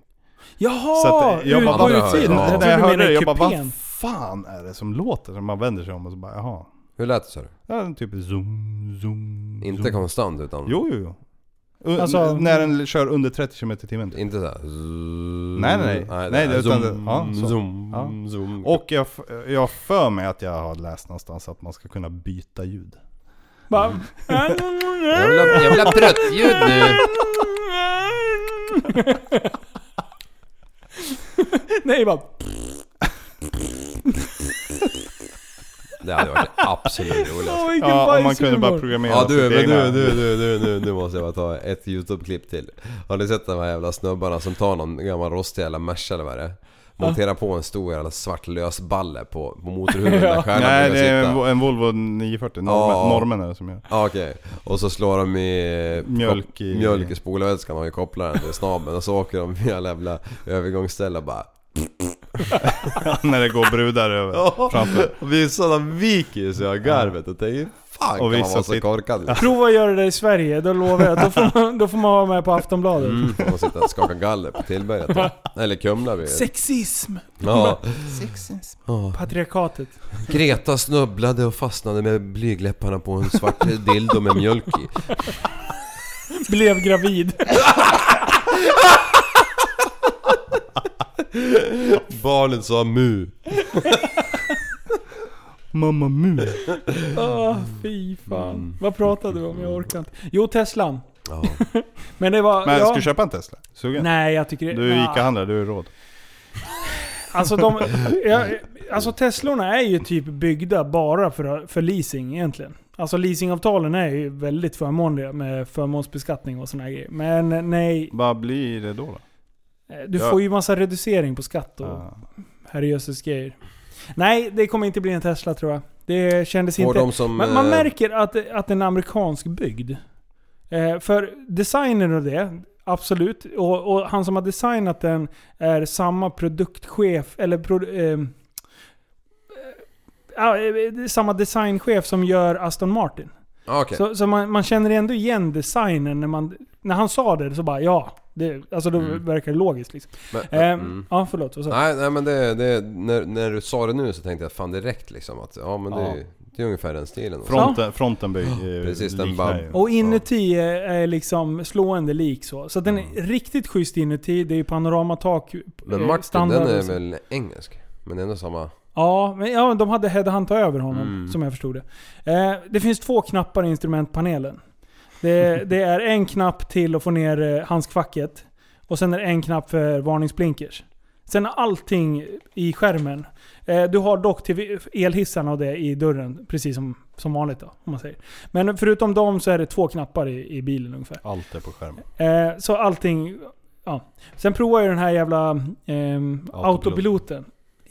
Jaha!
att, eh, jag
ut
bara-
på
Ja, det
utsidan.
hör
Jag
jag.
när jag
trodde
hörde
du menade
det, jag bara
kupén.
vad fan är det som låter? Så Man vänder sig om och så bara jaha.
Hur lät det sa du?
Ja, den typ zoom, zoom,
Inte
zoom.
konstant utan...
Jo, jo, jo. U-
Alltså-
n- när den kör under 30 km i timmen. typ.
Inte såhär...
Nej, nej, nej. Nej,
det-
utan
zoom,
det- ja, så.
zoom,
Ja.
zoom.
Och jag, f- jag har för mig att jag har läst någonstans att man ska kunna byta ljud.
Bara,
Mm.
Jag vill ha, jag vill ha bröttljud nu!
Nej bara...
Det hade varit det absolut roligt.
Åh, vilken
Ja, om man kunde bara
bajshumor.
programmera
Ja du,
sitt
men
egna.
du, du, du, du, nu, nu måste jag bara ta ett YouTube-klipp till. Har ni sett de här jävla snubbarna som tar någon gammal rostig jävla Merca eller vad det är? Monterar på en stor jävla svart lösballe på, på motorhuven där stjärnan
Nej, det är
brukar
en,
sitta.
Vo- en Volvo 940. Normen,
Ja.
normen är det som gör.
Ja okej. Och så slår de i...
Mjölk i-
Mjölk i spolarvätskan och kopplar den till snabeln och så åker de via alla jävla övergångsställe och bara...
När det går brudar över framför.
Och vissa de viker ju sig av garvet och tänker Fan
Och
kan man
vissa
vara så
sitt-
korkad liksom.
Prova att göra det i Sverige, då lovar jag. Då får man, då får man vara med på Aftonbladet.
Mm, får man sitta och skaka galler på Tillberget då. Eller Kumla blir det.
Sexism!
Ja.
Patriarkatet.
Greta snubblade och fastnade med blygläpparna på en svart dildo med mjölk i.
Blev gravid.
Barnet sa mu.
Mamma mu. Mm.
Åh, fy fan. Vad pratade vi om? Jag orkar inte. Jo, Teslan.
Ja.
Men det var...
Men
ja.
ska du köpa en Tesla? Sugen?
Nej, jag tycker det...
Du är
nej.
ICA-handlare, du är råd.
Alltså, de, ja, alltså Teslorna är ju typ byggda bara för, för leasing egentligen. Alltså leasingavtalen är ju väldigt förmånliga med förmånsbeskattning och såna grejer. Men nej,
Vad blir det då? då?
du
Ja.
får ju massa reducering på skatt och
Ja.
herrejösses grejer. Nej, det kommer inte bli en Tesla tror jag. Det kändes
Och
inte...
de som...
Men man
eh,
märker att, att den är amerikansk byggd. Eh, för designen och det, absolut. Och, och han som har designat den är samma produktchef, eller pro, eh, ja, eh, det är samma designchef som gör Aston Martin.
Ah, Okej.
Så, så man, man känner ändå igen designen när man... När han sa det så bara ja. Det, alltså då verkar det logiskt liksom.
Mm. Men-
Eh,
mm.
Ja, förlåt. Vad sa du?
Nej, nej men det, det, när, när du sa det nu så tänkte jag fan direkt liksom att ja men det, är
Ja.
ju- det är ungefär den stilen.
Fronten, fronten böj, eh,
Precis, den
liknar
bara-
ju.
Och inuti är, är liksom slående lik så. Så att den är riktigt schysst inuti. Det är ju panoramatak. eh,
Mm. Men Martin
standard
den
och
är
så.
väl engelsk? Men ändå samma...
Ja, men ja, de hade headhunt över honom,
Mm.
som jag förstod det. Eh, det finns två knappar i instrumentpanelen. Det, det är en knapp till att få ner eh, handskfacket. Och sen är det en knapp för varningsblinkers. Sen är allting i skärmen. Eh, du har dock till elhissarna och det i dörren, precis som, som vanligt då, om man säger. Men förutom dem så är det två knappar i, i bilen ungefär.
Allt är på skärmen.
Eh, så allting... Ja. Sen provar jag den här jävla ehm, autopiloten.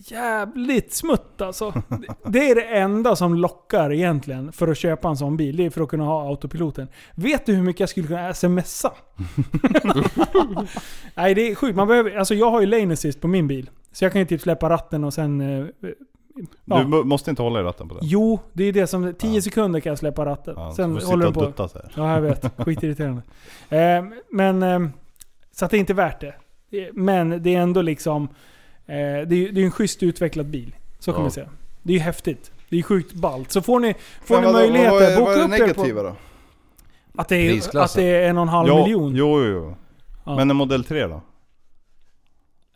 Jävligt smutt alltså. Det- Det är det enda som lockar egentligen för att köpa en sån bil. Det är för att kunna ha autopiloten. Vet du hur mycket jag skulle kunna smsa? Nej det är sjukt. Man behöver, alltså jag har ju lane assist på min bil. Så jag kan ju typ släppa ratten och sen... Eh, ja.
Du må- måste inte hålla i ratten på den.
Jo, det är det som... 10 sekunder kan jag släppa ratten.
Ja, så
sen
får du
håller
sitta
den
och
på.
dutta så här.
Ja, jag vet. Skitirriterande. Eh, men, eh, så att det är inte värt det. Eh, Men det är ändå liksom... Eh, det, är, ju- det är en schysst utvecklad bil. Så kan
Ja.
man säga. Det är ju häftigt. Det är ju sjukt ballt. Så får ni, får
Men
ni
vad- vad-
möjlighet
vad är-
att boka
vad är det
upp er
negativa
på...
då?
Att det, är, att
Prisklassen.
det är en och en halv
Jo,
miljon.
Jo, jo, jo.
Ja.
Men en Model 3 då?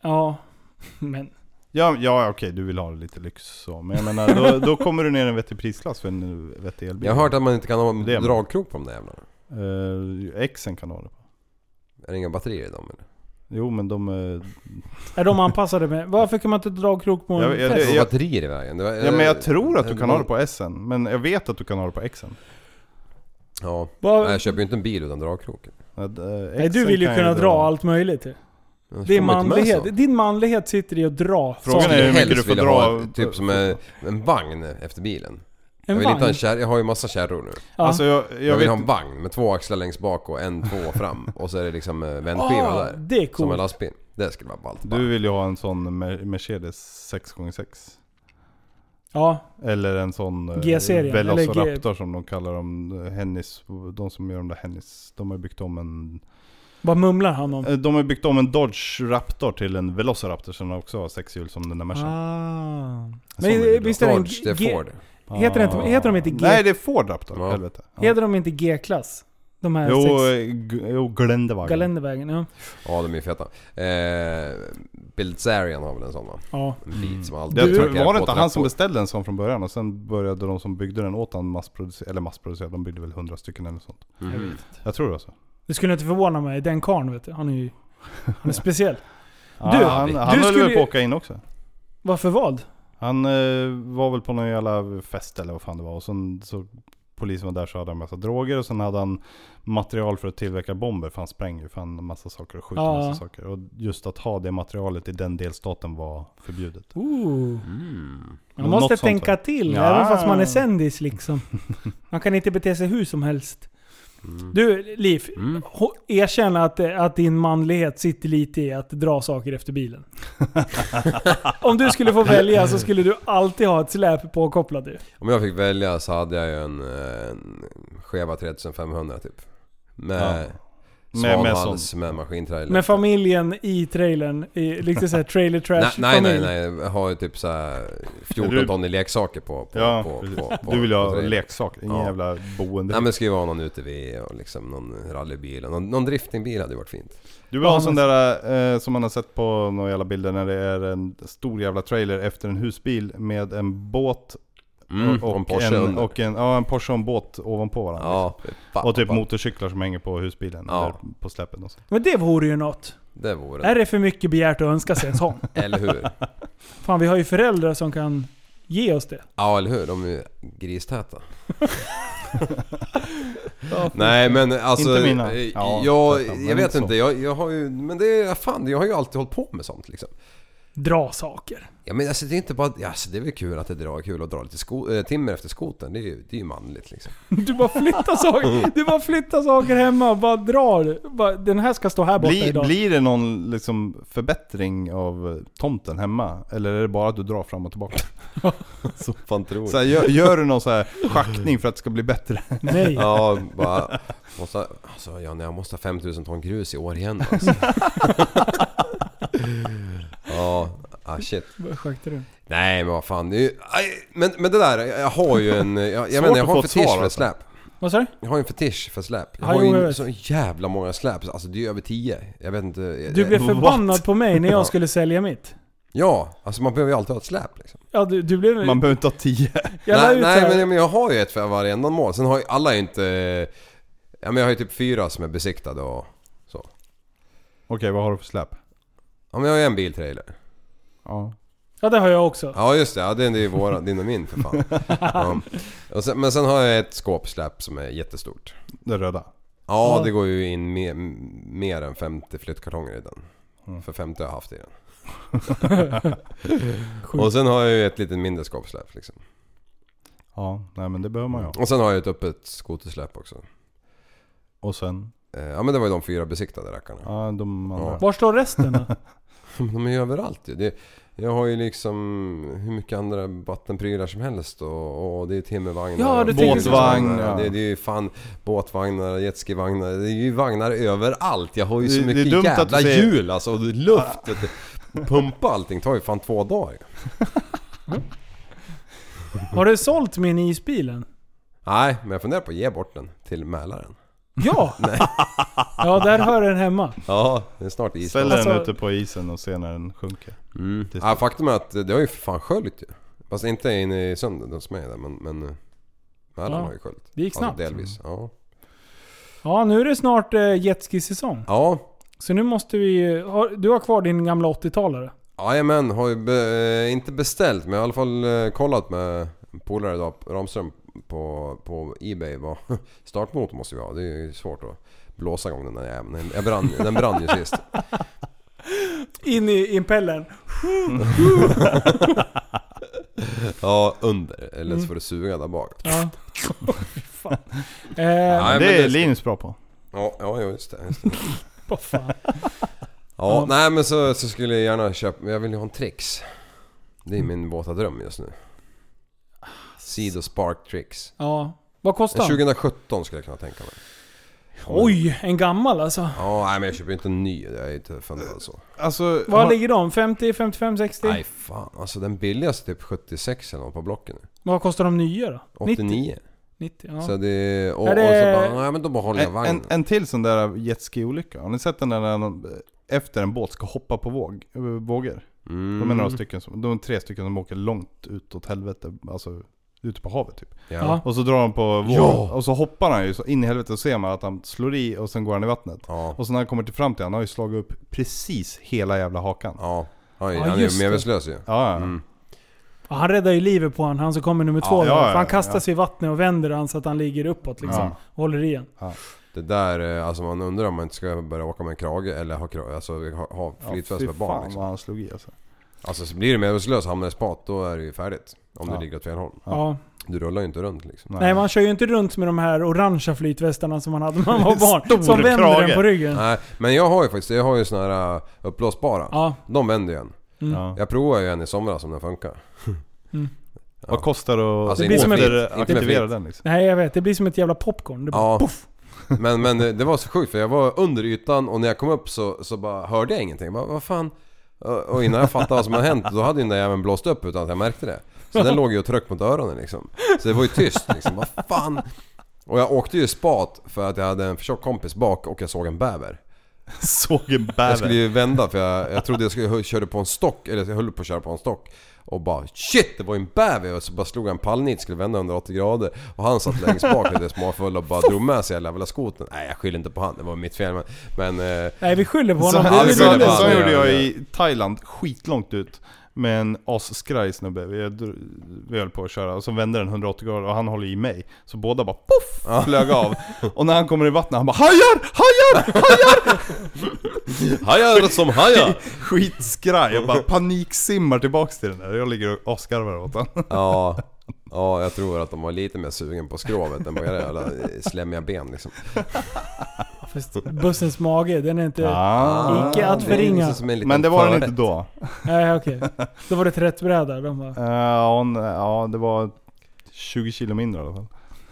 Ja. Men...
Ja, ja okej, du vill ha lite lyx så. Men jag menar, då, då kommer du ner i en vettig prisklass för en vettig elbil.
Jag har hört att man inte kan ha
Det är-
dragkrok på de där jävlarna.
Eh, Xen kan ha det på.
Är det inga batterier i dem eller?
Jo, men de... eh,
Är de anpassade med... Varför kan man inte dra krok på en
Jag- jag-
fest?
Det var
jag-
batterier i vägen. Det var,
Ja, men jag tror att du
eh,
kan ha det på S'en. Men jag vet att du kan ha det på Xen.
Ja.
Vad-
Nej, jag köper ju inte en bil utan dragkrok.
Eh,
Nej, du
Xen
vill ju
kan
kunna dra allt möjligt.
Annars
Det är
får man inte med
manlighet.
sånt.
Din manlighet sitter i att dra.
Frågan
saker.
är hur
Helst
mycket du får
vill jag
dra.
ha ett- typ som en, en vagn efter bilen. jag
En
vill inte
vagn?
ha en kärra, jag har ju massa kärror nu.
Ja. Ah,
Alltså jag, jag,
Jag,
vet...
vill ha en vagn med två axlar längst bak och en två fram. Och så är det liksom eh, vändskiva
Ah,
där.
det är coolt.
Som en lastbil. Det skulle vara ballt.
Du vill ju ha en sån Mer- Mercedes 6x6.
Ja,
Eller en sån eh,
G-serien, eller G-
Velociraptor som de kallar dem. eh, Hennis, de som gör de där Hennis. De har byggt om en...
vad mumlar han om?
eh, De har byggt om en Dodge Raptor till en Velociraptor som också har sex hjul som den där Mercan.
Ah.
Som vill
Men
dra.
visst är det en
Dodge, det
G...
är Ford.
Heter, det inte, heter de inte G...
Ah. Nej det är Ford Raptor,
Ja.
helvete. Ja.
Heter de inte G-klass? De här
Jo,
sex...
eh, G- jo Glendevagen.
Galendervägen, ja.
Ja, de är ju feta. Eh, Biltzerian har väl en sån va?
ja.
En bit som alltid
Det
trycker
var
på
det inte han som
trappor.
beställde en sån från början och sen började de som byggde den åt han massproducera, eller massproducera, de byggde väl hundra stycken eller något sånt.
Mm.
Jag tror det var så.
Det skulle inte förvåna mig. Den karln vet du. Han är ju... Han är speciell.
Ja, han
du
han höll
skulle
väl
ju-
på att åka in också.
Varför vald?
Han eh, var väl på någon jävla fest eller vad fan det var och sen så polisen var där så hade han massa droger och sen hade han material för att tillverka bomber för han spränger ju fan massa saker och skjuter
Ja.
massa saker. Och just att ha det materialet i den delstaten var förbjudet.
Ooh. Man
Mm. Något
måste
sånt,
tänka
va?
till,
Ja.
även fast man är sändis liksom. Man kan inte bete sig hur som helst.
Mm.
Du, Liv. ho- Erkänn att, eh, att din manlighet sitter lite i att dra saker efter bilen. Om du skulle få välja så skulle du alltid ha ett släp påkopplat ju.
Om jag fick välja så hade jag ju en, eh, en Cheva 3500 typ. Med
Med, med sån,
svanhals, med, maskintrailer.
Med familjen i trailern. I, liksom såhär trailer trash
Nej, nej, nej,
familj.
nej. Jag har ju typ såhär 14
Du-
ton i leksaker på... på,
ja,
på,
precis.
på, på
du vill ju
på
ha
trailern.
leksaker, ingen
Ja.
jävla boende.
Nej men skriva ha någon UTV och liksom någon rallybil. och Någon, någon driftingbil hade ju varit fint.
Du vill ha en sån där eh, som man har sett på några jävla bilder när det är en stor jävla trailer efter en husbil med en båt
Mm,
och,
och en Porsche
en,
under.
och en, ja, en Porsche och en båt ovanpå varandra.
Ja, fan,
Och typ
fan.
motorcyklar som hänger på husbilen
Ja.
eller på släpet och så.
Men det vore ju något.
Det vore
Är
det.
det för mycket begärt att önska sig en sån?
Eller hur?
Fan, vi har ju föräldrar som kan ge oss det.
Ja, eller hur? De är ju gristäta. Nej men alltså...
Inte mina.
eh,
Ja,
jag,
täta, men
jag vet
inte så.
inte. Jag, jag har ju... Men det är... Fan, jag har ju alltid hållit på med sånt liksom.
dra saker.
Ja men alltså det är inte bara... Alltså, det är väl kul att det drar kul att dra lite sko, eh, timmer efter skoten. Det är ju, det är ju manligt liksom.
Du bara flyttar
Mm.
saker, du bara flyttar saker hemma och bara drar. Bara, den här ska stå här borta
Blir,
idag.
blir det någon liksom förbättring av eh, tomten hemma? Eller är det bara att du drar fram och tillbaka?
Så fan tror
Så här, gör, gör du någon så här schackning för att det ska bli bättre?
Nej.
Ja, bara... Måste, ha- alltså Janne, jag måste ha 5000 ton grus i år igen alltså. Ja, ah, shit.
Vad skönt är det?
Nej men vad fan. Nu, aj, men, men det där, jag har ju en... Jag, jag
Svårt
menar, jag
att
har en
få ett svar,
fetisch för
alltså.
släp.
Vad sa du?
Jag har ju en fetisch för släp. Jag
Ja,
har
jo, jag
ju
vet.
så jävla många släp. Alltså det är ju över 10. Jag vet inte...
Du blev
jag,
förbannad på mig när jag skulle sälja mitt.
Ja, alltså man behöver ju alltid ha ett släp liksom.
Ja, du, du blev...
Man behöver inte ha tio.
jag la
nej,
ut
nej
så här-
men, men jag har ju ett för varenda mål. Sen har ju alla är inte... Ja men jag har ju typ fyra som är besiktade och så.
Okej, vad har du för släp?
Ja men jag har ju en biltrailer.
Ja.
Ja, det har jag också.
Ja just det, ja, det är ju våra, din och min för fan. Ja. Och sen, men sen har jag ett skåpsläp som är jättestort.
Det röda.
Ja,
Ja.
det går ju in mer, mer än 50 flyttkartonger i den.
Mm.
För 50 har jag haft i den. och sen har jag ju ett lite mindre skåpsläp liksom.
Ja, nej men det behöver man ju ha.
Och sen har jag ett öppet skotersläp också.
Och sen,
Eh, Ja men det var ju de fyra besiktade rackarna.
ja de andra.
Var står resten då?
De är ju överallt ju. Det, jag har ju liksom hur mycket andra vattenprylar som helst och, och det är timmervagnar,
Ja, du tänker så.
båtvagnar,
Båtvagn, ja.
det, det är ju fan båtvagnar, jetskivagnar, det är ju vagnar överallt. Jag har ju
Det-
så
det är
mycket
dumt att
jävla
du säger-
hjul alltså och det är luft. Det- Pumpa allting tar ju fan två dagar.
Har du sålt min isbilen?
Nej, men jag funderar på att ge bort den till Mälaren.
Ja! Ja, där hör den hemma.
Ja, det är snart is.
Ställ
Alltså-
den ute på isen och se när den sjunker.
Mm.
Det är
Ja, faktum är att det har ju för fan sköljt ju. Fast inte inne i sönder de som är där men... men eh, Mälaren
Ja,
har ju sköljt.
det gick snabbt.
Alltså, delvis, ja.
Ja, nu är det snart eh, jetski-säsong.
Ja,
Så nu måste vi ju- har, Du har kvar din gamla 80-talare?
Jajamän, har ju be, eh, inte beställt men jag har i alla fall eh, kollat med en polare idag, Ramström på, på Ebay. Vad, startmotor måste vi ha, det är ju svårt att blåsa igång den där jäveln. Den- Jag brann, den brann ju sist.
In i impellern.
Ja, under. Eller så får du suga där bak.
Ja. Fan. Eh,
Nej, men
det är
det-
Linus bra på.
Ja, ja just det. Just det.
vad fan.
Ja, nej men så, så skulle jag gärna köpa, men jag vill ju ha en Trix. Det är min våta dröm just nu. Seed och Spark Trix.
Ja. Vad
En
kostar den?
2017 skulle jag kunna tänka mig.
Oj, en gammal alltså.
Ja, nej men jag köper ju inte en ny. Jag är inte funderad så.
Alltså,
Vad
har-
ligger de? 50, 55, 60?
Nej fan, alltså den billigaste är typ 76 eller något på blocken nu.
Vad kostar de nya då? 90?
89.
90 ja.
Så det... Och,
Är det-
och så bara, nej men då behåller jag
en,
vagnen.
en, en till sån där jetski-olycka. Har ni sett den där när någon, efter en båt ska hoppa på våg, eh, vågor?
Mm.
De är några stycken som, de är tre stycken som åker långt utåt helvete, alltså ute på havet typ.
Ja.
Och så drar han på vågen,
Ja!
och så hoppar han ju så in i helvete och ser man att han slår i och sen går han i vattnet.
Ja.
Och så när han kommer till fram till han har ju slagit upp precis hela jävla hakan. Ja,
Ja. Mm, Han, är-
Ja,
han är
just
ju
det.
medvetslös ju.
ja.
Ja, han räddar ju livet på han, han som kommer nummer två.
ja,
där.
ja,
för han
ja.
kastar sig i vattnet och vänder han så att han ligger uppåt liksom.
Ja.
Och håller i han.
Det där, eh, alltså man undrar om man inte ska börja åka med en krage eller ha, kra- alltså, ha, ha flytväst
fy
för barn
fan
liksom.
vad han slog i alltså.
Alltså så blir du medvetslös och hamnar i spat, då är det ju färdigt. Om
Ja.
du ligger åt fel håll.
Ja.
Du rullar ju inte runt liksom.
Nej, man kör ju inte runt med de här orangea flytvästarna som man hade när man var barn.
Stor
Som vänder den
krage.
på ryggen.
Nej, men jag har ju faktiskt, jag har ju såna här eh, uppblåsbara.
Ja.
De vänder ju en.
Mm.
Ja.
Jag provade ju en i somras om den funkar.
Vad kostar det att
Alltså,
Det blir som ett-
inte
återaktivera
med
den liksom?
Nej jag vet, det blir som ett jävla popcorn. Det bara
Ja.
poff!
Men, men det, det var så sjukt för jag var under ytan och när jag kom upp så, så bara hörde jag ingenting. Jag bara, vad fan? Och- Och innan jag fattade vad som hade hänt då hade ju den där jäveln blåst upp utan att jag märkte det. Så den låg ju och tryck mot öronen liksom. Så det var ju tyst liksom. Vad fan? Och jag åkte ju i spat för att jag hade en för tjock kompis bak och jag såg en bäver.
Såg en
Jag
bäver.
skulle ju vända för jag, jag trodde jag skulle, körde på en stock, eller jag höll på att köra på en stock. Och bara shit det var ju en bäver! Och så bara slog han pallnit, skulle vända 180 grader. Och han satt längst bak lite småfull och bara drog med sig hela jävla skoten. Nej jag skyller inte på han, det var mitt fel men... men eh,
Nej vi skyller på
Så,
honom.
Ja,
det
vi
är
skyller
så,
på
väl-
honom.
så gjorde
Ja, ja,
jag
ja.
i Thailand, skitlångt ut. med en asskraj snubbe. Vi, dr- vi höll på att köra och så vände den 180 grader och han håller i mig. Så båda bara poff! Flög av. Och när han kommer i vattnet han bara HAJAR! HAJAR!
Hajar som hajar!
Skitskraj! Jag bara paniksimmar tillbaks till den där. Jag ligger och asgarvar åt honom.
Ja, ja, jag tror att de var lite mer sugen på skrovet än på era jävla eh, slemmiga ben liksom.
Fast bussens mage, den är inte...
Ah.
Icke att
Det är liksom
förringa.
som en liten
Men det var den
förrätt.
inte då.
Nej okej. Då var det ett rättbräda. De bara...
Eh, Ja, hon, ja, det var 20 kilo mindre i alla fall.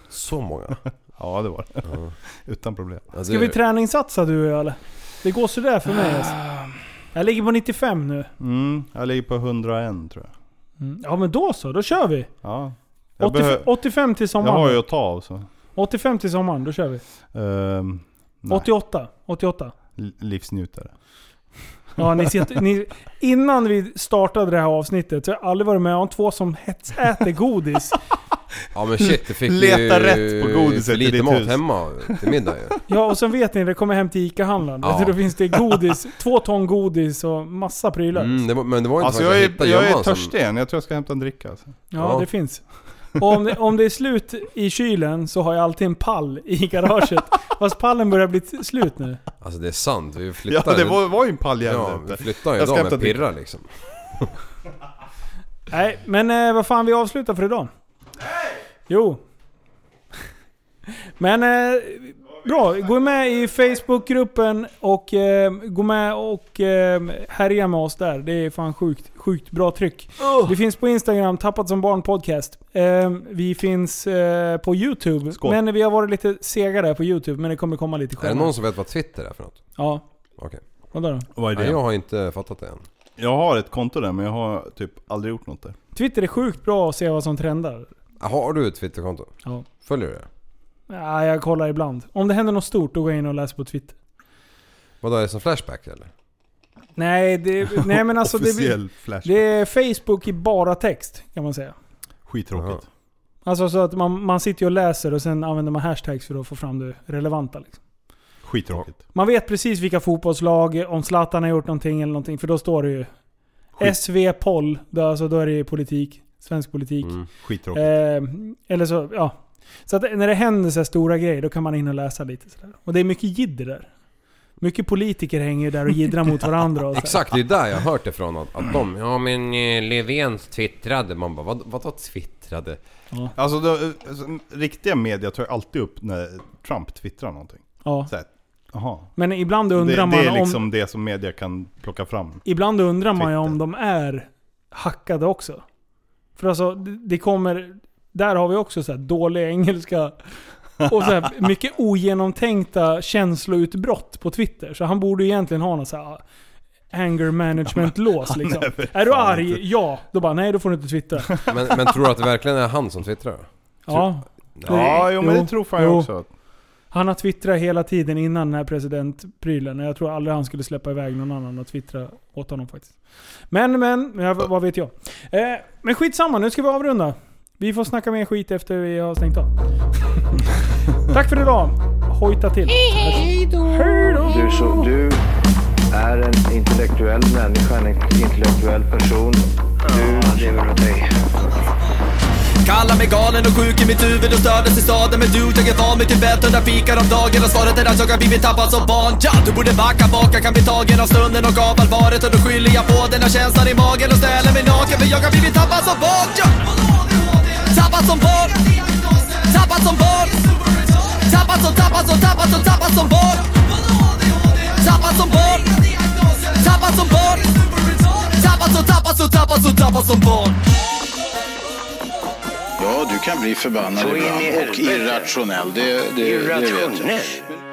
Så många? Alltså,
Ja, det var det. Utan problem.
Ja,
Ska
det-
vi träningssatsa du och jag eller? Det går sådär för mig alltså. Jag ligger på 95 nu.
Mm, jag ligger på 101 tror jag.
Mm. Ja men då så, då kör vi.
Ja. Jag,
85,
behö-
85 till
jag har
sommaren.
ju att ta av så.
85 till sommaren, då kör vi.
Ehm, nej.
88. 88.
L- livsnjutare.
Ja, ni ser, ni, innan vi startade det här avsnittet så har jag aldrig varit med om två som hetsäter godis.
Ja men shit, det fick
Leta
ju
rätt på godiset
för
i
lite
ditt
mat
hus.
hemma till middag ju.
Ja, och sen vet ni, det kommer hem till ICA-handlaren.
Ja.
Då finns det godis, två ton godis och massa prylar.
Mm, det var, men det var inte
Alltså
förrän
jag är,
hittade
jag är
gömman som-
törstig än, jag tror jag ska hämta en dricka. Alltså.
Ja,
Ja.
det finns. Och om det, om det är slut i kylen så har jag alltid en pall i garaget. Fast pallen börjar bli t- slut nu.
Alltså det är sant, vi
Ja,
flyttar
det var, var ju en pall jävel
Ja, vi
ute.
flyttar ju
Jag ska
idag
hämta
med pirra liksom.
Nej, men eh, vad fan, vi avslutar för idag. Jo. Men eh, bra, gå med i Facebookgruppen och eh, gå med och eh, härja med oss där. Det är fan sjukt, sjukt bra tryck. Vi finns på Instagram, Tappat som barn podcast. Eh, vi finns eh, på YouTube.
Skål.
Men vi har varit lite sega där på YouTube, men det kommer komma lite
Är det
skönare.
någon som vet vad Twitter är för något?
Ja,
Okej.
vadå då?
Vad
Nej, jag har inte fattat det än.
Jag har ett konto där men jag har typ aldrig gjort något där.
Twitter är sjukt bra att se vad som trendar.
Har du ett Twitterkonto?
Ja.
Följer du det?
Ja, jag kollar ibland. Om det händer något stort, då går jag in och läser på Twitter.
Vadå, är det som Flashback eller?
Nej, det, nej men alltså det,
Officiell flash.
det är Facebook i bara text kan man säga.
Skittråkigt.
Alltså så att man, man sitter ju och läser och sen använder man hashtags för att få fram det relevanta. Liksom.
Skittråkigt.
Man vet precis vilka fotbollslag, om Zlatan har gjort någonting eller någonting, för då står det ju
Skit.
SV Poll, då, alltså, då är det ju politik. Svensk politik.
Mm.
Skittråkigt.
Eh, eller så, ja. Så att när det händer så här stora grejer, då kan man in och läsa lite. Sådär. Och det är mycket jidder där. Mycket politiker hänger ju där och jiddrar mot varandra. Och så här.
Exakt, det är där jag har hört ifrån att, att de... Ja men eh, Löfven twittrade. Man bara, vad, vadå twittrade?
Alltså, då, alltså, riktiga media tar ju alltid upp när Trump twittrar någonting.
Ja.
Så här, aha.
Men ibland
Det,
undrar
det
man
är
om...
liksom det som media kan plocka fram.
Ibland undrar man ju
Twitter.
om de är hackade också. För alltså, det det kommer... Där har vi också så här dålig engelska. Och så här mycket ogenomtänkta känsloutbrott på Twitter. Så han borde ju egentligen ha någon så här ah, anger management-lås liksom.
är väl
Är du
fan
arg?
inte-
Ja. Då bara, nej då får du inte twittra.
Men, men tror du att det verkligen är han som twittrar?
Ja.
Ja, jo, men
Jo.
det tror fan jag
Jo.
också.
Han har twittrat hela tiden innan den här presidentprylen. Jag tror aldrig han skulle släppa iväg någon annan att twittra åt honom faktiskt. Men, men, ja, v- vad vet jag. Eh, men skitsamma, nu ska vi avrunda. Vi får snacka mer skit efter vi har stängt av. Tack för idag. Hojta till. Hej då.
Du, så, du är en intellektuell människa, en intellektuell person. Du lever av dig.
Kallar mig galen och sjuk i mitt huvud och stördes i staden Men du, jag är van vid Tibet och där fikar om dagen Och svaret är att jag har blivit tappad som barn ja, Du borde backa bak, jag kan bli tagen av stunden och av allvaret Och då skyller jag på den här känslan i magen och ställer mig naken För jag har blivit tappad som barn ja. Tappad som barn Tappad som barn Tappad som, tappad som, tappad som, tappad som barn Tappad som barn Tappad som barn Tappad som, tappad som, tappad som, tappad som barn
Ja, du kan bli förbannad
Så in i
ibland och
helvete.
irrationell. Det, det, det vet jag.
Irrationell.